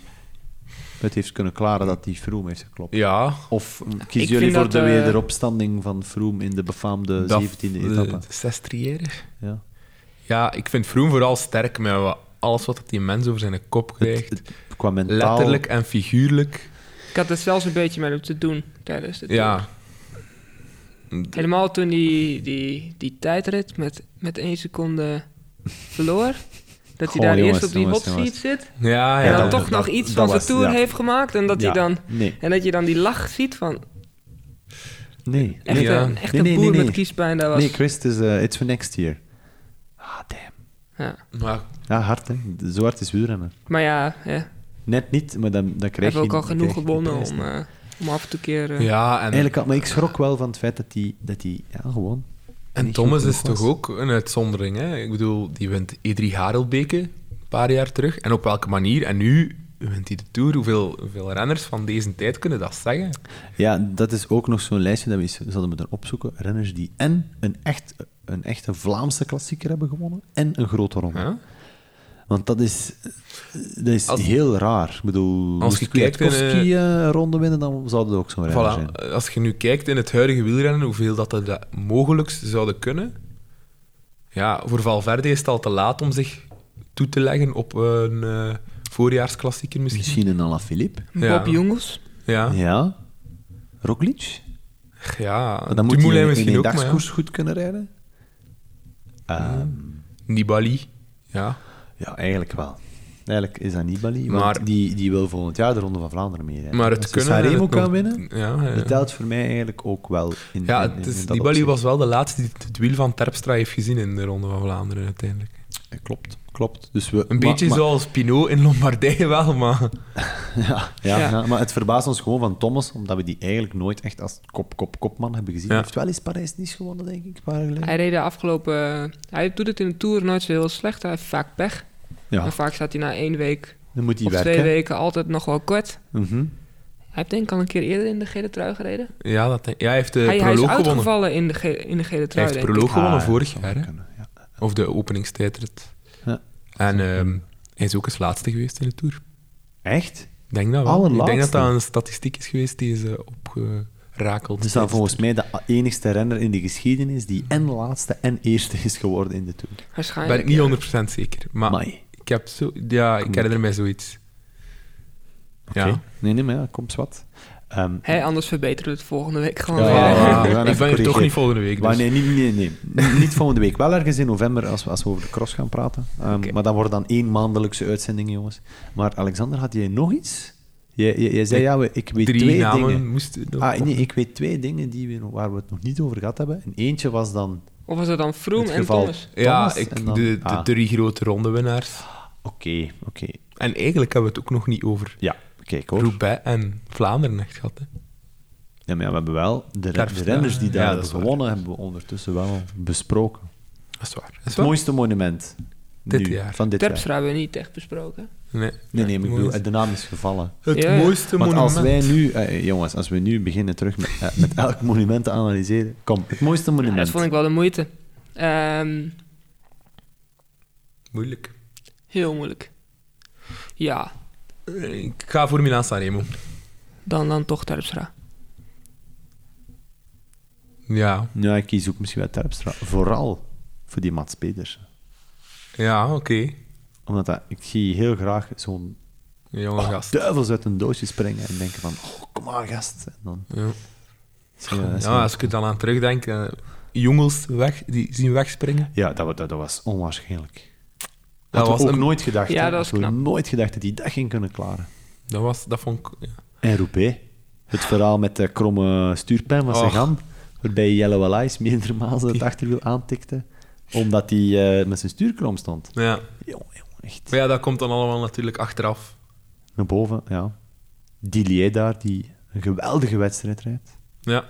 [SPEAKER 1] het heeft kunnen klaren dat hij Froome heeft geklopt.
[SPEAKER 2] Ja,
[SPEAKER 1] Of mm,
[SPEAKER 3] Ik
[SPEAKER 1] kiezen jullie
[SPEAKER 3] vind
[SPEAKER 1] voor de
[SPEAKER 3] dat, eh,
[SPEAKER 1] wederopstanding van Froome in de befaamde
[SPEAKER 2] dat-
[SPEAKER 1] 17e
[SPEAKER 2] de-
[SPEAKER 1] etappe?
[SPEAKER 2] De Sestriere.
[SPEAKER 1] Ja.
[SPEAKER 2] Ja, ik vind Froome vooral sterk met wa- alles wat die mens over zijn kop krijgt.
[SPEAKER 1] Qua mentaal...
[SPEAKER 2] Letterlijk en figuurlijk.
[SPEAKER 3] Ik had het zelfs een beetje met hem te doen tijdens de tour.
[SPEAKER 2] Ja,
[SPEAKER 3] Helemaal toen die, die, die tijdrit met, met één seconde verloor. Dat
[SPEAKER 1] Goh,
[SPEAKER 3] hij daar
[SPEAKER 1] jongens,
[SPEAKER 3] eerst op die
[SPEAKER 1] jongens,
[SPEAKER 3] hot seat zit.
[SPEAKER 2] ja, ja.
[SPEAKER 3] En dan
[SPEAKER 1] dat-
[SPEAKER 3] toch nog
[SPEAKER 1] dat-
[SPEAKER 3] iets
[SPEAKER 1] dat
[SPEAKER 3] van zijn
[SPEAKER 1] was-
[SPEAKER 3] tour
[SPEAKER 1] ja.
[SPEAKER 3] heeft gemaakt. En dat,
[SPEAKER 1] Ja,
[SPEAKER 3] hij dan,
[SPEAKER 1] Nee,
[SPEAKER 3] en dat je dan die lach ziet van...
[SPEAKER 1] nee.
[SPEAKER 3] Echt,
[SPEAKER 2] Ja.
[SPEAKER 3] een, echt
[SPEAKER 1] Nee,
[SPEAKER 3] een
[SPEAKER 1] nee,
[SPEAKER 3] boer
[SPEAKER 1] nee, nee.
[SPEAKER 3] met kiespijn dat was.
[SPEAKER 1] Nee, Chris, het is, eh, it's for next year. Ah, damn.
[SPEAKER 3] ja.
[SPEAKER 2] Maar
[SPEAKER 1] Ja, hard, hè. Zo hard is wielrennen.
[SPEAKER 3] Maar ja, hè,
[SPEAKER 1] Net niet, maar dan, dan krijg
[SPEAKER 3] heeft
[SPEAKER 1] je...
[SPEAKER 3] ook al
[SPEAKER 1] dan
[SPEAKER 3] genoeg
[SPEAKER 1] krijg je die
[SPEAKER 3] gewonnen
[SPEAKER 1] prijs
[SPEAKER 3] om,
[SPEAKER 1] niet.
[SPEAKER 3] eh, om af en toe een keer... eh,
[SPEAKER 2] Ja, en,
[SPEAKER 1] Eigenlijk, had- maar ik schrok wel van het feit dat hij... Dat hij ja, gewoon...
[SPEAKER 2] en
[SPEAKER 1] niet
[SPEAKER 2] Thomas
[SPEAKER 1] goed
[SPEAKER 2] is
[SPEAKER 1] genoeg
[SPEAKER 2] toch ook een uitzondering. Hè? Ik bedoel, die wint E3 Harelbeke een paar jaar terug. En op welke manier? En nu wint hij de Tour. Hoeveel, hoeveel renners van deze tijd kunnen dat zeggen?
[SPEAKER 1] Ja, dat is ook nog zo'n lijstje dat we eens zouden moeten opzoeken. Renners die en een, echt, een echte Vlaamse klassieker hebben gewonnen en een grote ronde.
[SPEAKER 2] Hè?
[SPEAKER 1] Want dat is, dat is
[SPEAKER 2] Als-
[SPEAKER 1] heel raar. Ik bedoel,
[SPEAKER 2] Als
[SPEAKER 1] moest
[SPEAKER 2] je kijkt in,
[SPEAKER 1] Kwiatkowski, eh, een ronde winnen, dan zou dat ook zo'n renner zijn.
[SPEAKER 2] Voilà. Als je nu kijkt in het huidige wielrennen, hoeveel dat er da- mogelijk zouden kunnen. Ja, voor Valverde is het al te laat om zich toe te leggen op een eh, voorjaarsklassieker misschien.
[SPEAKER 1] Misschien een Alaphilippe.
[SPEAKER 2] Ja.
[SPEAKER 3] Bob Jongens.
[SPEAKER 2] Ja, ja.
[SPEAKER 1] Ja. Roglic?
[SPEAKER 2] ja.
[SPEAKER 1] Dan moet
[SPEAKER 2] Ah, Dumoulin
[SPEAKER 1] hij in- in
[SPEAKER 2] misschien
[SPEAKER 1] een
[SPEAKER 2] ook, maar ja.
[SPEAKER 1] dagskoers goed kunnen rijden. Ehm,
[SPEAKER 2] Nibali. Ja.
[SPEAKER 1] Ja, eigenlijk wel. Eigenlijk is dat Nibali, want
[SPEAKER 2] Maar-
[SPEAKER 1] die, die wil volgend jaar de Ronde van Vlaanderen meerijden.
[SPEAKER 2] Maar het
[SPEAKER 1] Als je
[SPEAKER 2] kunnen... en
[SPEAKER 1] Sanremo
[SPEAKER 2] het
[SPEAKER 1] kan
[SPEAKER 2] nog-
[SPEAKER 1] winnen,
[SPEAKER 2] Ja, eh, ja.
[SPEAKER 1] dat telt voor mij eigenlijk ook wel. In,
[SPEAKER 2] Ja,
[SPEAKER 1] in- in-
[SPEAKER 2] het
[SPEAKER 1] in
[SPEAKER 2] is,
[SPEAKER 1] dat
[SPEAKER 2] Nibali
[SPEAKER 1] opzicht.
[SPEAKER 2] was wel de laatste die het wiel van Terpstra heeft gezien in de Ronde van Vlaanderen uiteindelijk.
[SPEAKER 1] Eh, Klopt, klopt. Dus we,
[SPEAKER 2] Een
[SPEAKER 1] maar-
[SPEAKER 2] beetje
[SPEAKER 1] maar-
[SPEAKER 2] zoals Pinot in Lombardije wel, maar...
[SPEAKER 1] Ja, ja,
[SPEAKER 3] Ja.
[SPEAKER 1] ja, maar het verbaast ons gewoon van Thomas, omdat we die eigenlijk nooit echt als kop-kop-kopman hebben gezien.
[SPEAKER 2] Ja.
[SPEAKER 1] Hij heeft wel eens Parijs niet gewonnen, denk ik, een paar jaar geleden.
[SPEAKER 3] Hij reed de afgelopen... eh, hij doet het in de Tour nooit zo heel slecht. Hij heeft vaak pech.
[SPEAKER 1] Ja,
[SPEAKER 3] Maar vaak staat hij na één week
[SPEAKER 1] dan moet hij
[SPEAKER 3] of
[SPEAKER 1] werken.
[SPEAKER 3] twee weken altijd nog wel kort.
[SPEAKER 1] Mhm.
[SPEAKER 3] Hij heeft denk ik al een keer eerder in de gele trui gereden.
[SPEAKER 2] Ja, dat denk- ja, hij heeft de
[SPEAKER 3] Ah, hij, hij is
[SPEAKER 2] Eh, proloog gewonnen.
[SPEAKER 3] uitgevallen in de, ge- in de gele
[SPEAKER 2] Hij
[SPEAKER 3] trui,
[SPEAKER 2] heeft de
[SPEAKER 3] denk ik.
[SPEAKER 2] proloog
[SPEAKER 1] Ah,
[SPEAKER 2] gewonnen
[SPEAKER 1] ja,
[SPEAKER 2] vorig
[SPEAKER 1] dat
[SPEAKER 2] jaar,
[SPEAKER 1] zou
[SPEAKER 2] hè.
[SPEAKER 1] kunnen, ja.
[SPEAKER 2] Of de openingstijdrit.
[SPEAKER 1] Ja.
[SPEAKER 2] En ehm, hij is ook eens laatste geweest in de Tour.
[SPEAKER 1] Echt?
[SPEAKER 2] Ik denk dat wel. Ik
[SPEAKER 1] Allerlaatste.
[SPEAKER 2] denk dat dat een statistiek is geweest die is eh, opgerakeld.
[SPEAKER 1] Het is dan Dus volgens mij de enigste renner in de geschiedenis die en laatste en eerste is geworden in de Tour.
[SPEAKER 2] ben
[SPEAKER 3] Waarschijnlijk.
[SPEAKER 2] ik niet 100% zeker. Maar
[SPEAKER 1] Amai.
[SPEAKER 2] ik heb zo... Ja, ik herinner mij zoiets.
[SPEAKER 1] Oké.
[SPEAKER 2] Ja.
[SPEAKER 1] Nee, nee, maar ja, komt wat. Ehm,
[SPEAKER 3] Hé, anders verbeteren we het volgende week gewoon
[SPEAKER 1] Ja,
[SPEAKER 3] weer.
[SPEAKER 1] ja, ja.
[SPEAKER 2] Ah,
[SPEAKER 1] we gaan even
[SPEAKER 2] ik ben hier toch
[SPEAKER 1] corrigeren.
[SPEAKER 2] niet volgende week. Dus.
[SPEAKER 1] Maar nee, nee, nee, nee. Niet- Niet volgende week. Wel ergens in november, als we, als we over de cross gaan praten. Ehm,
[SPEAKER 3] Oké.
[SPEAKER 1] Maar dat wordt dan één maandelijkse uitzending, jongens. Maar Alexander, had jij nog iets? Je, je, je zei,
[SPEAKER 2] Ik-
[SPEAKER 1] ja, we- ik weet
[SPEAKER 2] Drie
[SPEAKER 1] twee
[SPEAKER 2] namen
[SPEAKER 1] dingen.
[SPEAKER 2] moesten... nog
[SPEAKER 1] Ah,
[SPEAKER 2] op.
[SPEAKER 1] nee, ik weet twee dingen die we, waar we het nog niet over gehad hebben. En eentje was dan
[SPEAKER 3] Of was dat dan Vroom
[SPEAKER 1] het
[SPEAKER 3] en
[SPEAKER 1] geval
[SPEAKER 3] Thomas?
[SPEAKER 1] Thomas
[SPEAKER 2] ja, ik,
[SPEAKER 1] en dan-
[SPEAKER 2] de, de
[SPEAKER 1] ah, Oké,
[SPEAKER 2] drie grote rondewinnaars.
[SPEAKER 1] oké.
[SPEAKER 2] En eigenlijk hebben we het ook nog niet over
[SPEAKER 1] Ja, kijk hoor.
[SPEAKER 2] Roubaix en Vlaanderen echt gehad. Hè.
[SPEAKER 1] Ja, maar ja, we hebben wel de, re-
[SPEAKER 2] Daar-
[SPEAKER 1] de renners die
[SPEAKER 2] ja,
[SPEAKER 1] daar
[SPEAKER 2] dat
[SPEAKER 1] hebben
[SPEAKER 2] is waar.
[SPEAKER 1] gewonnen, hebben we ondertussen wel besproken.
[SPEAKER 2] Dat is waar. Dat is
[SPEAKER 1] Het
[SPEAKER 2] waar.
[SPEAKER 1] mooiste monument
[SPEAKER 2] Dit
[SPEAKER 1] nu,
[SPEAKER 2] jaar.
[SPEAKER 1] van dit jaar.
[SPEAKER 3] Terpstra hebben we niet echt besproken.
[SPEAKER 2] Nee,
[SPEAKER 1] Nee, nee, maar ik bedoel,
[SPEAKER 2] het,
[SPEAKER 1] de naam is gevallen.
[SPEAKER 2] het
[SPEAKER 3] Ja, ja.
[SPEAKER 2] mooiste
[SPEAKER 1] Want
[SPEAKER 2] monument.
[SPEAKER 1] als wij nu, eh, jongens, als we nu beginnen terug met, eh, met elk monument te analyseren, kom, het mooiste
[SPEAKER 3] Ja, dat
[SPEAKER 1] monument.
[SPEAKER 3] vond ik wel de moeite. Ehm,
[SPEAKER 2] Moeilijk.
[SPEAKER 3] heel moeilijk. Ja,
[SPEAKER 2] Eh, Ik ga voor Milaan Sanremo.
[SPEAKER 3] dan, dan toch Terpstra.
[SPEAKER 2] Ja,
[SPEAKER 1] Ja, ik kies ook misschien wel Terpstra. Vooral voor die Mats Pedersen.
[SPEAKER 2] ja oké.
[SPEAKER 1] Omdat dat, ik zie heel graag zo'n
[SPEAKER 2] Jonge
[SPEAKER 1] Oh,
[SPEAKER 2] Oh, gast.
[SPEAKER 1] duivels uit een doosje springen en denken van, oh, kom maar gast. En dan eh,
[SPEAKER 2] Ja.
[SPEAKER 1] zijn we- zijn we-
[SPEAKER 2] Ja, als ik er dan aan terugdenk, eh, jongens weg, die zien wegspringen.
[SPEAKER 1] ja dat, wa- dat, dat was onwaarschijnlijk.
[SPEAKER 2] Dat
[SPEAKER 1] Dat was
[SPEAKER 2] was
[SPEAKER 1] ook
[SPEAKER 2] een-
[SPEAKER 1] nooit gedacht.
[SPEAKER 3] Ja,
[SPEAKER 1] hè.
[SPEAKER 3] dat was
[SPEAKER 1] Hadden we
[SPEAKER 3] knap.
[SPEAKER 1] nooit gedacht dat die dat ging kunnen klaren.
[SPEAKER 2] Dat, was, dat vond ik... ja.
[SPEAKER 1] En Roubaix. Het verhaal met de kromme stuurpijn van
[SPEAKER 2] Och.
[SPEAKER 1] Sagan, waarbij Jelle Wallace meerdere malen het achterwiel aantikte, omdat hij eh, met zijn stuur krom stond.
[SPEAKER 2] Ja.
[SPEAKER 1] Jongen, jongen, echt.
[SPEAKER 2] Maar ja, dat komt dan allemaal natuurlijk achteraf.
[SPEAKER 1] Naar boven, ja. Dillier daar, die een geweldige wedstrijd rijdt.
[SPEAKER 2] Ja.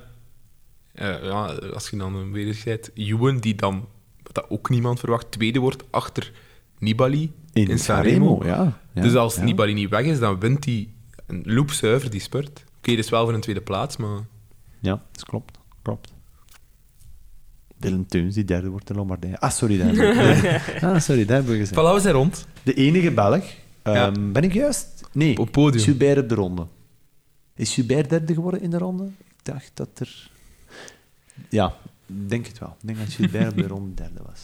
[SPEAKER 2] Eh, ja, als je dan een wederzijd... Juwen, die dan, wat dat ook niemand verwacht, tweede wordt achter Nibali in, Sanremo.
[SPEAKER 1] ja. ja,
[SPEAKER 2] dus als
[SPEAKER 1] ja.
[SPEAKER 2] Nibali niet weg is, dan wint hij een loopzuiver, die spurt. Oké, dus wel voor een tweede plaats, maar...
[SPEAKER 1] Ja, dat klopt. Klopt. Dylan Teuns, die derde wordt in Lombardije. Ah, sorry, daar hebben we, ah, sorry, daar hebben we gezegd.
[SPEAKER 2] Voilà, we zijn rond.
[SPEAKER 1] De enige Belg.
[SPEAKER 2] Ja.
[SPEAKER 1] Ehm, Ben ik juist? Nee.
[SPEAKER 2] Op podium.
[SPEAKER 1] Gilbert op de ronde. Is Gilbert derde geworden in de ronde? Ik dacht dat er... Ja, ik denk het wel. Ik denk dat Gilbert op de ronde derde was.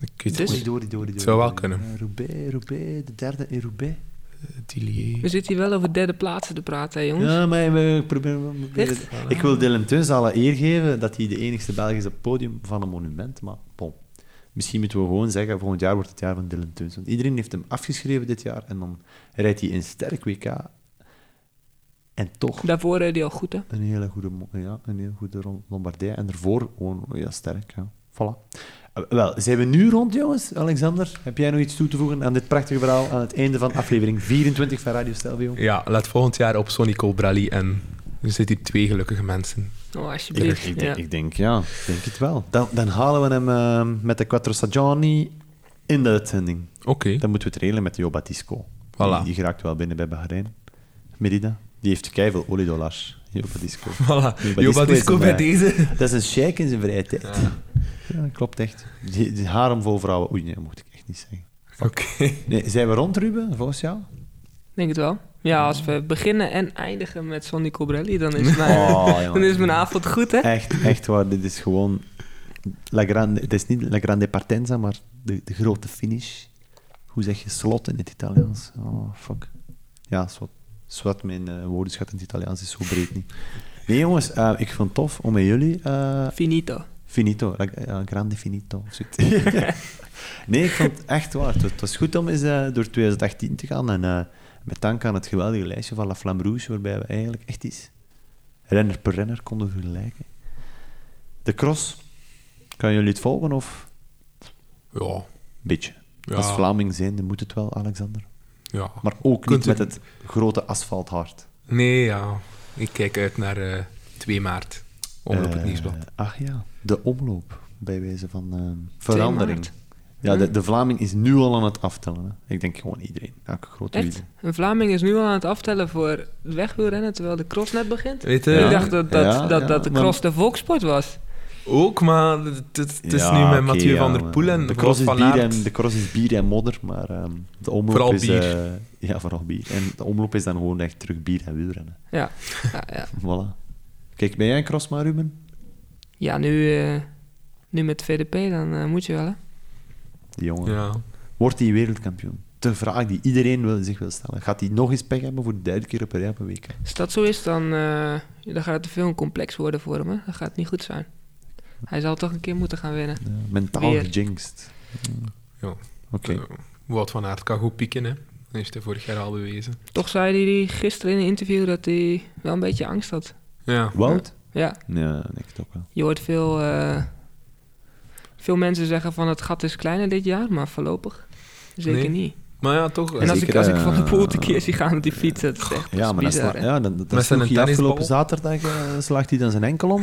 [SPEAKER 2] Ik weet
[SPEAKER 3] Dus-
[SPEAKER 2] het
[SPEAKER 1] Oei,
[SPEAKER 2] niet.
[SPEAKER 1] dorie, dorie, dorie,
[SPEAKER 2] zou wel
[SPEAKER 1] dorie.
[SPEAKER 2] kunnen.
[SPEAKER 1] Eh, Roubaix, Roubaix, de derde in Roubaix.
[SPEAKER 3] We
[SPEAKER 2] Tillier.
[SPEAKER 3] zitten hier wel over derde plaatsen te praten, hè, jongens.
[SPEAKER 1] Ja, maar we proberen... we proberen-
[SPEAKER 3] Echt?
[SPEAKER 1] Ik wil Dylan Teuns alle eer geven dat hij de enigste Belg is op het podium van een monument, maar bon. Misschien moeten we gewoon zeggen, volgend jaar wordt het jaar van Dylan Teuns. Want iedereen heeft hem afgeschreven dit jaar en dan rijdt hij een sterk WK. En toch
[SPEAKER 3] Daarvoor eh, die al goed, hè.
[SPEAKER 1] een hele goede, mo- ja, een hele goede Ron- Lombardij. En daarvoor gewoon ja, sterk. Ja. Voilà. Eh, Wel, zijn we nu rond, jongens? Alexander, heb jij nog iets toe te voegen aan dit prachtige verhaal aan het einde van aflevering 24 van Radio Stelvio?
[SPEAKER 2] Ja, laat volgend jaar op Sonny Colbrelli en er zitten hier twee gelukkige mensen.
[SPEAKER 3] Oh,
[SPEAKER 1] Ik, denk-
[SPEAKER 3] alsjeblieft.
[SPEAKER 1] ik, denk,
[SPEAKER 3] ja.
[SPEAKER 1] ik denk, ja, ik denk het wel. Dan, dan halen we hem eh, met de Quattro Stagioni in de uitzending.
[SPEAKER 2] Oké,
[SPEAKER 1] Dan moeten we het regelen met Jo Batisco.
[SPEAKER 2] Voilà.
[SPEAKER 1] Die, die geraakt wel binnen bij Bahrein. Merida, die heeft keiveel oliedollars. Jo Batisco.
[SPEAKER 2] voilà.
[SPEAKER 1] Disco
[SPEAKER 2] Joba
[SPEAKER 1] is
[SPEAKER 2] Disco bij
[SPEAKER 1] erbij.
[SPEAKER 2] deze.
[SPEAKER 1] Dat is een sheik in zijn vrije tijd. Ja, klopt echt. Die, die harem vol vrouwen. Oei, nee, dat mocht ik echt niet zeggen.
[SPEAKER 2] Oké.
[SPEAKER 1] Nee, zijn we rond, Ruben, volgens jou?
[SPEAKER 3] Denk het wel. Ja, als we beginnen en eindigen met Sonny Cobrelli, dan is mijn,
[SPEAKER 1] Oh, jongen.
[SPEAKER 3] dan is mijn avond goed, hè.
[SPEAKER 1] Echt, echt waar. Dit is gewoon... La grande, het is niet La Grande Partenza, maar de, de grote finish. Hoe zeg je slot in het Italiaans? Oh, fuck. Ja, slot. Zwart, mijn eh, woordenschat in het Italiaans is zo breed niet. Nee, jongens, eh, ik vond het tof om met jullie eh,
[SPEAKER 3] Finito.
[SPEAKER 1] Finito, la- eh, grande finito. of zoiets. nee, ik vond het echt waar. Het, het was goed om eens eh, door 2018 te gaan. En eh, met dank aan het geweldige lijstje van La Flamme Rouge, waarbij we eigenlijk echt iets renner per renner konden vergelijken. De cross, kan jullie het volgen of?
[SPEAKER 2] Ja,
[SPEAKER 1] Beetje.
[SPEAKER 2] Ja.
[SPEAKER 1] Als Vlaming zijnde moet het wel, Alexander.
[SPEAKER 2] ja.
[SPEAKER 1] Maar ook
[SPEAKER 2] Kunt
[SPEAKER 1] niet met
[SPEAKER 2] u-
[SPEAKER 1] het grote asfalthart.
[SPEAKER 2] Nee, ja. Ik kijk uit naar eh 2 maart. Omloop het
[SPEAKER 1] Eh,
[SPEAKER 2] nieuwsblad.
[SPEAKER 1] Ach ja, de omloop, bij wijze van eh, verandering.
[SPEAKER 3] maart.
[SPEAKER 1] Ja, de, de Vlaming is nu al aan het aftellen. Hè. Ik denk gewoon iedereen, elke grote
[SPEAKER 3] Echt?
[SPEAKER 1] wieler.
[SPEAKER 3] Een Vlaming is nu al aan het aftellen voor wegwielrennen, terwijl de cross net begint.
[SPEAKER 2] Weet je,
[SPEAKER 1] Ja.
[SPEAKER 3] ik dacht dat, dat,
[SPEAKER 1] Ja,
[SPEAKER 3] dat,
[SPEAKER 1] ja,
[SPEAKER 3] dat de
[SPEAKER 1] maar-
[SPEAKER 3] cross de volkssport was.
[SPEAKER 2] ook, maar het, het- het is
[SPEAKER 1] Ja,
[SPEAKER 2] nu met
[SPEAKER 1] oké,
[SPEAKER 2] Mathieu
[SPEAKER 1] ja,
[SPEAKER 2] van der
[SPEAKER 1] maar
[SPEAKER 2] Poel en
[SPEAKER 1] de
[SPEAKER 2] Wout
[SPEAKER 1] cross, is
[SPEAKER 2] van
[SPEAKER 1] bier
[SPEAKER 2] Aert.
[SPEAKER 1] en, de cross is bier en modder, maar ehm, de omloop
[SPEAKER 2] Vooral
[SPEAKER 1] is...
[SPEAKER 2] bier.
[SPEAKER 1] eh, ja, vooral bier. En de omloop is dan gewoon echt terug bier en wielrennen.
[SPEAKER 3] Ja, ja, ja.
[SPEAKER 1] Voilà. Kijk, ben jij een cross, maar Ruben?
[SPEAKER 3] ja nu, eh, nu met VDP, dan eh, moet je wel, hè.
[SPEAKER 1] Die jongen.
[SPEAKER 2] Ja.
[SPEAKER 1] Wordt hij wereldkampioen? De vraag die iedereen wil, zich wil stellen. Gaat hij nog eens pech hebben voor de derde keer op een rij op een week?
[SPEAKER 3] Als dat zo is, dan, eh, dan gaat het te veel een complex worden voor hem, hè. Dat gaat niet goed zijn. Hij zal toch een keer moeten gaan winnen.
[SPEAKER 1] Ja, mentaal
[SPEAKER 3] Weer.
[SPEAKER 1] gejinxed.
[SPEAKER 2] Ja.
[SPEAKER 1] Oké.
[SPEAKER 2] Eh, Wout van Aert kan goed pieken, hè. Dat heeft hij vorig jaar al bewezen.
[SPEAKER 3] Toch zei hij gisteren in een interview dat hij wel een beetje angst had.
[SPEAKER 2] Ja.
[SPEAKER 1] Wout?
[SPEAKER 3] Ja,
[SPEAKER 1] Ja, ik toch wel.
[SPEAKER 3] je hoort veel, eh, veel mensen zeggen van het gat is kleiner dit jaar, maar voorlopig zeker
[SPEAKER 2] Nee.
[SPEAKER 3] niet.
[SPEAKER 2] Maar ja, toch.
[SPEAKER 3] En als,
[SPEAKER 1] Zeker,
[SPEAKER 3] ik, als ik
[SPEAKER 1] eh,
[SPEAKER 3] van de poel te keer zie gaan met die fiets, dat is echt
[SPEAKER 1] Ja, maar dat
[SPEAKER 3] bizar.
[SPEAKER 1] sla-
[SPEAKER 3] hè.
[SPEAKER 1] ja, dan, dat,
[SPEAKER 2] Maar
[SPEAKER 1] dat
[SPEAKER 2] is dat
[SPEAKER 1] sloeg
[SPEAKER 2] een
[SPEAKER 1] hij afgelopen
[SPEAKER 2] tennisbal?
[SPEAKER 1] zaterdag, eh, slaagt hij dan zijn enkel om.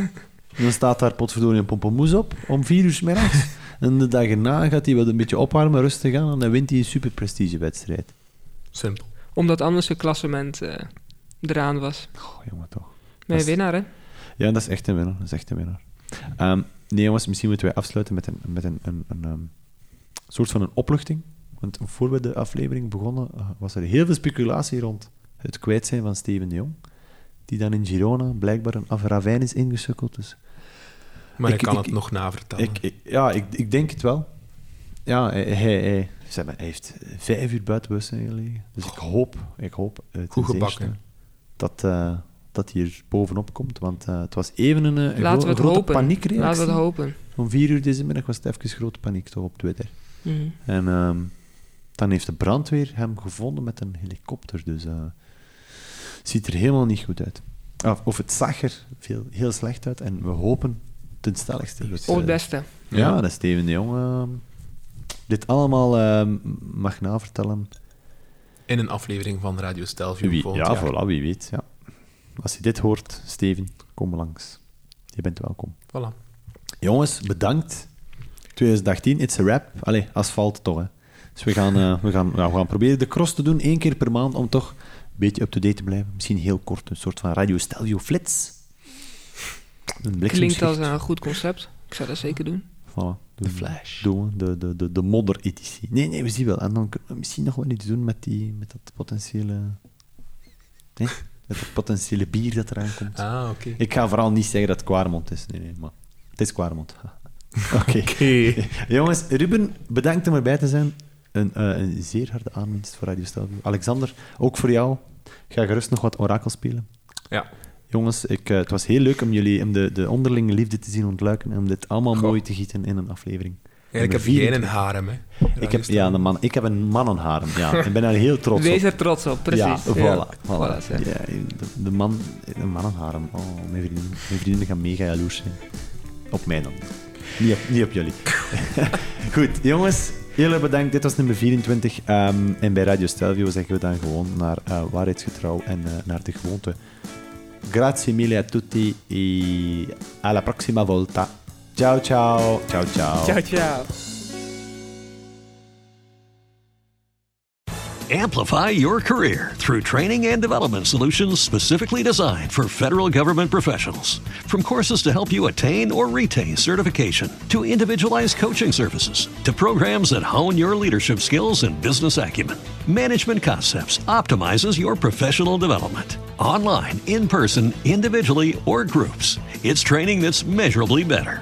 [SPEAKER 1] En Dan staat daar potverdorie een pompoenmoes op, om vier uur 's middags. En de dag erna gaat hij wel een beetje opwarmen, rustig aan, en dan wint hij een superprestigewedstrijd.
[SPEAKER 2] Simpel.
[SPEAKER 3] Omdat anders het klassement eh, eraan was.
[SPEAKER 1] Goh, jongen, toch. Dat
[SPEAKER 3] Nee,
[SPEAKER 1] is-
[SPEAKER 3] winnaar hè?
[SPEAKER 1] Ja, dat is echt een winnaar. Dat is echt een winnaar. Ehm, nee, jongens, misschien moeten wij afsluiten met een, met een, een, een, ehm, soort van een opluchting. Want voor we de aflevering begonnen, eh, was er heel veel speculatie rond het kwijt zijn van Steven de Jong. Die dan in Girona blijkbaar een afravijn is ingesukkeld. Dus
[SPEAKER 2] Maar
[SPEAKER 1] Ik-
[SPEAKER 2] ik, kan
[SPEAKER 1] ik-
[SPEAKER 2] het
[SPEAKER 1] ik-
[SPEAKER 2] nog navertellen.
[SPEAKER 1] ik, ik- ja, ik, ik denk het wel. Ja, hij, hij, hij- zeg maar, hij heeft vijf uur buiten bewustzijn gelegen. Dus ik hoop, ik hoop eh, ten
[SPEAKER 2] Goed gebakken.
[SPEAKER 1] zeerste dat, eh, dat hij er bovenop komt. Want eh, het was even een, eh, een
[SPEAKER 3] Laten
[SPEAKER 1] gro-
[SPEAKER 3] we het
[SPEAKER 1] grote
[SPEAKER 3] hopen.
[SPEAKER 1] paniekreactie.
[SPEAKER 3] Laten we het hopen.
[SPEAKER 1] Om vier uur deze middag was het even grote paniek toch op Twitter.
[SPEAKER 3] Mhm.
[SPEAKER 1] En ehm, dan heeft de brandweer hem gevonden met een helikopter. Dus eh ziet er helemaal niet goed uit. Of, of het zag er veel, heel slecht uit. En we hopen ten stelligste. dat,
[SPEAKER 3] Op het
[SPEAKER 1] eh,
[SPEAKER 3] beste.
[SPEAKER 1] Ja, dat is Steven de Jong. ehm, dit allemaal ehm, mag navertellen.
[SPEAKER 2] In een aflevering van Radio Stelvio.
[SPEAKER 1] Wie-
[SPEAKER 2] volgend
[SPEAKER 1] ja,
[SPEAKER 2] jaar.
[SPEAKER 1] voilà, wie weet. Ja. Als je dit hoort, Steven, kom langs. Je bent welkom.
[SPEAKER 2] Voilà.
[SPEAKER 1] Jongens, bedankt. 2018, it's a wrap. Allee, asfalt toch, hè. Dus we gaan, eh, we, gaan, nou, we gaan proberen de cross te doen, één keer per maand, om toch een beetje up-to-date te blijven. Misschien heel kort, een soort van Radio Stelvio Flits. Een
[SPEAKER 3] Klinkt als
[SPEAKER 1] bliksemschicht.
[SPEAKER 3] een goed concept. Ik zou dat zeker doen.
[SPEAKER 1] Voilà.
[SPEAKER 2] De Flash.
[SPEAKER 1] Doen we de, de, de, de modder-editie. Nee, nee, we zien wel. En dan kunnen we misschien nog wel iets doen met, die, met dat potentiële... Nee, met dat potentiële bier dat eraan komt.
[SPEAKER 2] Ah, oké.
[SPEAKER 1] Ik ga vooral niet zeggen dat het Quaremont is. Nee, nee, maar het is Quaremont. Oké. Jongens, Ruben, bedankt om erbij te zijn. Een, eh, een zeer harde aanwinst voor Radio Stelvio. Alexander, ook voor jou. Ga gerust nog wat orakel spelen.
[SPEAKER 2] Ja.
[SPEAKER 1] Jongens, ik, eh, het was heel leuk om jullie om de, de onderlinge liefde te zien ontluiken en om dit allemaal
[SPEAKER 2] Goh.
[SPEAKER 1] mooi te gieten in een aflevering.
[SPEAKER 2] En ik
[SPEAKER 1] Nummer
[SPEAKER 2] heb geen
[SPEAKER 1] 24.
[SPEAKER 2] harem, hè.
[SPEAKER 1] Ik
[SPEAKER 2] Radio
[SPEAKER 1] heb, ja,
[SPEAKER 2] Stelvio.
[SPEAKER 1] een man, ik heb een mannenharem. Ja. ik ben daar heel trots
[SPEAKER 3] Wees
[SPEAKER 1] op.
[SPEAKER 3] er trots op, precies.
[SPEAKER 1] Ja, voilà. voilà.
[SPEAKER 3] Voilà, zeg.
[SPEAKER 1] Ja, de, de man, de mannenharem. Oh, mijn vrienden, mijn vrienden gaan mega jaloers zijn. Op mij dan. Niet op, niet op jullie. Goed, jongens. Heel erg bedankt. Dit was nummer 24. Ehm, en bij Radio Stelvio zeggen we dan gewoon naar eh, waarheidsgetrouw en eh, naar de gewoonte. Grazie mille a tutti e alla prossima volta. Ciao, ciao. Ciao, ciao.
[SPEAKER 3] Ciao, ciao.
[SPEAKER 5] Amplify your career through training and development solutions specifically designed for federal government professionals. From courses to help you attain or retain certification, to individualized coaching services, to programs that hone your leadership skills and business acumen, Management Concepts optimizes your professional development. Online, in person, individually, or groups, it's training that's measurably better.